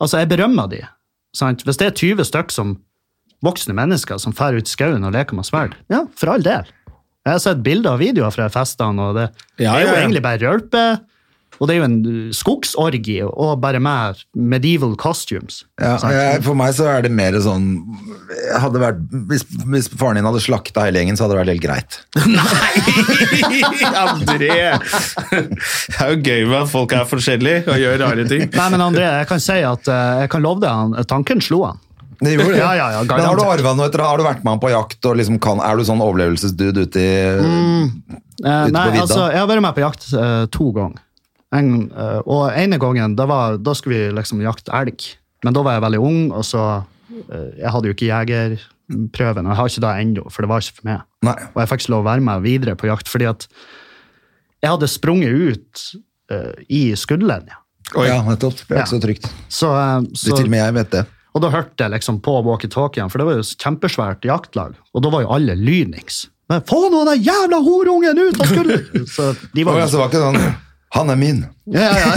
[SPEAKER 3] Altså, jeg berømmer de. Sant? Hvis det er 20 stykker som voksne mennesker som drar ut i skauen og leker med sverd, ja, for all del. Jeg har sett bilder og videoer fra festene, og det,
[SPEAKER 1] Ja,
[SPEAKER 3] det er jo
[SPEAKER 1] ja, ja.
[SPEAKER 3] egentlig bare rølpe. Og det er jo en uh, skogsorgie, og bare mer medieval costumes.
[SPEAKER 2] Ja,
[SPEAKER 3] sant?
[SPEAKER 2] jeg, for meg så er det mer sånn hadde vært, hvis, hvis faren din hadde slakta hele gjengen, så hadde det vært helt greit.
[SPEAKER 1] André! Det er jo gøy med at folk er forskjellige og gjør rare [laughs] ting.
[SPEAKER 3] Nei, men André, jeg kan si at eh, jeg kan love deg, han, tanken slo han.
[SPEAKER 2] Det gjorde det.
[SPEAKER 3] Ja, ja, ja,
[SPEAKER 2] Men har du
[SPEAKER 3] garantert.
[SPEAKER 2] arvet noe etter Har du vært med han på jakt, og liksom kan, er du sånn overlevelsesdude ute i Ute
[SPEAKER 3] Eh,
[SPEAKER 2] på
[SPEAKER 3] nei,
[SPEAKER 2] vidda?
[SPEAKER 3] altså, jeg har vært med på jakt eh, to ganger. En, eh, og ene gangen, da, var, da skulle vi liksom jakte elg. Men da var jeg veldig ung, og så eh, Jeg hadde jo ikke jegerprøven, og jeg har ikke det ennå, for det var ikke for meg.
[SPEAKER 2] Nei.
[SPEAKER 3] Og jeg fikk ikke lov å være med videre på jakt, fordi at jeg hadde sprunget ut eh, i skuddlinja.
[SPEAKER 1] Oi.
[SPEAKER 2] Ja, nettopp. Det er ikke
[SPEAKER 3] Ja.
[SPEAKER 2] så trygt.
[SPEAKER 3] Så, eh,
[SPEAKER 2] Det,
[SPEAKER 3] så,
[SPEAKER 2] til og med jeg vet det.
[SPEAKER 3] og da hørte jeg liksom på walkietalkien, for det var jo et kjempesvært jaktlag, og da var jo alle lynings. Men få nå den jævla horungen ut
[SPEAKER 2] [laughs]
[SPEAKER 3] av skuddlinja! Så de
[SPEAKER 2] Og
[SPEAKER 3] var jo
[SPEAKER 2] altså, det var ikke sånn Han er min!
[SPEAKER 3] Ja, ja,
[SPEAKER 2] [laughs]
[SPEAKER 3] ja.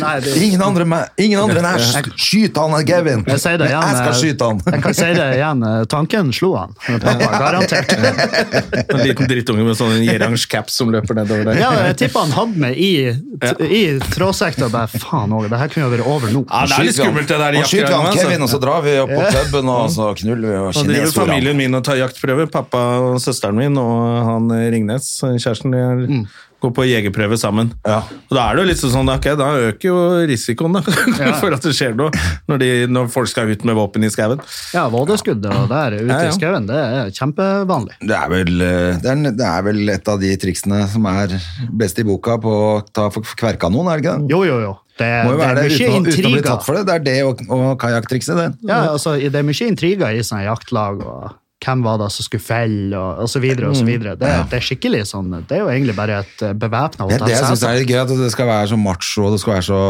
[SPEAKER 3] Nei, det,
[SPEAKER 2] Ingen andre, meg- ingen andre enn Ash! Skyt han, Gavin!
[SPEAKER 3] jeg sier det igjen.
[SPEAKER 2] jeg skal
[SPEAKER 3] eh,
[SPEAKER 2] skyte han!
[SPEAKER 3] Jeg kan si det igjen. eh, Tanken slo han. Pappa, garantert.
[SPEAKER 1] En liten drittunge med sånn oransje caps som løper nedover der.
[SPEAKER 3] Ja, jeg tipper han hadde meg i, i trådsekta og bare faen òg, det her kunne jo vært over nå.
[SPEAKER 1] Ja, det er litt
[SPEAKER 2] Skyter vi han.
[SPEAKER 1] skummelt, det der
[SPEAKER 2] Og skyter vi han
[SPEAKER 1] jaktgreiene,
[SPEAKER 2] Kevin, og
[SPEAKER 1] altså.
[SPEAKER 2] så drar vi opp på puben, og så knuller vi og
[SPEAKER 1] Nå driver
[SPEAKER 2] kineser han.
[SPEAKER 1] familien min og tar jaktprøve. Pappa og søsteren min og han eh, Ringnes, kjæresten, de er, går på jegerprøve sammen.
[SPEAKER 2] Ja.
[SPEAKER 1] Og da er det jo litt sånn, ok, da øker jo risikoen da, [laughs] for at det skjer noe når, de, når folk skal ut med våpen i skauen.
[SPEAKER 3] Ja, vådeskudd og der ute
[SPEAKER 1] Ja, ja.
[SPEAKER 3] i skauen, det er kjempevanlig.
[SPEAKER 2] Det er, vel, eh, det, er, det er vel et av de triksene som er best i boka på å ta for kverka noen, er det ikke det?
[SPEAKER 3] Jo, jo, jo. Det,
[SPEAKER 2] Det må jo
[SPEAKER 3] det
[SPEAKER 2] være
[SPEAKER 3] er
[SPEAKER 2] det
[SPEAKER 3] mye
[SPEAKER 2] uten, å- uten å bli tatt
[SPEAKER 3] intriger.
[SPEAKER 2] for det. Det er det og, og kajakktrikset, det.
[SPEAKER 3] Ja, altså, det er mye intriger i sånne jaktlag. og hvem var det som skulle felle, og, og så videre.
[SPEAKER 2] Mm.
[SPEAKER 3] og så videre. Det, det er skikkelig sånn, det er jo egentlig bare et eh, bevæpna
[SPEAKER 2] Det, er det jeg synes er litt gøy, at det skal være så macho, og det skal være så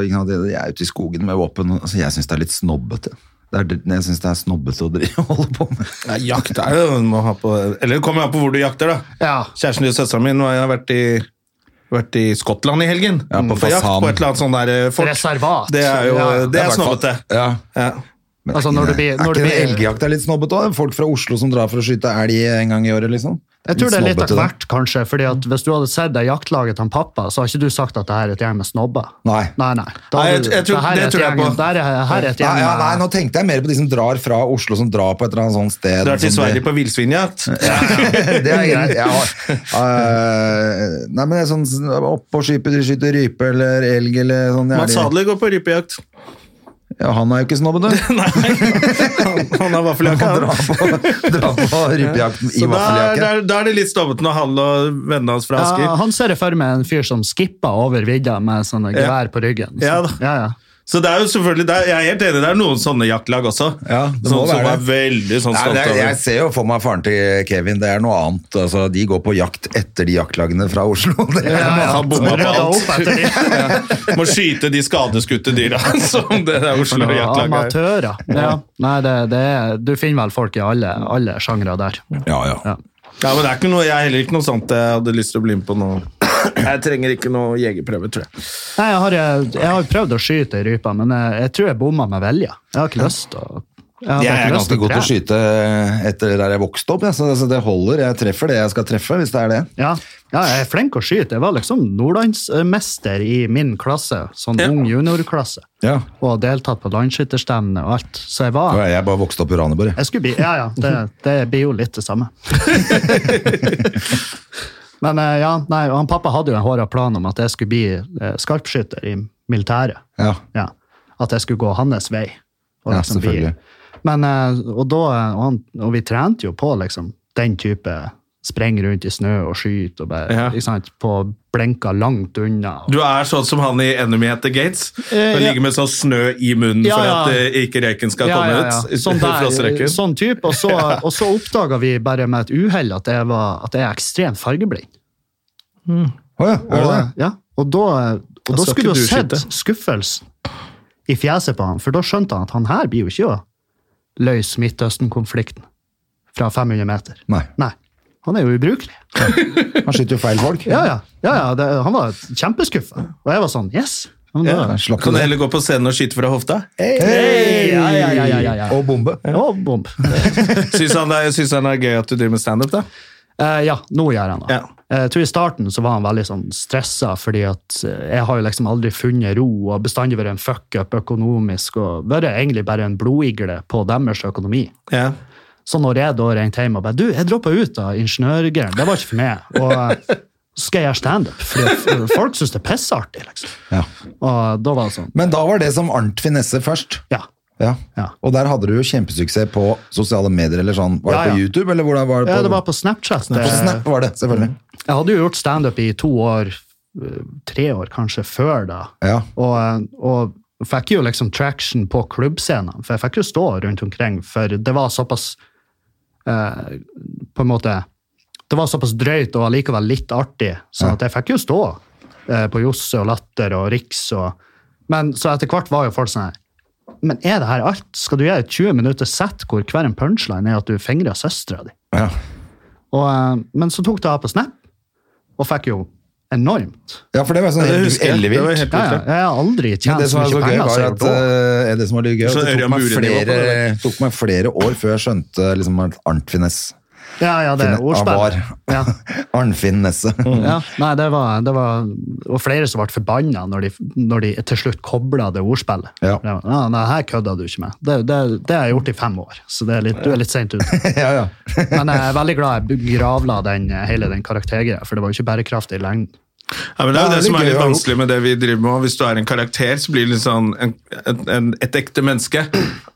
[SPEAKER 2] ikke sant, Jeg er ute i skogen med våpen. Altså, jeg syns det er litt snobbete. Det er, det- jeg syns det er snobbete å drive, holde på med.
[SPEAKER 1] Ja, jakt er jo, må ha på, eller det kommer an på hvor du jakter da.
[SPEAKER 3] Ja.
[SPEAKER 1] Kjæresten din og søsteren min, nå har jeg vært i, vært i Skottland i helgen.
[SPEAKER 2] Ja, på
[SPEAKER 1] For jakt
[SPEAKER 2] fasan.
[SPEAKER 1] på et eller annet sånn der eh, fort.
[SPEAKER 3] Reservat.
[SPEAKER 1] Det er jo,
[SPEAKER 3] Ja,
[SPEAKER 2] i
[SPEAKER 1] det
[SPEAKER 3] ja.
[SPEAKER 1] er
[SPEAKER 2] hvert fall-
[SPEAKER 1] snobbete.
[SPEAKER 2] Ja.
[SPEAKER 1] Ja.
[SPEAKER 2] Men
[SPEAKER 3] Altså,
[SPEAKER 2] er ikke
[SPEAKER 3] når det
[SPEAKER 2] det-
[SPEAKER 3] blir- når
[SPEAKER 2] er
[SPEAKER 3] det
[SPEAKER 2] ikke det
[SPEAKER 3] blir-
[SPEAKER 2] elgjakt er litt snobbete òg? Folk fra Oslo som drar for å skyte elg en gang i året, liksom?
[SPEAKER 3] Jeg tror det er litt av
[SPEAKER 2] snobbete, det.
[SPEAKER 3] hvert, kanskje. fordi at Hvis du hadde sett det jaktlaget til han pappa, så har ikke du sagt at det her er et gjeng med snobber.
[SPEAKER 2] Nei.
[SPEAKER 3] Nei, nei. Da
[SPEAKER 1] Nei, jeg-
[SPEAKER 3] hadde du-
[SPEAKER 1] jeg tror-
[SPEAKER 3] her er
[SPEAKER 1] det
[SPEAKER 3] et
[SPEAKER 1] tror jeg
[SPEAKER 3] gjeng-
[SPEAKER 1] på.
[SPEAKER 3] Der er, her er et gjeng
[SPEAKER 2] Nei, ja, nei, nå
[SPEAKER 3] med
[SPEAKER 2] tenkte jeg mer på de som drar fra Oslo, som drar på et eller annet sånt sted.
[SPEAKER 1] Drar til
[SPEAKER 2] som
[SPEAKER 1] Sverige
[SPEAKER 2] det-
[SPEAKER 1] på vilsvinjakt.
[SPEAKER 2] [laughs] det er greit.
[SPEAKER 1] [laughs]
[SPEAKER 2] Jeg har, Eh, nei, men det er sånn oppå skipet, de skyter rype eller elg eller sånn. jeg er
[SPEAKER 1] Mats
[SPEAKER 2] de-
[SPEAKER 1] Adler går på rypejakt.
[SPEAKER 2] Ja, han er jo ikke
[SPEAKER 1] [laughs]
[SPEAKER 2] snobben, du.
[SPEAKER 1] Nei, han, han har
[SPEAKER 2] Han
[SPEAKER 1] vaffeljakke.
[SPEAKER 2] drar på, drar på rypejakten i
[SPEAKER 1] Så da, da,
[SPEAKER 2] vaffeljakke.
[SPEAKER 1] da er det litt stoppete når Hall og vennene hans fra Asker
[SPEAKER 3] ja, han ser det for meg en fyr som skipper over vidda med sånne gevær på ryggen.
[SPEAKER 1] Ja da.
[SPEAKER 3] ja, ja.
[SPEAKER 1] Så det er jo selvfølgelig, det er, Jeg er helt enig, det er noen sånne jaktlag også.
[SPEAKER 2] Ja, det
[SPEAKER 1] sånn,
[SPEAKER 2] må
[SPEAKER 1] som
[SPEAKER 2] være
[SPEAKER 1] er veldig sånn
[SPEAKER 2] Nei,
[SPEAKER 1] stolt
[SPEAKER 2] det er,
[SPEAKER 1] over
[SPEAKER 2] jeg ser jo for meg faren til Kevin, det er noe annet. Altså, de går på jakt etter de jaktlagene fra Oslo. [laughs] Det er
[SPEAKER 3] Ja, ja.
[SPEAKER 2] noe
[SPEAKER 1] Han
[SPEAKER 2] annet.
[SPEAKER 1] bomma på
[SPEAKER 3] Rydda
[SPEAKER 1] alt. [laughs]
[SPEAKER 3] opp etter de.
[SPEAKER 1] Ja. Må skyte de skadeskutte dyra [laughs] som det der Oslo jaktlaget er.
[SPEAKER 3] Amatører. Ja. Nei, det, det er, du finner vel folk i alle, alle sjangre der.
[SPEAKER 2] Ja, ja.
[SPEAKER 3] Ja.
[SPEAKER 1] Ja, men det er ikke noe, Jeg er heller ikke noe sånt jeg hadde lyst til å bli med på nå. Jeg trenger ikke noe jegerprøve, tror jeg.
[SPEAKER 3] Nei, jeg, har, jeg har prøvd å skyte ei rype, men jeg, jeg tror jeg bomma med velje. Jeg har ikke lyst til å jeg har
[SPEAKER 2] Jeg
[SPEAKER 3] bare
[SPEAKER 2] er
[SPEAKER 3] ikke lyst
[SPEAKER 2] ganske
[SPEAKER 3] til å
[SPEAKER 2] god til å
[SPEAKER 3] trene.
[SPEAKER 2] skyte etter der jeg vokste opp, jeg, så så det holder. Jeg treffer det jeg skal treffe, hvis det er det.
[SPEAKER 3] Ja. ja, jeg er flink å skyte. Jeg var liksom nordlandsmester i min klasse, sånn
[SPEAKER 1] Ja.
[SPEAKER 3] ung juniorklasse.
[SPEAKER 2] Ja.
[SPEAKER 3] Og har deltatt på landskytterstevne og alt. Så jeg var
[SPEAKER 2] Og jeg bare vokste opp i Raneborg. jeg.
[SPEAKER 3] jeg skulle bli, Ja, ja, det, det blir jo litt
[SPEAKER 2] [laughs]
[SPEAKER 3] det samme. Men eh, ja, nei, og han pappa hadde jo en hårda plan om at jeg skulle bli eh, skarpskytter i militæret.
[SPEAKER 2] Ja.
[SPEAKER 3] Ja. At jeg skulle gå hans vei. liksom
[SPEAKER 2] Ja, selvfølgelig.
[SPEAKER 3] Men, eh, og, da, og, han, og vi trente jo på liksom, den type spreng rundt i snø og skyte og bare,
[SPEAKER 1] Ja.
[SPEAKER 3] ikke sant, på blenker langt unna. Og,
[SPEAKER 1] Du er sånn som han i Enemy at the Gates.
[SPEAKER 3] Eh,
[SPEAKER 1] og
[SPEAKER 3] ja.
[SPEAKER 1] ligger med sånn snø i munnen
[SPEAKER 3] Ja,
[SPEAKER 1] for
[SPEAKER 3] ja.
[SPEAKER 1] at eh, ikke røyken skal
[SPEAKER 3] Ja,
[SPEAKER 1] komme
[SPEAKER 3] ja, ja.
[SPEAKER 1] ut.
[SPEAKER 3] Sånn,
[SPEAKER 1] fra
[SPEAKER 3] der,
[SPEAKER 1] strøken.
[SPEAKER 3] sånn
[SPEAKER 1] [laughs]
[SPEAKER 3] type. Og så, og så oppdaga vi bare med et uhell at, jeg var- at jeg er ekstremt fargeblind.
[SPEAKER 2] Å ja, er det det?
[SPEAKER 3] Og, ja, og da, og da
[SPEAKER 1] skal
[SPEAKER 3] skulle
[SPEAKER 1] ikke
[SPEAKER 3] du
[SPEAKER 1] du
[SPEAKER 3] ha sett
[SPEAKER 1] skyte.
[SPEAKER 3] skuffelsen i fjeset på han, for da skjønte han at han her blir jo ikke å løse Midtøsten-konflikten fra 500 meter.
[SPEAKER 2] Nei.
[SPEAKER 3] Nei, han er jo ubrukelig.
[SPEAKER 2] Han skyter jo feil folk.
[SPEAKER 3] Ja, ja, ja, ja det, han var kjempeskuffa. Og jeg var sånn, yes! Ja, men da-
[SPEAKER 2] Slakk
[SPEAKER 1] Kan du
[SPEAKER 2] det.
[SPEAKER 1] heller gå på scenen og skyte fra hofta? [laughs]
[SPEAKER 2] Hey!
[SPEAKER 3] Ja, ja, ja, ja, ja, ja.
[SPEAKER 2] Og bombe.
[SPEAKER 3] Å, bom.
[SPEAKER 1] Syns han, det er- syns han det er gøy at du driver med standup, da?
[SPEAKER 3] Eh, ja, nå gjør han det.
[SPEAKER 1] Ja.
[SPEAKER 3] Eh, Jeg tror I starten så var han veldig sånn stressa, fordi at eh, jeg har jo liksom aldri funnet ro og bestandig vært en fuck-up økonomisk og vært egentlig bare en blodigle på deres økonomi.
[SPEAKER 1] Ja.
[SPEAKER 3] Så når jeg da ringte hjem og bare Du, jeg droppa ut av ingeniørgreiene, det var ikke for meg. Og eh, så skal jeg gjøre standup, fordi at, eh, folk syns det er pissartig, liksom.
[SPEAKER 2] Ja.
[SPEAKER 3] Og da var det sånn.
[SPEAKER 2] Men da var det som Arnt Finesse først.
[SPEAKER 3] Ja.
[SPEAKER 2] Ja.
[SPEAKER 3] Ja.
[SPEAKER 2] Og der hadde du jo kjempesuksess på sosiale medier, eller sånn. Var
[SPEAKER 3] Ja,
[SPEAKER 2] det på
[SPEAKER 3] ja.
[SPEAKER 2] YouTube, eller hvordan var det på
[SPEAKER 3] ja, det var på Snapchat.
[SPEAKER 2] På
[SPEAKER 3] eh,
[SPEAKER 2] Snap var det, selvfølgelig.
[SPEAKER 3] Jeg hadde jo gjort standup i to år, eh, tre år kanskje, før da.
[SPEAKER 2] Ja.
[SPEAKER 3] Og, eh, og fikk jo liksom traction på klubbscenen, for jeg fikk jo stå rundt omkring, for det var såpass eh, På en måte Det var såpass drøyt og allikevel litt artig, så at jeg fikk jo stå eh, på Josse og Latter og Riks og men så etter hvert var jo folk sånn her Men er det her alt? Skal du gjøre et 20 minutter sett hvor hver en punchline er at du fingrer søstera di?
[SPEAKER 2] Ja.
[SPEAKER 3] Og, eh, men så tok det av på Snap, og fikk jo enormt.
[SPEAKER 2] ja, for det var sånn
[SPEAKER 1] Det
[SPEAKER 2] helt
[SPEAKER 1] husker jeg. Det var
[SPEAKER 2] ellevilt.
[SPEAKER 1] helt
[SPEAKER 3] Ja, ja,
[SPEAKER 1] utrolig.
[SPEAKER 3] jeg har aldri
[SPEAKER 2] Men
[SPEAKER 3] tjent
[SPEAKER 2] det som
[SPEAKER 3] så
[SPEAKER 2] var
[SPEAKER 3] mye
[SPEAKER 2] så gøy,
[SPEAKER 3] penger altså, som
[SPEAKER 2] var
[SPEAKER 3] jeg
[SPEAKER 2] at
[SPEAKER 3] gjorde da.
[SPEAKER 2] eh, det som var litt gøy, at det tok
[SPEAKER 1] Så Sånn Ørjan
[SPEAKER 2] meg,
[SPEAKER 1] Bure-nivå på det,
[SPEAKER 2] flere, tok meg flere år før jeg skjønte liksom, at Arnt-finesse
[SPEAKER 3] Ja, ja, det er
[SPEAKER 2] Finne-
[SPEAKER 3] ordspill.
[SPEAKER 2] Avar.
[SPEAKER 3] Ja.
[SPEAKER 2] [laughs]
[SPEAKER 3] Mm.
[SPEAKER 2] Arnfinn-nesse.
[SPEAKER 3] Ja, nei, det var, det var Og flere som ble forbanna når de, når de til slutt kobla det ordspillet.
[SPEAKER 2] Ja.
[SPEAKER 3] Det var, Ja, nei, her kødda du ikke med. Det, det, det har jeg gjort i fem år, så det er litt, du er litt
[SPEAKER 2] [laughs]
[SPEAKER 3] seint ute.
[SPEAKER 2] [laughs] ja, ja.
[SPEAKER 3] Men jeg er veldig glad jeg begravla den, hele den karaktergreia, for det var jo ikke bærekraftig i lengden.
[SPEAKER 1] Ja, men det er jo
[SPEAKER 2] Ja,
[SPEAKER 1] det
[SPEAKER 2] det er
[SPEAKER 1] som er
[SPEAKER 2] gøy
[SPEAKER 1] litt
[SPEAKER 2] å-
[SPEAKER 1] vanskelig med det vi driver med. og Hvis du er en karakter, så blir det litt sånn en, en- en, Et ekte menneske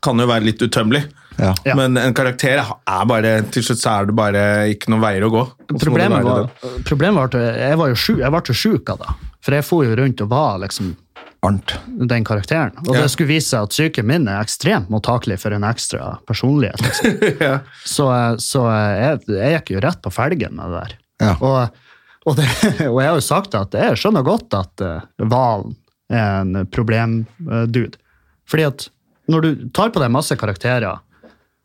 [SPEAKER 1] kan jo være litt utømmelig.
[SPEAKER 2] Ja.
[SPEAKER 3] Ja.
[SPEAKER 1] Men en karakter er bare Til slutt så er det bare ikke noen veier å gå. Og så må du
[SPEAKER 3] Problemet
[SPEAKER 1] være
[SPEAKER 3] var,
[SPEAKER 1] den.
[SPEAKER 3] problemet var at jeg var jo sjuk, jeg ble jo sjuk av det. For jeg for jo rundt og var liksom
[SPEAKER 2] Arnt.
[SPEAKER 3] den karakteren. Og
[SPEAKER 1] Ja.
[SPEAKER 3] det skulle vise seg at psyken min er ekstremt mottakelig for en ekstra personlighet. Liksom. Så, eh, så eh, jeg, jeg gikk jo rett på felgen med det der.
[SPEAKER 2] Ja.
[SPEAKER 3] Og, og, det, [laughs] og jeg har jo sagt at jeg skjønner godt at eh, Valen er en problemdude. Fordi at når du tar på deg masse karakterer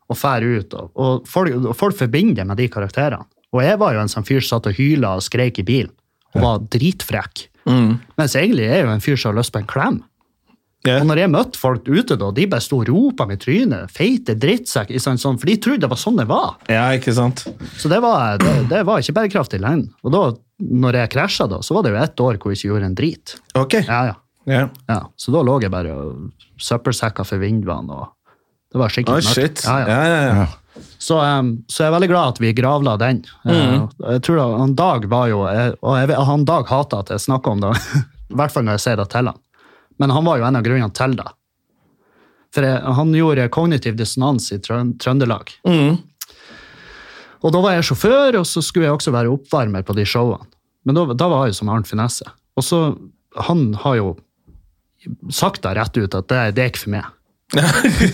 [SPEAKER 3] og fær ut, og, og folk, og folk forbinder det med de karakterene Og jeg var jo en sånn fyr som satt og hyla og skreik i bilen og var dritfrekk. Mens egentlig er jeg jo en fyr som har lyst på en klem.
[SPEAKER 1] Ja.
[SPEAKER 3] Og når jeg møtte folk ute, da, de bare sto og ropa meg i trynet. Feite drittsekk. i sånn- sånn, For de trodde det var sånn det var.
[SPEAKER 1] Ja, ikke sant?
[SPEAKER 3] Så det var, det, det var ikke bærekraftig i lengden. Og da når jeg krasja, da, så var det jo ett år hvor jeg ikke gjorde en drit.
[SPEAKER 1] Ok. Ja.
[SPEAKER 3] Ja, ja. ja. Så da lå jeg bare og søppelsekka for vindvann. og det var
[SPEAKER 1] Å,
[SPEAKER 3] skikkelig mørkt.
[SPEAKER 1] Ah, shit.
[SPEAKER 3] Ja, ja.
[SPEAKER 1] Ja, ja, ja.
[SPEAKER 3] Så, em, så jeg er veldig glad at vi gravla den. Eh, Jeg tror da, han Dag var jo, jeg- og jeg, vet- han Dag hater at jeg snakker om det, [laughs] i hvert fall når jeg sier det til han. Men han var jo en av grunnene til det. For jeg, han gjorde kognitiv dissonans i Trøn- Trøndelag. Og da var jeg sjåfør, og så skulle jeg også være oppvarmer på de showene. Men da, da var jeg jo som Arnt Finesse. Og så, han har jo sagt det rett ut, at det, det er ikke for meg.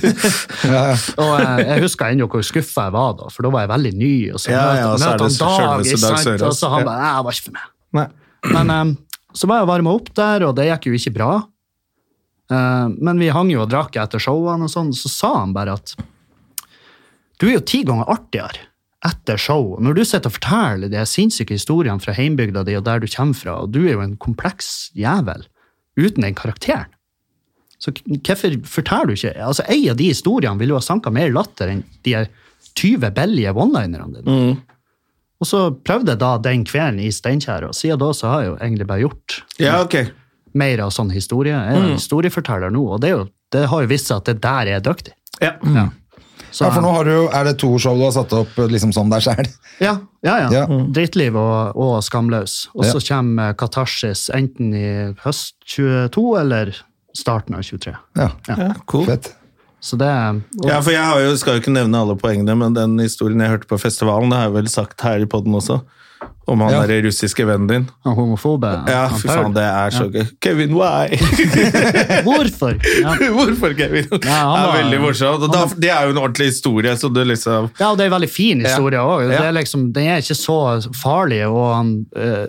[SPEAKER 3] Og jeg, jeg husker ennå hvor skuffa jeg var da, for da var jeg veldig ny. Og så
[SPEAKER 1] Ja,
[SPEAKER 3] møtte-
[SPEAKER 1] ja, og så er
[SPEAKER 3] møtte
[SPEAKER 1] det
[SPEAKER 3] han Dag,
[SPEAKER 1] selveste
[SPEAKER 3] ikke
[SPEAKER 1] Dag
[SPEAKER 3] sant?
[SPEAKER 1] Sørås.
[SPEAKER 3] og så han
[SPEAKER 1] Ja.
[SPEAKER 3] bare Nei, det var ikke for meg.
[SPEAKER 1] Nei.
[SPEAKER 3] Men em, så var jeg varma opp der, og det gikk jo ikke bra. Eh, men vi hang jo og drakk etter showene, og sånn, så sa han bare at du er jo ti ganger artigere etter show. Når du sitter og forteller de sinnssyke historiene fra heimbygda di og der du kommer fra, og du er jo en kompleks jævel uten den karakteren. Så k- hvorfor forteller du ikke? Altså, Ei av de historiene ville jo ha sanka mer latter enn de her 20 billige one-linerne dine. Og så prøvde jeg da den kvelden i Steinkjer, og siden da så har jeg jo egentlig bare gjort
[SPEAKER 1] ja, ok.
[SPEAKER 3] mer av sånn historie. Jeg er en historieforteller nå, og det, er jo, det har jo vist seg at det der er jeg dyktig.
[SPEAKER 1] Ja.
[SPEAKER 3] Så-
[SPEAKER 2] Ja, for nå har du, er det to show du har satt opp liksom sånn der sjæl.
[SPEAKER 3] Ja, ja, ja.
[SPEAKER 2] Ja.
[SPEAKER 3] Drittliv og, og Skamløs. Og så kommer eh, Katarsis enten i høst 22 eller starten av 23.
[SPEAKER 2] Ja.
[SPEAKER 1] Ja, cool.
[SPEAKER 2] Fett.
[SPEAKER 3] Så det og,
[SPEAKER 1] Ja, for jeg har jo, skal jo ikke nevne alle poengene, men den historien jeg hørte på festivalen, det har jeg vel sagt her i podden også, Om han
[SPEAKER 2] Ja.
[SPEAKER 1] der russiske vennen din.
[SPEAKER 3] Han homofobe.
[SPEAKER 1] Ja,
[SPEAKER 3] han
[SPEAKER 1] fy faen, det er så gøy. Kevin,
[SPEAKER 3] [laughs]
[SPEAKER 1] why?
[SPEAKER 3] Paul. Hvorfor? Ja.
[SPEAKER 1] Hvorfor, Kevin? Det er
[SPEAKER 3] han var-
[SPEAKER 1] veldig morsomt. Og da, det er jo en ordentlig historie, så det liksom
[SPEAKER 3] Ja, og det er en veldig fin historie òg.
[SPEAKER 1] Ja.
[SPEAKER 3] Liksom, den er ikke så farlig. og han, eh,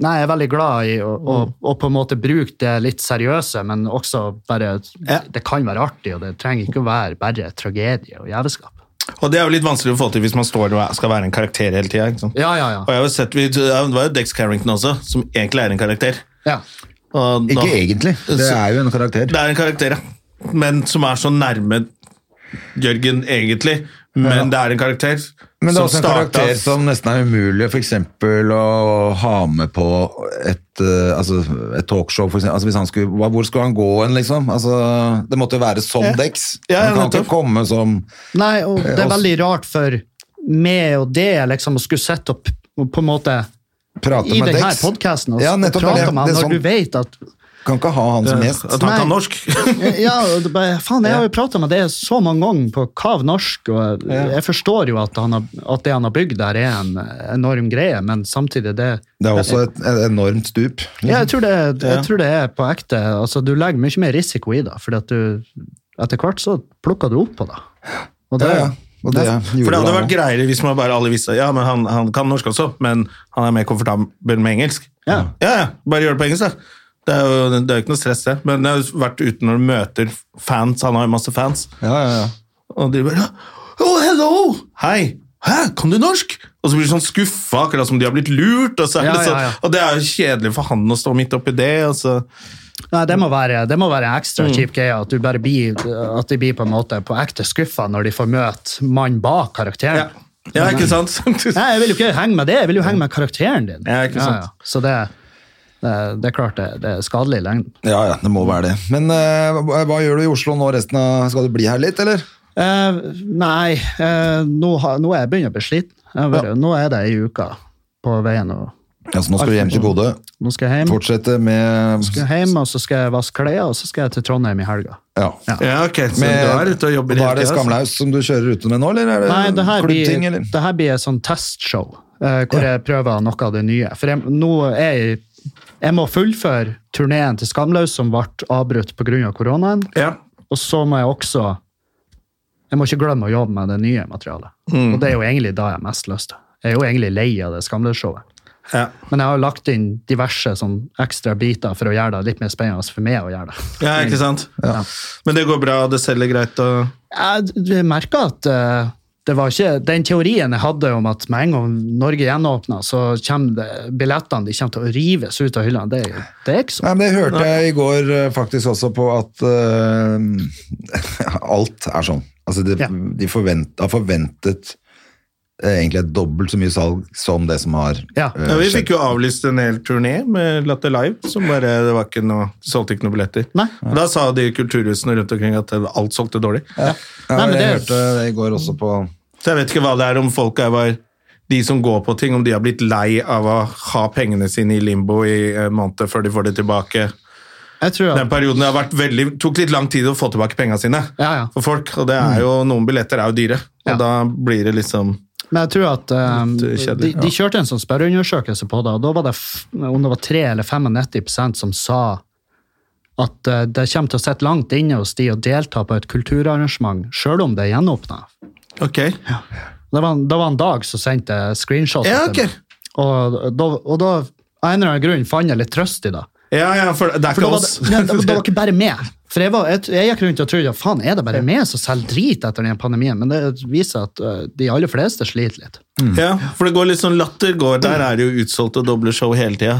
[SPEAKER 3] Nei, jeg er veldig glad i å, å, å på en måte bruke det litt seriøse, men også bare
[SPEAKER 1] Ja.
[SPEAKER 3] Det kan være artig, og det trenger ikke å være bare tragedie og jævelskap.
[SPEAKER 1] Og det er jo litt vanskelig å få til hvis man står og skal være en karakter hele tida.
[SPEAKER 3] Ja, ja,
[SPEAKER 1] Og
[SPEAKER 3] ja.
[SPEAKER 1] jeg har jo sett, vi- Det var jo Dex Carrington også, som egentlig er en karakter.
[SPEAKER 3] ja.
[SPEAKER 1] Og
[SPEAKER 2] Ikke
[SPEAKER 1] da-
[SPEAKER 2] egentlig. Det er jo en karakter.
[SPEAKER 1] Det er en karakter, ja. Men som er så nærme Jørgen, egentlig. Men det er en karakter.
[SPEAKER 2] Men det er
[SPEAKER 1] som
[SPEAKER 2] også en
[SPEAKER 1] starta-
[SPEAKER 2] karakter som nesten er umulig for eksempel å ha med på et, eh, altså, et talkshow. For eksempel. altså, hvis han skulle, hva- hvor skulle han gå hen, liksom? Altså, det måtte jo være som Dex.
[SPEAKER 1] Ja, ja,
[SPEAKER 2] han kan
[SPEAKER 1] nettopp.
[SPEAKER 2] ikke komme som
[SPEAKER 3] Nei, og det er
[SPEAKER 2] også-
[SPEAKER 3] veldig rart for meg og det liksom å skulle sitte og p- og på en måte
[SPEAKER 2] prate
[SPEAKER 3] i
[SPEAKER 2] med
[SPEAKER 3] denne
[SPEAKER 2] Dex.
[SPEAKER 3] podkasten og,
[SPEAKER 2] ja,
[SPEAKER 3] og
[SPEAKER 2] nettopp,
[SPEAKER 3] prate
[SPEAKER 2] det,
[SPEAKER 3] med
[SPEAKER 2] det
[SPEAKER 3] han
[SPEAKER 2] er
[SPEAKER 3] når
[SPEAKER 2] sånn,
[SPEAKER 3] du vet at
[SPEAKER 2] Kan ikke ha han som gjest.
[SPEAKER 1] At han kan
[SPEAKER 3] Nei.
[SPEAKER 1] norsk. [laughs]
[SPEAKER 3] Eh, Ja, og det bare, faen, jeg har jo prata med det så mange ganger på Kav norsk, og jeg forstår jo at, han har, at det han har bygd der, er en enorm greie, men samtidig det
[SPEAKER 2] Det er også et, et enormt stup.
[SPEAKER 3] ja, jeg, tror det, jeg tror det er på ekte. Altså, du legger mye mer risiko i det, for at du etter hvert så plukker du opp på det. Og det-
[SPEAKER 2] Ja, ja. Og det
[SPEAKER 1] For det
[SPEAKER 2] gjorde
[SPEAKER 1] hadde
[SPEAKER 2] han
[SPEAKER 1] vært greiere hvis man bare alle visste ja, men han, han kan norsk også, men han er mer komfortabel med engelsk.
[SPEAKER 3] Ja.
[SPEAKER 1] ja, ja, Bare gjør det på engelsk, da. Det er jo det er jo ikke noe stress, det. Men jeg har jo vært ute når du møter fans. Han har jo masse fans.
[SPEAKER 2] Ja, ja, ja.
[SPEAKER 1] Og de bare Oh, hello! Hei! Hæ, kan du norsk? Og så blir de sånn skuffa, akkurat som de har blitt lurt. Og, så er
[SPEAKER 3] Ja,
[SPEAKER 1] det, sånn,
[SPEAKER 3] ja, ja.
[SPEAKER 1] og det er jo kjedelig for han å stå midt oppi det. altså. Og så.
[SPEAKER 3] Nei, det må være, det må være en ekstra
[SPEAKER 2] Mm.
[SPEAKER 3] kjip greie, at, du bare blir, at de blir på en måte på ekte skuffa når de får møte mannen bak karakteren.
[SPEAKER 1] Ja. ja, ikke sant?
[SPEAKER 3] Nei, jeg vil jo ikke henge med det, jeg vil jo henge med karakteren din.
[SPEAKER 1] Ja, ikke sant.
[SPEAKER 3] Så det, det, det er klart det, det er skadelig i lengden.
[SPEAKER 2] Ja, ja, det må være det. Men eh, hva, hva gjør du i Oslo nå resten av Skal du bli her litt, eller?
[SPEAKER 3] Eh, nei, eh, nå, har, nå er jeg begynner å bli sliten. Jeg har vært- Nå er det ei uke på veien, og
[SPEAKER 2] Ja, så Altså, nå skal du hjem til Bodø.
[SPEAKER 3] nå skal jeg hjem.
[SPEAKER 2] Fortsette med
[SPEAKER 3] Skal jeg hjem, og så skal jeg vaske klær, og så skal jeg til Trondheim i helga.
[SPEAKER 2] Ja.
[SPEAKER 1] Ja, ok, Så
[SPEAKER 2] Med-
[SPEAKER 1] du er ute og jobber
[SPEAKER 2] Da er det
[SPEAKER 1] tiden, altså.
[SPEAKER 2] Skamlaus som du kjører ute med nå, eller er det,
[SPEAKER 3] Nei, det her blir,
[SPEAKER 2] klubbting, Eh, eller?
[SPEAKER 3] det her blir et sånn testshow, eh, hvor jeg prøver noe av det nye. For jeg, nå er jeg, jeg må fullføre turneen til Skamlaus, som ble avbrutt pga. Av koronaen.
[SPEAKER 1] Ja.
[SPEAKER 3] Og så må jeg også Jeg må ikke glemme å jobbe med det nye materialet. Og det er jo egentlig da jeg har mest lyst til. Jeg er jo egentlig lei av det skamløsshowet.
[SPEAKER 1] Ja.
[SPEAKER 3] Men jeg har jo lagt inn diverse sånn ekstra biter for å gjøre det litt mer spennende for meg å gjøre det.
[SPEAKER 1] ja, ikke sant? Men det går bra, det selger greit og
[SPEAKER 3] Jeg d- merker at eh, det var ikke Den teorien jeg hadde om at med en gang Norge gjenåpner, så kommer det, billettene de kommer til å rives ut av hyllene, det, det er
[SPEAKER 2] Nei,
[SPEAKER 3] ikke sånn.
[SPEAKER 2] men Det hørte jeg i går eh, faktisk også på at eh, [laughs] alt er sånn. Altså de,
[SPEAKER 3] Ja.
[SPEAKER 2] de forvent, har forventet eh, egentlig et dobbelt så mye salg som det som har
[SPEAKER 3] Ja.
[SPEAKER 2] eh,
[SPEAKER 1] ja, Vi
[SPEAKER 2] skjedd.
[SPEAKER 1] fikk jo avlyst en hel turné med Latter Live. som bare, det var ikke noe, de solgte ikke noen billetter.
[SPEAKER 3] Nei.
[SPEAKER 1] Og Da sa de kulturhusene rundt omkring at alt solgte dårlig.
[SPEAKER 2] ja,
[SPEAKER 3] Nei, men
[SPEAKER 2] Jeg
[SPEAKER 3] det-
[SPEAKER 2] hørte det i går også på
[SPEAKER 1] Så jeg vet ikke hva det er om folk er var de som går på ting, om de har blitt lei av å ha pengene sine i limbo i en måned før de får det tilbake.
[SPEAKER 3] Jeg tror
[SPEAKER 1] Den
[SPEAKER 3] at,
[SPEAKER 1] perioden har vært veldig, tok litt lang tid å få tilbake pengene sine
[SPEAKER 3] Ja, ja.
[SPEAKER 1] for folk, og det er jo, noen billetter er jo dyre, og
[SPEAKER 3] Ja.
[SPEAKER 1] da blir det liksom
[SPEAKER 3] men jeg tror at eh,
[SPEAKER 1] Litt, eh, kjedelig,
[SPEAKER 3] de, de
[SPEAKER 1] ja.
[SPEAKER 3] kjørte en sånn spørreundersøkelse på det, og da var det f om det var 3 eller 95 som sa at eh, det kommer til å sitte langt inne hos de å delta på et kulturarrangement, sjøl om det er gjenåpna.
[SPEAKER 1] Ok.
[SPEAKER 3] Det var, en- det var en dag som sendte jeg screenshot.
[SPEAKER 1] Ja, ok.
[SPEAKER 3] til meg. Og, da, og da, av en eller annen grunn, fant jeg litt trøst i det.
[SPEAKER 1] Ja, ja, for det er
[SPEAKER 3] For da
[SPEAKER 1] ikke
[SPEAKER 3] var
[SPEAKER 1] oss.
[SPEAKER 3] det, nei,
[SPEAKER 1] [laughs]
[SPEAKER 3] det, var- det var ikke bare meg. For jeg, var, jeg, jeg gikk rundt og trodde ja, faen, er det bare meg som selger drit etter den pandemien? Men det viser at eh, de aller fleste sliter litt.
[SPEAKER 1] [laughs] Ja, for det går litt sånn latter går. Der er det jo utsolgt og doble show hele tida.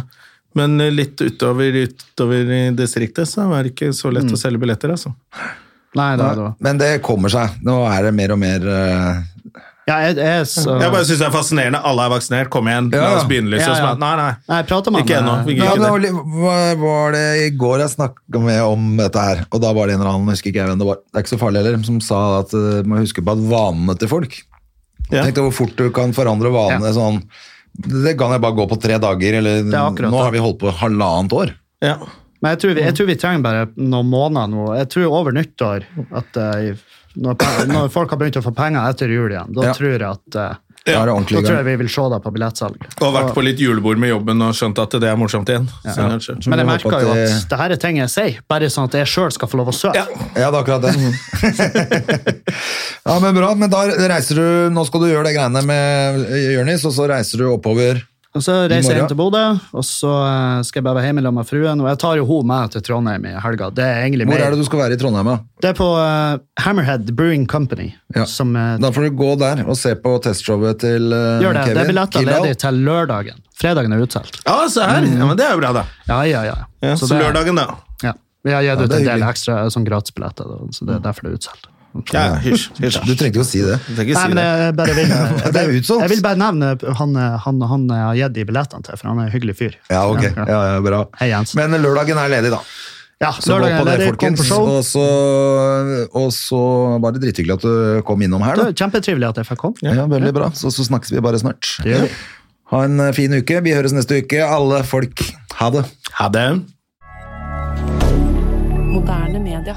[SPEAKER 1] Men eh, litt utover, utover i distriktet så er det ikke så
[SPEAKER 3] Mm.
[SPEAKER 1] lett å selge billetter, altså.
[SPEAKER 3] Nei, det, det var.
[SPEAKER 2] Men det kommer seg. Nå er det mer og mer eh,
[SPEAKER 3] Ja, jeg, jeg, så,
[SPEAKER 1] Jeg bare syns det er fascinerende. Alle er vaksinert, kom igjen, la
[SPEAKER 2] Ja.
[SPEAKER 1] oss begynne, liksom.
[SPEAKER 3] Ja, ja.
[SPEAKER 1] Så bare, Nei, nei.
[SPEAKER 3] Nei, jeg pratet med
[SPEAKER 1] Ikke
[SPEAKER 3] han,
[SPEAKER 1] ennå.
[SPEAKER 3] eh,
[SPEAKER 2] ja,
[SPEAKER 1] Vi gikk
[SPEAKER 2] men
[SPEAKER 1] ikke
[SPEAKER 2] det
[SPEAKER 1] der.
[SPEAKER 2] var, litt- hva var det i går jeg snakka med om dette her? Og da var det en eller annen, jeg husker ikke jeg hvem det var, det er ikke så farlig heller, som sa at uh, man husker på at vanene til folk
[SPEAKER 1] Ja.
[SPEAKER 2] Tenk deg hvor fort du kan forandre vanene sånn. Det kan jeg bare gå på tre dager, eller
[SPEAKER 3] er akkurat
[SPEAKER 2] nå har vi holdt på halvannet år.
[SPEAKER 1] Ja.
[SPEAKER 3] Men jeg tror, vi, jeg tror vi trenger bare noen måneder nå. Jeg tror over nyttår, at eh, når, pe- når folk har begynt å få penger etter jul igjen, da
[SPEAKER 2] Ja.
[SPEAKER 3] tror jeg at eh,
[SPEAKER 2] Da er det
[SPEAKER 3] Da
[SPEAKER 2] ordentlig i
[SPEAKER 3] tror jeg
[SPEAKER 2] gang.
[SPEAKER 3] vi vil se deg på billettsalg.
[SPEAKER 1] Og vært på litt julebord med jobben og skjønt at det er morsomt igjen. Så kanskje.
[SPEAKER 3] Men jeg
[SPEAKER 2] vi håper
[SPEAKER 3] merker jo
[SPEAKER 2] at
[SPEAKER 3] at det her er ting jeg sier, bare sånn at jeg sjøl skal få lov å søke.
[SPEAKER 1] Ja.
[SPEAKER 2] Ja, det er akkurat det.
[SPEAKER 3] [laughs]
[SPEAKER 2] ja, men bra. Men da reiser du Nå skal du gjøre de greiene med Jonis, og så reiser du oppover.
[SPEAKER 3] Og så reiser jeg
[SPEAKER 2] morgen.
[SPEAKER 3] hjem til Bodø, og så eh, skal jeg bare være hjemme sammen med fruen. Og jeg tar jo hun med til Trondheim i helga. Det er egentlig
[SPEAKER 2] Hvor
[SPEAKER 3] mer.
[SPEAKER 2] er det du skal være i Trondheim? Da,
[SPEAKER 3] Det er på eh, Hammerhead Brewing Company.
[SPEAKER 2] Ja.
[SPEAKER 3] Som, eh,
[SPEAKER 2] da får du gå der og se på testshowet til eh,
[SPEAKER 3] gjør det.
[SPEAKER 2] Kevin.
[SPEAKER 3] det er billetter
[SPEAKER 2] Kildahl.
[SPEAKER 3] ledig til lørdagen. Fredagen er utsolgt.
[SPEAKER 1] Ja, se her. Ja, men det er jo bra, da.
[SPEAKER 3] Ja, ja, ja.
[SPEAKER 1] Ja, så
[SPEAKER 3] det er-
[SPEAKER 1] lørdagen, da.
[SPEAKER 3] Ja. Vi har gitt
[SPEAKER 2] Ja, det er
[SPEAKER 3] ut en del
[SPEAKER 2] hyggelig.
[SPEAKER 3] ekstra eh, sånn gratisbilletter, da, så det er derfor det er utsolgt.
[SPEAKER 1] Ja, ja, hysj. hysj.
[SPEAKER 2] Du trengte jo å si det.
[SPEAKER 1] Du trenger ikke
[SPEAKER 3] Nei,
[SPEAKER 1] si
[SPEAKER 3] men
[SPEAKER 1] det.
[SPEAKER 3] jeg bare
[SPEAKER 2] [laughs]
[SPEAKER 3] vil, jeg,
[SPEAKER 2] Det er utsolgt.
[SPEAKER 3] jeg vil bare nevne han, eh, han, han jeg har gitt de billettene til, for han er en hyggelig fyr.
[SPEAKER 2] Ja, ok. Ja, ja, bra.
[SPEAKER 3] Hei, Jens.
[SPEAKER 2] Men lørdagen er ledig, da.
[SPEAKER 3] Ja,
[SPEAKER 2] Så gå på
[SPEAKER 3] lørdagen
[SPEAKER 2] det,
[SPEAKER 3] er ledig, kom
[SPEAKER 2] folkens.
[SPEAKER 3] på show.
[SPEAKER 2] Og så, og så var det drithyggelig at du kom innom her,
[SPEAKER 3] Det
[SPEAKER 2] da.
[SPEAKER 3] var kjempetrivelig at jeg fikk komme.
[SPEAKER 2] Ja, veldig bra. Så, så snakkes vi bare snart.
[SPEAKER 3] Det gjør vi.
[SPEAKER 2] Ha en eh, fin uke. Vi høres neste uke, alle folk. Ha det.
[SPEAKER 1] Ha det.
[SPEAKER 4] Moderne media.